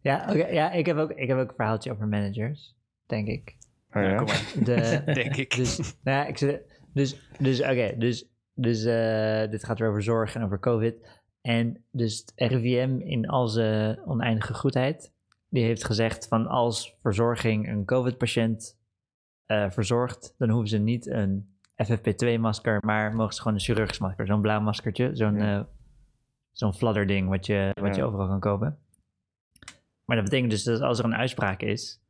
Ja, oké, ja ik, heb ook, ik heb ook een verhaaltje over managers, denk ik. Oh, ja. Kom maar, De, denk ik. Dus, nou ja, ik zit, dus, dus oké, dus, dus eh, dit gaat weer over zorg en over COVID. En dus het RIVM in al zijn oneindige goedheid, die heeft gezegd van als verzorging een COVID-patiënt eh, verzorgt, dan hoeven ze niet een FFP2-masker, maar mogen ze gewoon een chirurgisch masker, zo'n blauw maskertje, zo'n eh zo'n fladderding wat je, wat je Ja. overal kan kopen. Maar dat betekent dus dat als er een uitspraak is,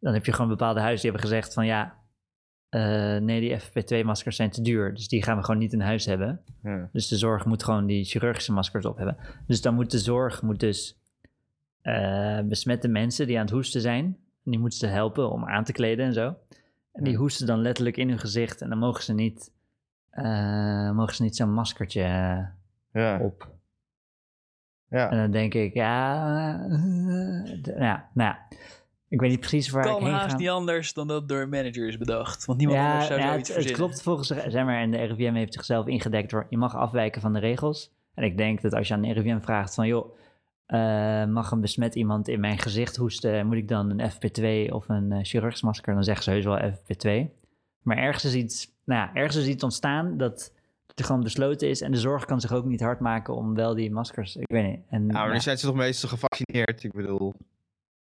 dan heb je gewoon bepaalde huizen die hebben gezegd van ja, eh, nee, die FFP2-maskers zijn te duur. Dus die gaan we gewoon niet in huis hebben. Ja. Dus de zorg moet gewoon die chirurgische maskers op hebben. Dus dan moet de zorg moet dus eh, besmette mensen die aan het hoesten zijn, die moeten ze helpen om aan te kleden en zo. En die hoesten dan letterlijk in hun gezicht en dan mogen ze niet, eh, mogen ze niet zo'n maskertje eh, Ja. op. Ja. En dan denk ik, ja, eh, d- nou ja, nou ja. Ik weet niet precies waar ik kan heen haast ga. niet anders dan dat door een manager is bedacht. Want niemand anders zou ja, zoiets het, het verzinnen. klopt volgens eh, zeg maar, en de RIVM heeft zichzelf ingedekt door je mag afwijken van de regels. En ik denk dat als je aan de RIVM vraagt van joh, eh, mag een besmet iemand in mijn gezicht hoesten, moet ik dan een FP2 of een eh, chirurgsmasker? Dan zeggen ze heus wel FP2. Maar ergens is iets, nou ja, ergens is iets ontstaan dat het gewoon besloten is. En de zorg kan zich ook niet hard maken om wel die maskers, ik weet niet. En, Nou, maar ja. nu zijn ze toch meestal gevaccineerd, ik bedoel.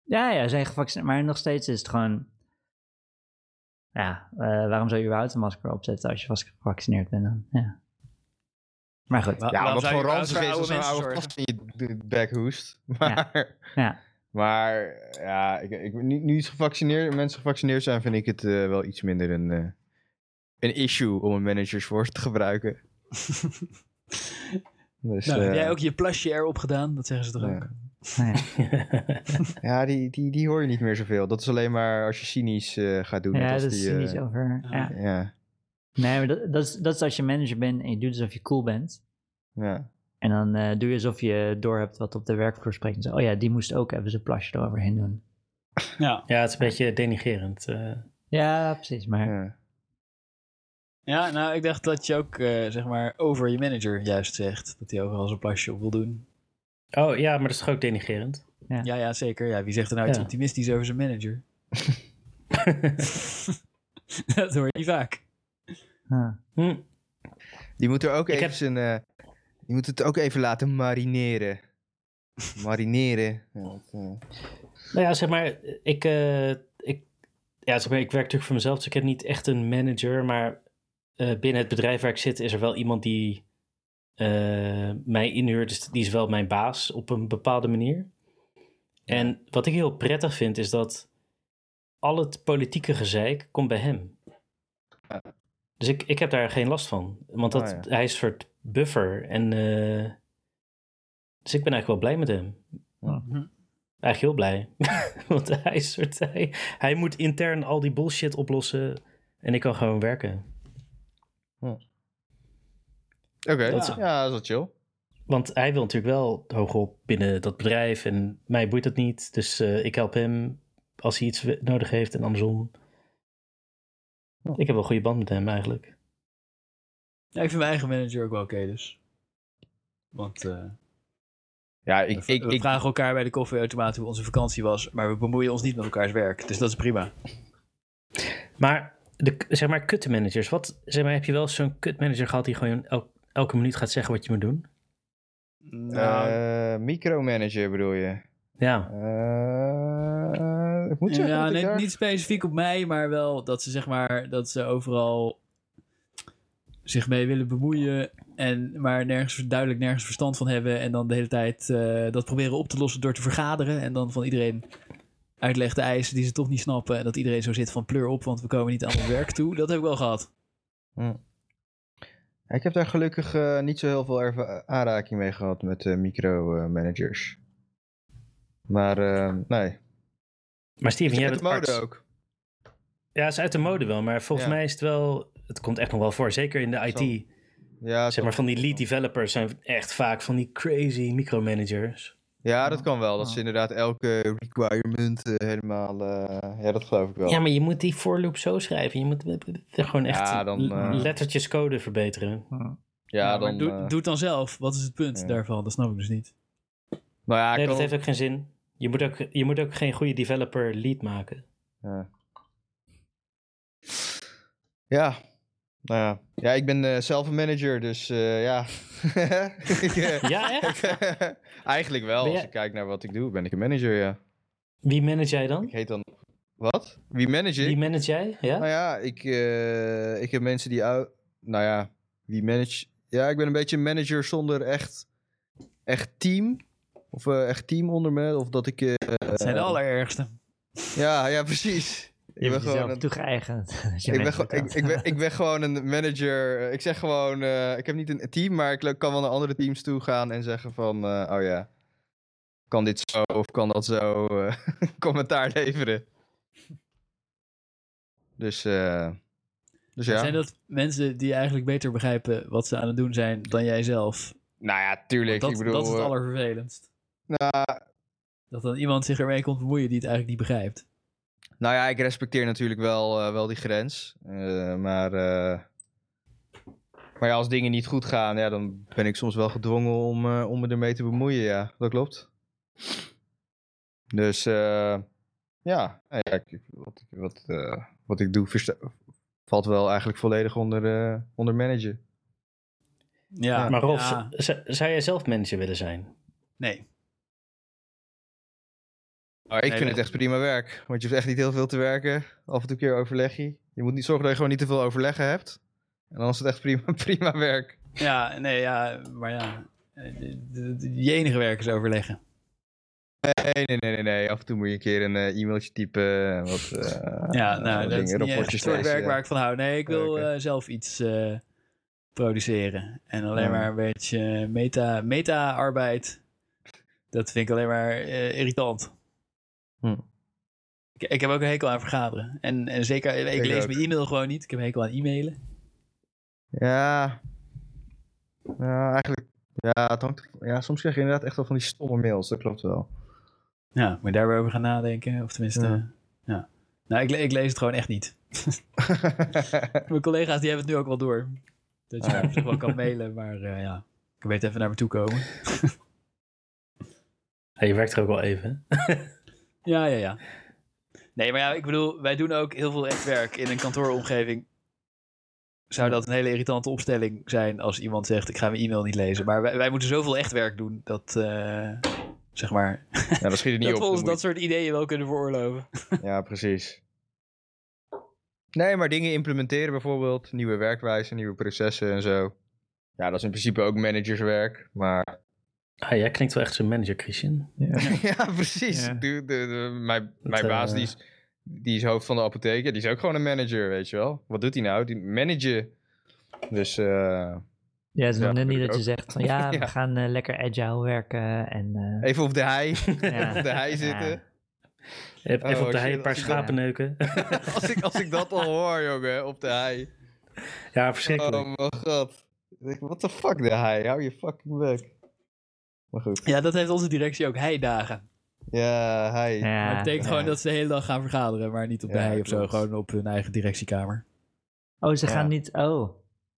Ja, ja, zijn gevaccineerd. Maar nog steeds is het gewoon. Ja, eh, waarom zou je überhaupt een masker opzetten als je vast gevaccineerd bent dan? Ja. Maar goed. Wa- Ja, waarom wat zou je voor überhaupt ranzig voor is als een mensen oude zorgen? gast in je d- bek hoest. Maar Ja. maar, ja, ik, ik, nu, nu iets gevaccineerd, mensen gevaccineerd zijn, vind ik het eh, wel iets minder een, eh, een issue om een managerswoord te gebruiken. dus, Nou, heb eh, jij ook je plasje erop gedaan? Dat zeggen ze toch Ja. ook? Nou ja. Ja, die, die, die hoor je niet meer zoveel. Dat is alleen maar als je cynisch eh, gaat doen. net Ja, als dat is die, eh, cynisch over. Ja. Ja, Nee, maar dat, dat, is, dat is als je manager bent en je doet alsof je cool bent. ja. En dan eh, doe je alsof je door hebt wat op de werkvloer spreekt. En zo, oh ja, die moest ook even zijn plasje eroverheen doen. Ja. Ja, het is een beetje denigerend. eh. Ja, precies. Maar ja. Ja, nou, ik dacht dat je ook, eh, zeg maar, over je manager juist zegt. Dat hij overal zijn plasje op wil doen. Oh ja, maar dat is toch ook denigerend? Ja. Ja, ja, zeker. Ja, wie zegt er nou iets Ja. optimistisch over zijn manager? dat hoor je niet vaak. ah, Hm. Die moet er ook Ik even heb- zijn, eh, die moet het ook even laten marineren. marineren. Ja, dat, eh, Nou ja, zeg maar, ik, eh, ik, ja, zeg maar, ik werk natuurlijk voor mezelf, dus ik heb niet echt een manager. Maar eh, binnen het bedrijf waar ik zit is er wel iemand die eh, mij inhuurt. Dus die is wel mijn baas op een bepaalde manier. En wat ik heel prettig vind is dat al het politieke gezeik komt bij hem. Dus ik, ik heb daar geen last van. Want dat, Oh ja. hij is een soort buffer. En, eh, dus ik ben eigenlijk wel blij met hem. Eigenlijk heel blij. Want hij, is soort, hij, hij moet intern al die bullshit oplossen. En ik kan gewoon werken. Oké, Dat ja. is- ja, dat is wel chill. Want hij wil natuurlijk wel hoogop binnen dat bedrijf. En mij boeit dat niet. Dus eh, ik help hem als hij iets we- nodig heeft en andersom. Ik heb wel een goede band met hem eigenlijk. Ja, ik vind mijn eigen manager ook wel oké, dus. Want eh, Ja, we, ik, ik, we ik, vragen elkaar bij de koffieautomaat hoe onze vakantie was, maar we bemoeien ons niet met elkaars werk. Dus dat is prima. Maar de, k- zeg maar kutmanagers. Wat, zeg maar, heb je wel eens zo'n kutmanager gehad die gewoon el- elke minuut gaat zeggen wat je moet doen? Nou, eh, micromanager bedoel je? Ja. Eh, ik moet zeggen ja, dat ik nee, daar- niet specifiek op mij, maar wel dat ze zeg maar dat ze overal zich mee willen bemoeien en maar nergens duidelijk nergens verstand van hebben en dan de hele tijd eh, dat proberen op te lossen door te vergaderen en dan van iedereen uitleg de eisen die ze toch niet snappen en dat iedereen zo zit van pleur op want we komen niet aan ons werk toe. Dat heb ik wel gehad. Ik heb daar gelukkig eh, niet zo heel veel erva- aanraking mee gehad met eh, micromanagers. maar eh, nee. Maar Steven, jij Met bent de mode arts. ook. Ja, het is uit de mode wel, maar volgens Ja. mij is het wel... Het komt echt nog wel voor, zeker in de IT. Zal- Ja, Zeg maar van die lead developers zijn echt vaak van die crazy micromanagers. Ja, dat kan wel. Dat ze inderdaad elke requirement eh, helemaal... eh, ja, dat geloof ik wel. Ja, maar je moet die for loop zo schrijven. Je moet gewoon echt Ja, dan, l- eh, lettertjes code verbeteren. Ja, Ja, maar dan... doe, eh, doe het dan zelf. Wat is het punt ja. daarvan? Dat snap ik dus niet. Nou ja, Nee, kan dat heeft ook geen zin. Je moet ook, je moet ook geen goede developer lead maken. Ja. Ja. Nou ja. Ja, ik ben eh, zelf een manager, dus eh, ja. ik, eh, Ja, echt? ik- eigenlijk wel. Ben Als jij- ik kijk naar wat ik doe, ben ik een manager, ja. Wie manage jij Ik dan? heet dan... Wat? Wie manage ik? Wie manage jij? Ja? Nou ja, ik, eh, ik heb mensen die... ou- Nou ja, wie manage... Ja, ik ben een beetje een manager zonder echt, echt team. Of eh, echt team onder me. Of dat ik... eh, Dat zijn de allerergste. ja, ja, precies. je hebt jezelf een- toegeëigend. dat je Ik ben, mensen gewoon- ik, betaalt. ik, ben, ik ben gewoon een manager. Eh, Ik zeg gewoon, eh, ik heb niet een team, maar ik le- kan wel naar andere teams toe gaan en zeggen van, eh, oh ja, kan dit zo of kan dat zo eh, commentaar leveren. Dus, eh, dus ja. Zijn dat mensen die eigenlijk beter begrijpen wat ze aan het doen zijn dan jij zelf? Nou ja, tuurlijk. Dat, ik bedoel, dat is het eh, allervervelendst. nou, Dat dan iemand zich ermee komt bemoeien die het eigenlijk niet begrijpt. nou ja, ik respecteer natuurlijk wel, eh, wel die grens. Eh, maar, eh, maar ja, als dingen niet goed gaan, ja, dan ben ik soms wel gedwongen om, eh, om me ermee te bemoeien. Ja, dat klopt. Dus eh, ja, nou ja ik- ik- wat, ik- wat, eh, wat ik doe versta- valt wel eigenlijk volledig onder, eh, onder manager. Ja, maar Rolf, ja. z- z- zou jij zelf manager willen zijn? Nee. Maar ik Nee, vind dat- het echt prima werk, want je hoeft echt niet heel veel te werken. Af en toe een keer overleg je. Je moet niet zorgen dat je gewoon niet te veel overleggen hebt. En dan is het echt prima, prima werk. Ja, nee, ja, maar ja. eh, de- de- de- Je enige werk is overleggen. Nee, nee, nee, nee, nee. Af en toe moet je een keer een eh, e-mailtje typen. en Wat, eh, Ja, eh, nou, dat is niet echt het soort lezen. werk waar ik van hou. Nee, ik wil Oké. eh, zelf iets eh, produceren. En alleen Ja. maar een beetje eh, meta- meta-arbeid. dat vind ik alleen maar eh, irritant. Hm. Ik, ik heb ook een hekel aan vergaderen. En, en zeker, ik, Ik lees ook. mijn e-mail gewoon niet. Ik heb een hekel aan e-mailen. Ja. Ja, eigenlijk. Ja, het hangt- ja, soms krijg je inderdaad echt wel van die stomme mails. Dat klopt wel. Ja, moet je daar weer over gaan nadenken. Of tenminste, ja. Ja. Nou, ik, le- ik lees het gewoon echt niet. Mijn collega's die hebben het nu ook wel door. Dat je Ah, ja. op zich wel kan mailen, maar eh, ja. Ik weet even naar me toe komen. Ja, je werkt er ook wel even. hè? Ja, ja, ja. Nee, maar ja, ik bedoel, wij doen ook heel veel echt werk in een kantooromgeving. Zou dat een hele irritante opstelling zijn als iemand zegt: Ik ga mijn e-mail niet lezen. Maar wij, wij moeten zoveel echt werk doen dat, eh, zeg maar, ja, dat schiet er niet dat we op. ons dan dat moet soort ideeën wel kunnen veroorloven. je- Ja, precies. Nee, maar dingen implementeren bijvoorbeeld. Nieuwe werkwijzen, nieuwe processen en zo. Ja, dat is in principe ook managerswerk. Maar. Ah, jij klinkt wel echt zo'n manager, Christian. ja, precies. Ja. Dude, de- de- mijn mijn eh, baas, die is, die is hoofd van de apotheek. Ja, die is ook gewoon een manager, weet je wel. Wat doet hij nou? Die managen. Dus. eh, Ja, het is nog Ja, net niet ik dat je ook. zegt van ja, Ja. we gaan eh, lekker agile werken en... eh, even op de hei. ja. op de hei Ja. zitten. Even op Oh, de shit, hei een paar als ik dat- schapen neuken. als, ik, als ik dat al hoor, jongen, op de hei. ja, Oh verschrikkelijk. mijn god. Ik denk, What the fuck, de hei? Hou je fucking bek. Maar goed. Ja, dat heeft onze directie ook heidagen. Ja, hei. Ja. Maar Ja. dat betekent Ja. gewoon dat ze de hele dag gaan vergaderen, maar niet op de Ja, hei of zo. klopt. Gewoon op hun eigen directiekamer. Oh, ze Ja. gaan niet... Oh.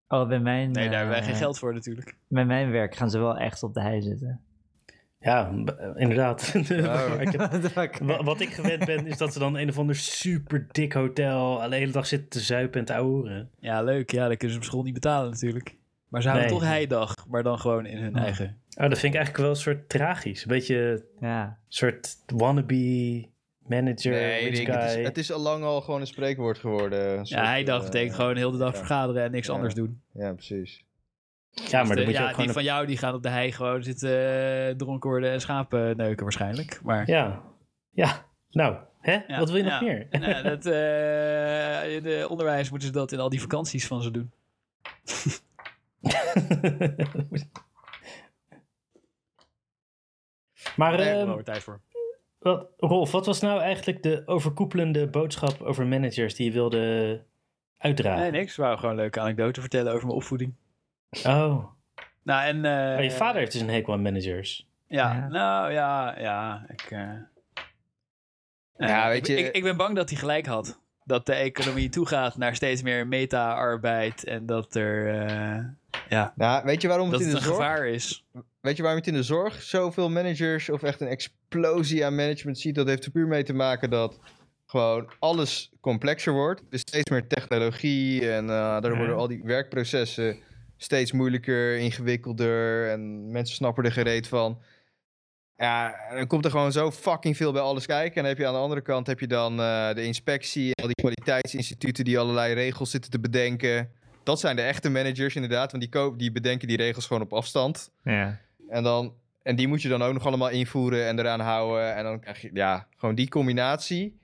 Oh, bij mijn... Nee, daar hebben wij eh, geen geld voor natuurlijk. Bij mijn werk gaan ze wel echt op de hei zitten. Ja, b- eh, inderdaad. Oh. Ik heb- Oké. wa- Wat ik gewend ben, is dat ze dan een of ander super dik hotel al de hele dag zitten te zuipen en te ouwen. Ja, leuk. Ja, dan kunnen ze op school niet betalen natuurlijk. Maar ze houden Nee. toch heidag, maar dan gewoon in hun Ja. eigen. Oh, dat vind ik eigenlijk wel een soort tragisch. Een beetje Ja. soort wannabe manager. Nee, rich Rick, guy. het, is, het is al lang al gewoon een spreekwoord geworden. Een soort, Ja, heidag eh, betekent gewoon heel de dag ja. vergaderen en niks Ja. anders doen. Ja, precies. ja, maar dan Dus, moet eh, je ja, ook die gewoon. van jou die gaan op de hei gewoon zitten eh, dronken worden en schapen neuken waarschijnlijk. Maar, Ja. ja, nou, hè? Ja, Wat wil je ja. nog meer? Nou, dat, eh, in het onderwijs moeten ze dat in al die vakanties van ze doen. maar Daar hebben we ehm, wel weer tijd voor. wat, Rolf, wat was nou eigenlijk de overkoepelende boodschap over managers die je wilde uitdragen? Nee, niks. We wou gewoon leuke anekdote vertellen over mijn opvoeding. Oh, Nou, en... eh, maar je vader heeft dus een hekel aan managers. Ja, Ja. nou ja, ja. Ik, eh, Ja, eh, weet ik, je- ik, ik ben bang dat hij gelijk had. Dat de economie toegaat naar steeds meer meta-arbeid en dat er... eh, ja, Nou, weet je waarom dat het in het de een zorg... gevaar is. Weet je waarom je het in de zorg zoveel managers of echt een explosie aan management ziet? Dat heeft er puur mee te maken dat gewoon alles complexer wordt. Dus steeds meer technologie en eh daar Ja. worden al die werkprocessen steeds moeilijker, ingewikkelder en mensen snappen er gereed van. Ja, en dan komt er gewoon zo fucking veel bij alles kijken. En dan heb je aan de andere kant heb je dan eh, de inspectie en al die kwaliteitsinstituten die allerlei regels zitten te bedenken. Dat zijn de echte managers inderdaad, want die, ko- die bedenken die regels gewoon op afstand. Ja. En, dan, en die moet je dan ook nog allemaal invoeren en eraan houden. En dan krijg je, ja, gewoon die combinatie.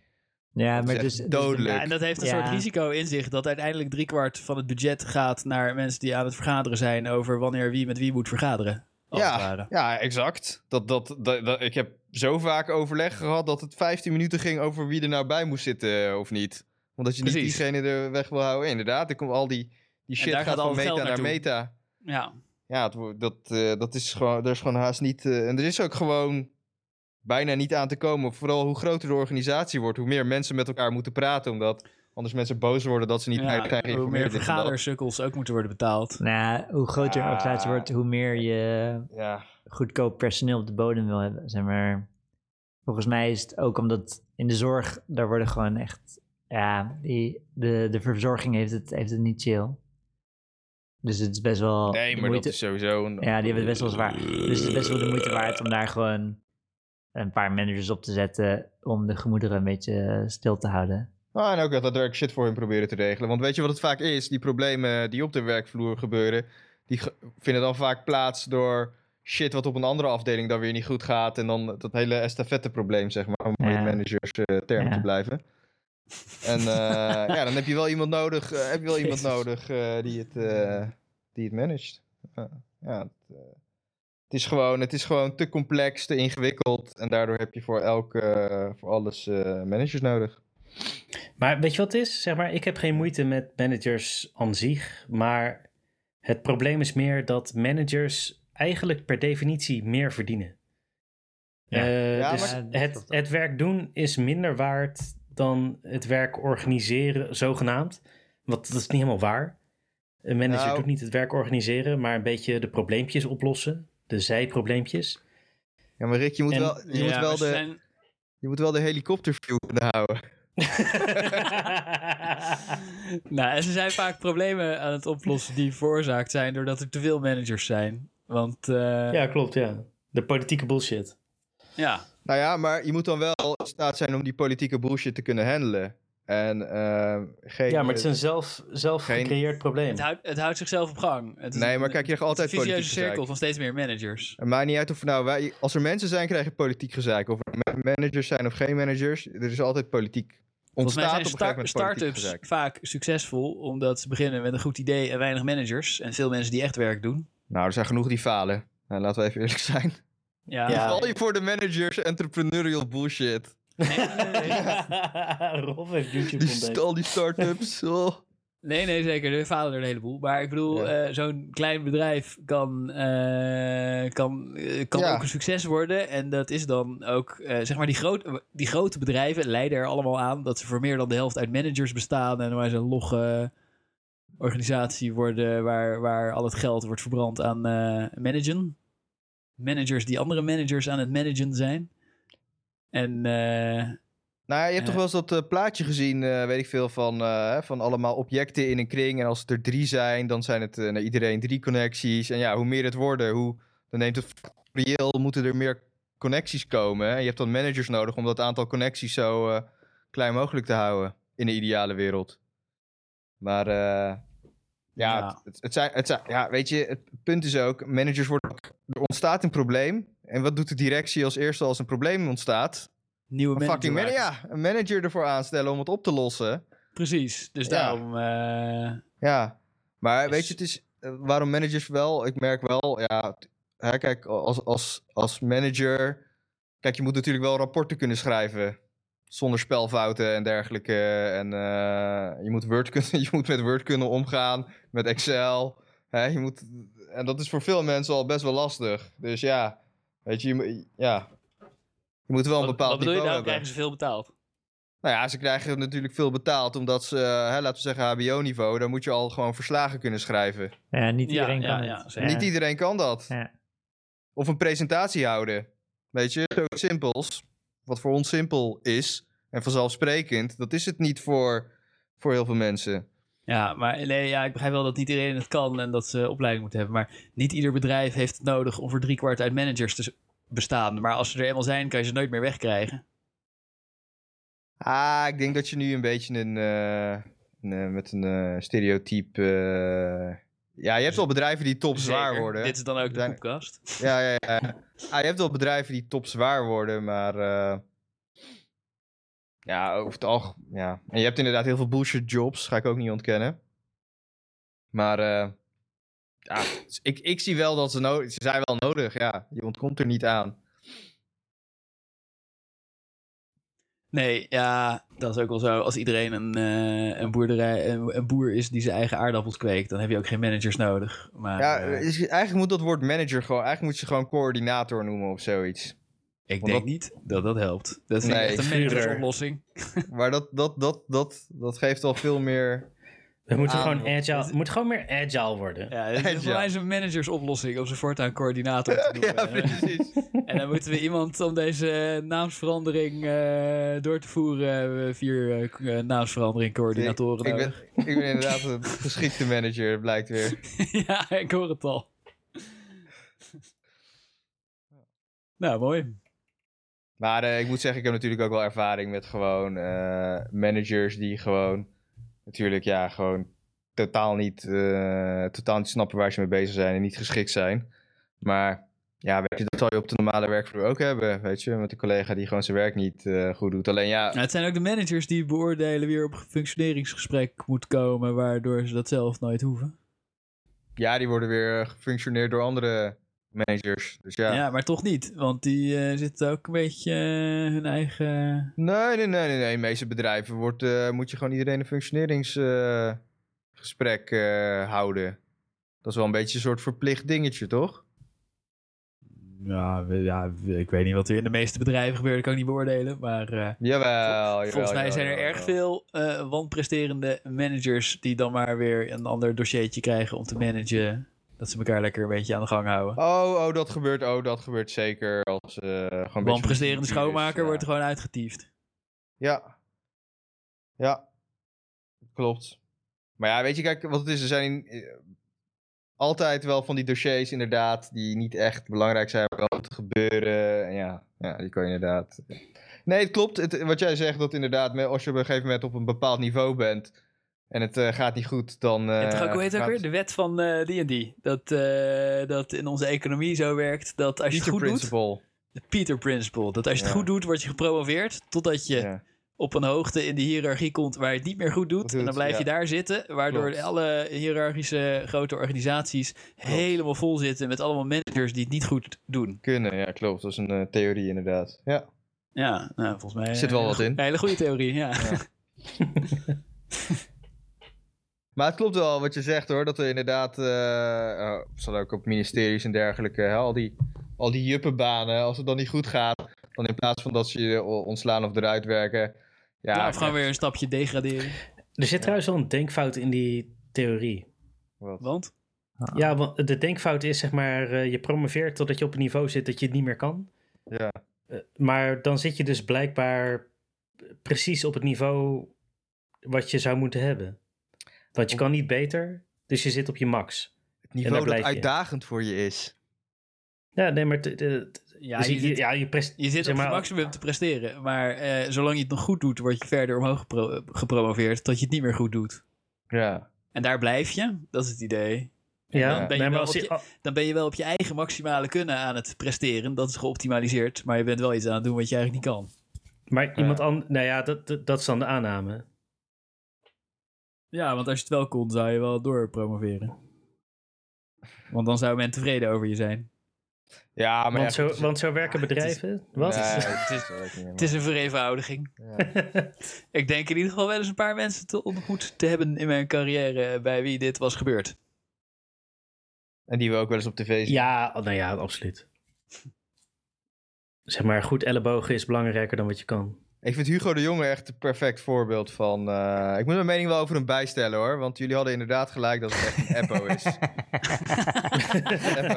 Ja, Dat maar is dus... echt dus- dodelijk. Ja, en dat heeft een Ja. soort risico in zich dat uiteindelijk driekwart van het budget gaat naar mensen die aan het vergaderen zijn over wanneer wie met wie moet vergaderen. Als het Ja, ware. ja, exact. Dat, dat, dat, dat- ik heb zo vaak overleg gehad dat het 15 minuten ging over wie er nou bij moest zitten of niet. Omdat je Precies. niet diegene er weg wil houden. Inderdaad, er komt al die, die shit daar gaat, gaat al van het meta geld naar naartoe. meta. Ja. Ja, het wo- dat, eh, dat is gewoon, er is gewoon haast niet. eh, en er is ook gewoon bijna niet aan te komen. Vooral hoe groter de organisatie wordt, hoe meer mensen met elkaar moeten praten. Omdat anders mensen boos worden dat ze niet Ja, bij zijn hoe geïnformeerd. dit meer en dat. vergadersukkels ook moeten worden betaald. Ah. Nou, hoe groter een organisatie wordt, hoe meer je Ja, goedkoop personeel op de bodem wil hebben. Zeg maar, volgens mij is het ook omdat in de zorg, daar worden gewoon echt, ja, die, de, de verzorging heeft het, heeft het niet chill. Dus het is best wel. Nee, de maar dat moeite- is sowieso een... Ja, die hebben het best wel zwaar. Dus het is best wel de moeite waard om daar gewoon een paar managers op te zetten om de gemoederen een beetje eh, stil te houden. Ah, en ook dat daadwerkelijk shit voor hun proberen te regelen. Want weet je wat het vaak is? Die problemen die op de werkvloer gebeuren, die ge- vinden dan vaak plaats door shit wat op een andere afdeling dan weer niet goed gaat. En dan dat hele estafette-probleem, zeg maar, om in Ja. managers eh, term Ja. te blijven. En eh, ja, dan heb je wel iemand nodig, eh, heb je wel iemand Jezus. nodig eh, die, het, eh, die het managt. Ja, ja, het, eh, het, is gewoon, het is gewoon te complex, te ingewikkeld. En daardoor heb je voor, elk, eh, voor alles eh, managers nodig. Maar weet je wat het is? Zeg maar, ik heb geen moeite met managers aan zich. Maar het probleem is meer dat managers eigenlijk per definitie meer verdienen. Ja. Eh, Ja, dus maar- het, het werk doen is minder waard dan het werk organiseren, zogenaamd. Want dat is niet helemaal waar. Een manager Nou. doet niet het werk organiseren, maar een beetje de probleempjes oplossen. De zijprobleempjes. Ja, maar Rick, je moet En- wel, je moet Ja, wel maar ze de, zijn- je moet wel de helikopterview kunnen houden. Nou, en ze zijn vaak problemen aan het oplossen die veroorzaakt zijn doordat er te veel managers zijn. Want eh, ja. ja, klopt, ja. De politieke bullshit. Nou ja, maar je moet dan wel in staat zijn om die politieke bullshit te kunnen handelen. En eh, geen... Ja, maar het is een zelf, zelf Geen- gecreëerd probleem. Het, houdt, het houdt zichzelf op gang. Het is Nee, een- maar kijk, je krijgt het is een altijd politiek vicieuze gezeik. cirkel van steeds meer managers. Het maakt niet uit of nou wij... Als er mensen zijn, krijgen politiek gezeik. Of er ma- managers zijn of geen managers, er is altijd politiek. Volgens mij Ontstaat zijn op een gegeven sta- moment politiek start-ups gezeik. vaak succesvol omdat ze beginnen met een goed idee en weinig managers. En veel mensen die echt werk doen. Nou, er zijn genoeg die falen. Nou, laten we even eerlijk zijn. Ja, Ja. Val je voor de managers entrepreneurial bullshit. Rolf heeft YouTube Die, ontdekt. st- al die start-ups. oh. Nee, nee, zeker. Er falen er een heleboel. Maar ik Ja. bedoel, eh, zo'n klein bedrijf kan, eh, kan, eh, kan Ja. ook een succes worden. En dat is dan ook, eh, zeg maar, die, groot, die grote bedrijven leiden er allemaal aan dat ze voor meer dan de helft uit managers bestaan. En wij een logge organisatie worden waar, waar al het geld wordt verbrand aan eh, managen. Managers die andere managers aan het managen zijn. En eh, Nou, ja, je hebt Ja. toch wel eens dat eh, plaatje gezien, eh, weet ik veel, van, eh, van allemaal objecten in een kring. En als het er drie zijn, dan zijn het eh, naar iedereen drie connecties. En ja, hoe meer het worden, hoe, dan neemt het reëel, moeten er meer connecties komen. En je hebt dan managers nodig om dat aantal connecties zo eh, klein mogelijk te houden in de ideale wereld. Maar eh, ja, Ja. Het, het, het zijn, het zijn, ja, weet je, het punt is ook, managers worden, ook- er ontstaat een probleem. En wat doet de directie als eerste als een probleem ontstaat? nieuwe Een managers. fucking man- ja, een manager ervoor aanstellen om het op te lossen. Precies. Dus Ja. daarom... eh, Ja, maar Is- weet je, het is eh, waarom managers wel. Ik merk wel, ja, t- hè, kijk, als, als, als manager, kijk, je moet natuurlijk wel rapporten kunnen schrijven zonder spelfouten en dergelijke. En eh, je, moet Word kunnen, je moet met Word kunnen omgaan, met Excel. Hè, je moet, en dat is voor veel mensen al best wel lastig. Dus ja, weet je, je, moet- ja. je moet wel een Wat- bepaald Wat bedoel je niveau nou? hebben. Krijgen ze veel betaald? Nou ja, ze krijgen natuurlijk veel betaald, omdat ze, eh, hè, laten we zeggen, HBO-niveau, daar moet je al gewoon verslagen kunnen schrijven. Ja, niet Ja, iedereen ja, kan ja, het. zeker. Niet iedereen kan dat. Ja. Of een presentatie houden. Weet je, zoiets simpels. Wat voor ons simpel is, en vanzelfsprekend, dat is het niet voor, voor heel veel mensen. Ja, maar nee, ja, ik begrijp wel dat niet iedereen het kan en dat ze opleiding moeten hebben. Maar niet ieder bedrijf heeft het nodig om voor driekwart uit managers te s- bestaan. Maar als ze er eenmaal zijn, kan je ze nooit meer wegkrijgen. Ah, ik denk dat je nu een beetje een, eh, een, eh, met een eh, stereotype... eh, Ja, je hebt wel bedrijven die top zwaar Zeker. worden. Dit is dan ook de Zijn- podcast. Ja, ja, ja. Ah, je hebt wel bedrijven die topzwaar worden, maar. eh, ja, over het algemeen. Ja. En je hebt inderdaad heel veel bullshit jobs, ga ik ook niet ontkennen. Maar. eh, ja, dus ik, ik zie wel dat ze nodig Ze zijn wel nodig, ja. Je ontkomt er niet aan. Nee, ja, dat is ook wel zo. Als iedereen een, eh, een, boerderij, een, een boer is die zijn eigen aardappels kweekt, dan heb je ook geen managers nodig. Maar Ja, eh, is- eigenlijk moet dat woord manager gewoon. Eigenlijk moet je gewoon coördinator noemen of zoiets. ik want denk dat- niet dat dat helpt. Dat is niet Nee. echt een Schuurder. managersoplossing. Maar dat, dat, dat, dat, dat geeft al veel meer. We moeten aan- gewoon agile, het moet gewoon meer agile worden. Ja, dit is voor Ah, Ja. mij zijn managersoplossing om zijn voortaan coördinator te doen. Ja, Eh, precies. en dan moeten we iemand om deze naamsverandering eh, door te voeren. hebben we vier eh, k- eh, naamsverandering coördinatoren. ik, ben, nodig. ik ben inderdaad een geschikte manager, blijkt weer. ja, ik hoor het al. nou, mooi. Maar eh, ik moet zeggen, ik heb natuurlijk ook wel ervaring met gewoon eh, managers die gewoon natuurlijk ja, gewoon totaal niet, eh, totaal niet snappen waar ze mee bezig zijn en niet geschikt zijn. Maar ja, weet je, dat zal je op de normale werkvloer ook hebben, weet je, met een collega die gewoon zijn werk niet eh, goed doet. Alleen ja, Nou, het zijn ook de managers die beoordelen wie er op een functioneringsgesprek moet komen, waardoor ze dat zelf nooit hoeven. ja, die worden weer gefunctioneerd door andere managers. Dus ja. Ja, maar toch niet, want die eh, zitten ook een beetje eh, hun eigen. Nee, nee, nee, nee, nee. In de meeste bedrijven wordt, eh, moet je gewoon iedereen een functioneringsgesprek eh, houden. Dat is wel een beetje een soort verplicht dingetje, toch? Ja, we- ja, we- ik weet niet wat er in de meeste bedrijven gebeurt, dat kan ik niet beoordelen. Maar eh, Jawel, Oh, jawel, volgens mij jawel, zijn er jawel, erg jawel. veel eh, wanpresterende managers die dan maar weer een ander dossiertje krijgen om te managen. Dat ze elkaar lekker een beetje aan de gang houden. Oh, oh, dat gebeurt. Oh, dat gebeurt zeker. Als, eh gewoon een beetje Wanpresterende is, schoonmaker ja. wordt gewoon uitgetiefd. Ja. Ja. Klopt. Maar ja, weet je, kijk, wat het is, er zijn eh, altijd wel van die dossiers inderdaad die niet echt belangrijk zijn, maar wel moeten gebeuren. En ja, ja, die kan je inderdaad... eh. Nee, het klopt. Het, wat jij zegt, dat inderdaad, me- als je op een gegeven moment op een bepaald niveau bent en het eh, gaat niet goed, dan... eh, en toch ook, hoe heet het ook gaat- weer? De wet van eh, die en die. Dat, eh, dat in onze economie zo werkt dat als je het Teacher goed doet... principle. De Peter Principle. Dat als je het Ja. goed doet, word je gepromoveerd. Totdat je Ja. op een hoogte in de hiërarchie komt waar je het niet meer goed doet. Dat en dan doet, blijf je ja. daar zitten. Waardoor Klopt. alle hiërarchische grote organisaties helemaal vol zitten met allemaal managers die het niet goed doen. Kunnen, ja, klopt. Dat is een eh, theorie inderdaad. Ja. Ja, nou, volgens mij. Er zit wel eh, wat in. Een hele goede theorie, ja. Maar het klopt wel wat je zegt hoor, dat er inderdaad, eh, eh, zal ook op ministeries en dergelijke, hè, al die, al die juppenbanen, als het dan niet goed gaat, dan in plaats van dat ze je o- ontslaan of eruit werken, ja, Ja, of gewoon ja, weer een stapje degraderen. Er zit trouwens wel een denkfout in die theorie. wat. Want? Ah. Ja, want de denkfout is zeg maar, eh, je promoveert totdat je op een niveau zit dat je het niet meer kan. Ja. Eh, maar dan zit je dus blijkbaar precies op het niveau wat je zou moeten hebben. Want je kan niet beter, dus je zit op je max. Het En daar niveau dat blijf je. uitdagend voor je is. Ja, nee, maar t- t- t- Ja, dus je, je, zit, ja, je prest- je zit zeg op je maar- maximum te presteren. Maar eh, zolang je het nog goed doet, word je verder omhoog gepro- gepromoveerd. Tot je het niet meer goed doet. Ja, En daar blijf je. Dat is het idee. Ja, Dan ben je nee, maar wel als op je- je- dan ben je wel op je eigen maximale kunnen aan het presteren. Dat is geoptimaliseerd, maar je bent wel iets aan het doen wat je eigenlijk niet kan. maar iemand anders, nou ja, dat, dat, dat is dan de aanname. Ja, want als je het wel kon, zou je wel doorpromoveren. Want dan zou men tevreden over je zijn. ja dus- maar Want ja, zo, want zo werken bedrijven. Wat? Nee, Ja. het is ook niet Het is een vereenvoudiging. Ik denk in ieder geval wel eens een paar mensen te ontmoet te hebben in mijn carrière bij wie dit was gebeurd. En die we ook wel eens op tv zien. oh, nou ja, absoluut. Zeg maar, goed ellebogen is belangrijker dan wat je kan. Ik vind Hugo de Jonge echt een perfect voorbeeld van... eh, ik moet mijn mening wel over hem bijstellen hoor, want jullie hadden inderdaad gelijk dat het echt een eppo is. Even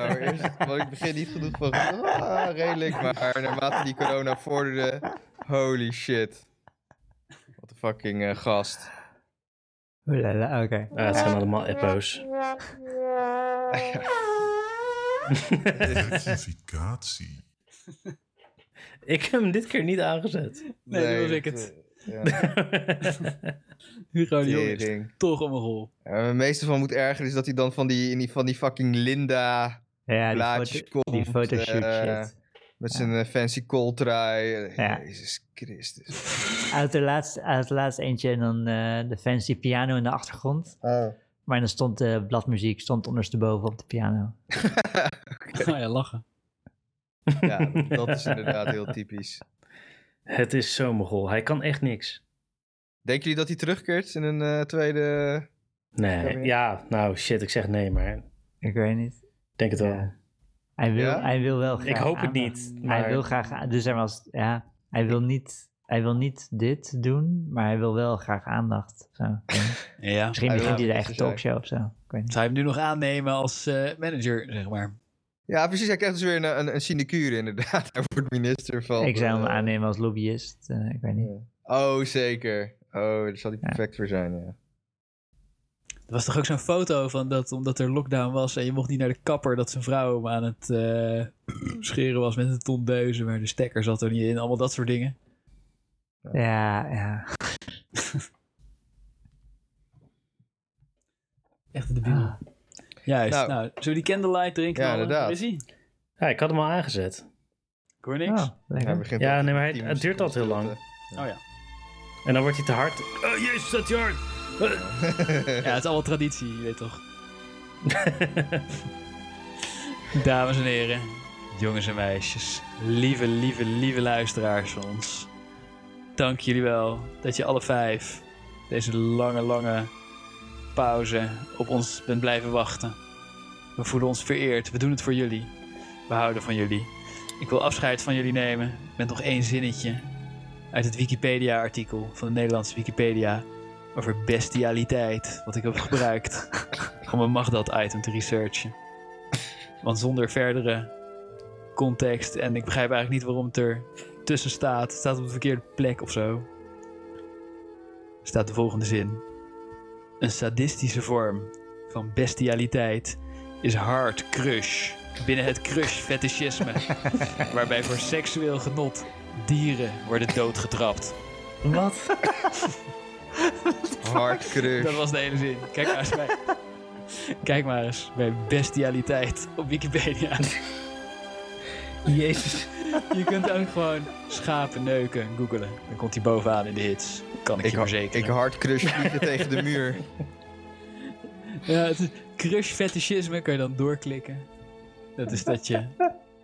hoor, eerst, want ik begin niet genoeg van ah, redelijk, maar naarmate die corona vorderde, holy shit. Wat een fucking eh, gast. Oelala, Oké. Ah, het zijn allemaal eppo's. Identificatie. ik heb hem dit keer niet aangezet. Nee, dat was ik het. Oh, eh, ja, Hugo de Jong is tering. toch om een rol. Ja, maar het meeste van moet erger is dat hij dan van die, in die, van die fucking Linda Ja, die, Blaadjes foto, die komt, photoshoot eh, shit. met zijn eh, fancy kooltrui. Ja. Jezus Christus. Uit de laatste, uit het laatste eentje en dan eh, de fancy piano in de achtergrond. Oh. Maar dan stond de bladmuziek stond ondersteboven op de piano. Ga je lachen. Ja, dat is inderdaad heel typisch. Het is zo'n mogol. Hij kan echt niks. Denken jullie dat hij terugkeert in een eh, tweede... Nee, ja, nou shit, ik zeg nee, maar ik Ik weet niet. denk het wel. Ja. Hij wil, Ja? hij wil wel graag Ik hoop het aandacht. niet, Hij maar- wil graag... Dus er was... Ja, hij wil niet hij wil niet dit doen, maar hij wil wel graag aandacht. Zo. Ja. Misschien Hij wil begint hij de aandacht, eigen dus hij- talkshow of zo. Ik weet niet. Zou je hem nu nog aannemen als eh, manager, zeg maar? Ja, precies. Hij krijgt dus weer een, een, een sinecure inderdaad. Hij wordt minister van... Ik zou hem eh, aannemen als lobbyist. eh, ik weet niet. Oh, zeker. Oh, daar zal hij Ja. perfect voor zijn, ja. Er was toch ook zo'n foto van dat, omdat er lockdown was en je mocht niet naar de kapper, dat zijn vrouw hem aan het eh, scheren was met een ton deuzen, maar de stekker zat er niet in, allemaal dat soort dingen. Ja, ja. Echt een debiel. Juist, nou. Nou. zullen we die candlelight drinken? Ja, knallen? inderdaad. Waar is die? Ja, ik had hem al aangezet. Ik hoor niks. Oh, lekker. Hij begint Ja, op nee, maar hij- 10 het duurt altijd heel lang. Oh ja. En dan wordt hij te hard. Oh, jezus, dat is je hard. Ja, het is allemaal traditie, je weet toch. Dames en heren, jongens en meisjes, lieve, lieve, lieve luisteraars van ons. Dank jullie wel dat je alle vijf deze lange, lange pauze op ons bent blijven wachten. We voelen ons vereerd, we doen het voor jullie. We houden van jullie. Ik wil afscheid van jullie nemen met nog één zinnetje uit het Wikipedia-artikel van de Nederlandse Wikipedia over bestialiteit, wat ik heb gebruikt om een Magdat-item te researchen. Want zonder verdere context, en ik begrijp eigenlijk niet waarom het er tussen staat, het staat op de verkeerde plek of zo, staat de volgende zin. Een sadistische vorm van bestialiteit is hard crush binnen het crush-fetischisme, waarbij voor seksueel genot dieren worden doodgetrapt. Wat? Hard crush. Dat was de hele zin. Kijk maar eens bij. Kijk maar eens bij bestialiteit op Wikipedia. Jezus. Je kunt ook gewoon schapen neuken googelen. Dan komt hij bovenaan in de hits. Kan ik, Ik, je ha- verzekeren. ik hard crush vliegen tegen de muur. Ja, het is crush fetischisme kan je dan doorklikken. Dat is dat je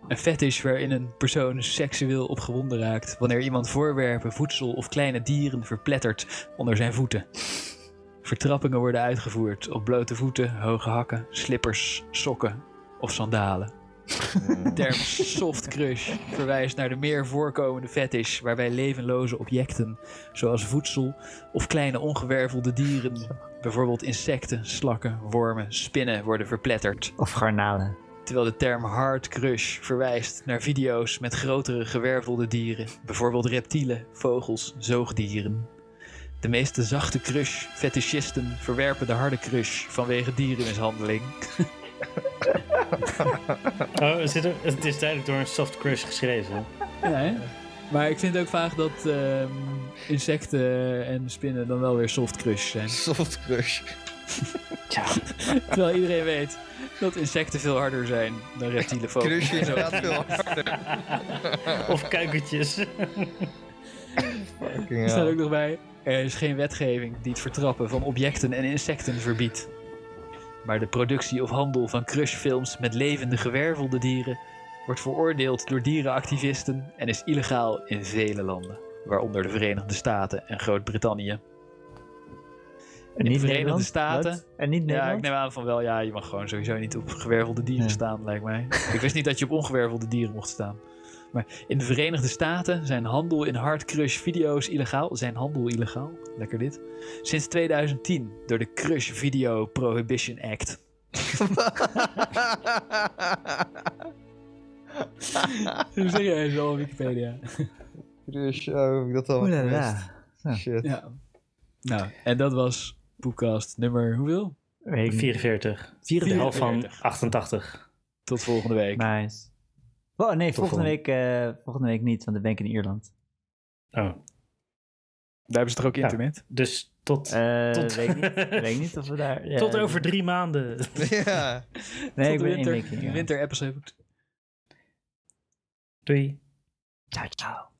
een fetish waarin een persoon seksueel opgewonden raakt wanneer iemand voorwerpen, voedsel of kleine dieren verplettert onder zijn voeten. Vertrappingen worden uitgevoerd op blote voeten, hoge hakken, slippers, sokken of sandalen. De term soft crush verwijst naar de meer voorkomende fetish waarbij levenloze objecten zoals voedsel of kleine ongewervelde dieren Bijvoorbeeld insecten, slakken, wormen, spinnen worden verpletterd. Of garnalen. Terwijl de term hard crush verwijst naar video's met grotere gewervelde dieren. Bijvoorbeeld reptielen, vogels, zoogdieren. De meeste zachte crush fetischisten verwerpen de harde crush vanwege dierenmishandeling. Oh, het, zit er, het is duidelijk door een soft crush geschreven. Maar ik vind ook vaak dat ehm, insecten en spinnen dan wel weer soft crush zijn. Soft crush. Oh. Terwijl iedereen weet dat insecten veel harder zijn dan reptielen, vogels Crush is inderdaad veel harder. Of kuikentjes. Fucking Er staat hell. ook nog bij. Er is geen wetgeving die het vertrappen van objecten en insecten verbiedt. Maar de productie of handel van crushfilms met levende gewervelde dieren wordt veroordeeld door dierenactivisten en is illegaal in vele landen, waaronder de Verenigde Staten en Groot-Brittannië. En de niet Verenigde Nederland? Staten? Wat? En niet Ja, ik Nederland? neem aan van wel, ja, je mag gewoon sowieso niet op gewervelde dieren Nee. staan, lijkt mij. ik wist niet dat je op ongewervelde dieren mocht staan. Maar in de Verenigde Staten zijn handel in hardcrush video's illegaal. Zijn handel illegaal? Lekker dit. Sinds 2010 door de Crush Video Prohibition Act. Serieus, al Wikipedia. crush, oh, heb ik dat al Oeh, la, la. gemist. Shit. Ja. Nou, en dat was Poepcast nummer hoeveel? Weet ik niet. 44. De 34. helft van 88. Tot volgende week. Nice. Oh nee, volgende volgende. week, eh, volgende week niet, want dan ben ik in Ierland. Oh, Daar hebben ze toch ook Ja. internet? dus tot, Eh, Tot- Weet ik niet, weet ik niet of we daar... ja, tot over drie maanden. Ja. Nee, Tot ik de ben één winter, week in Ierland. winter episode. Doei. Ciao, ciao.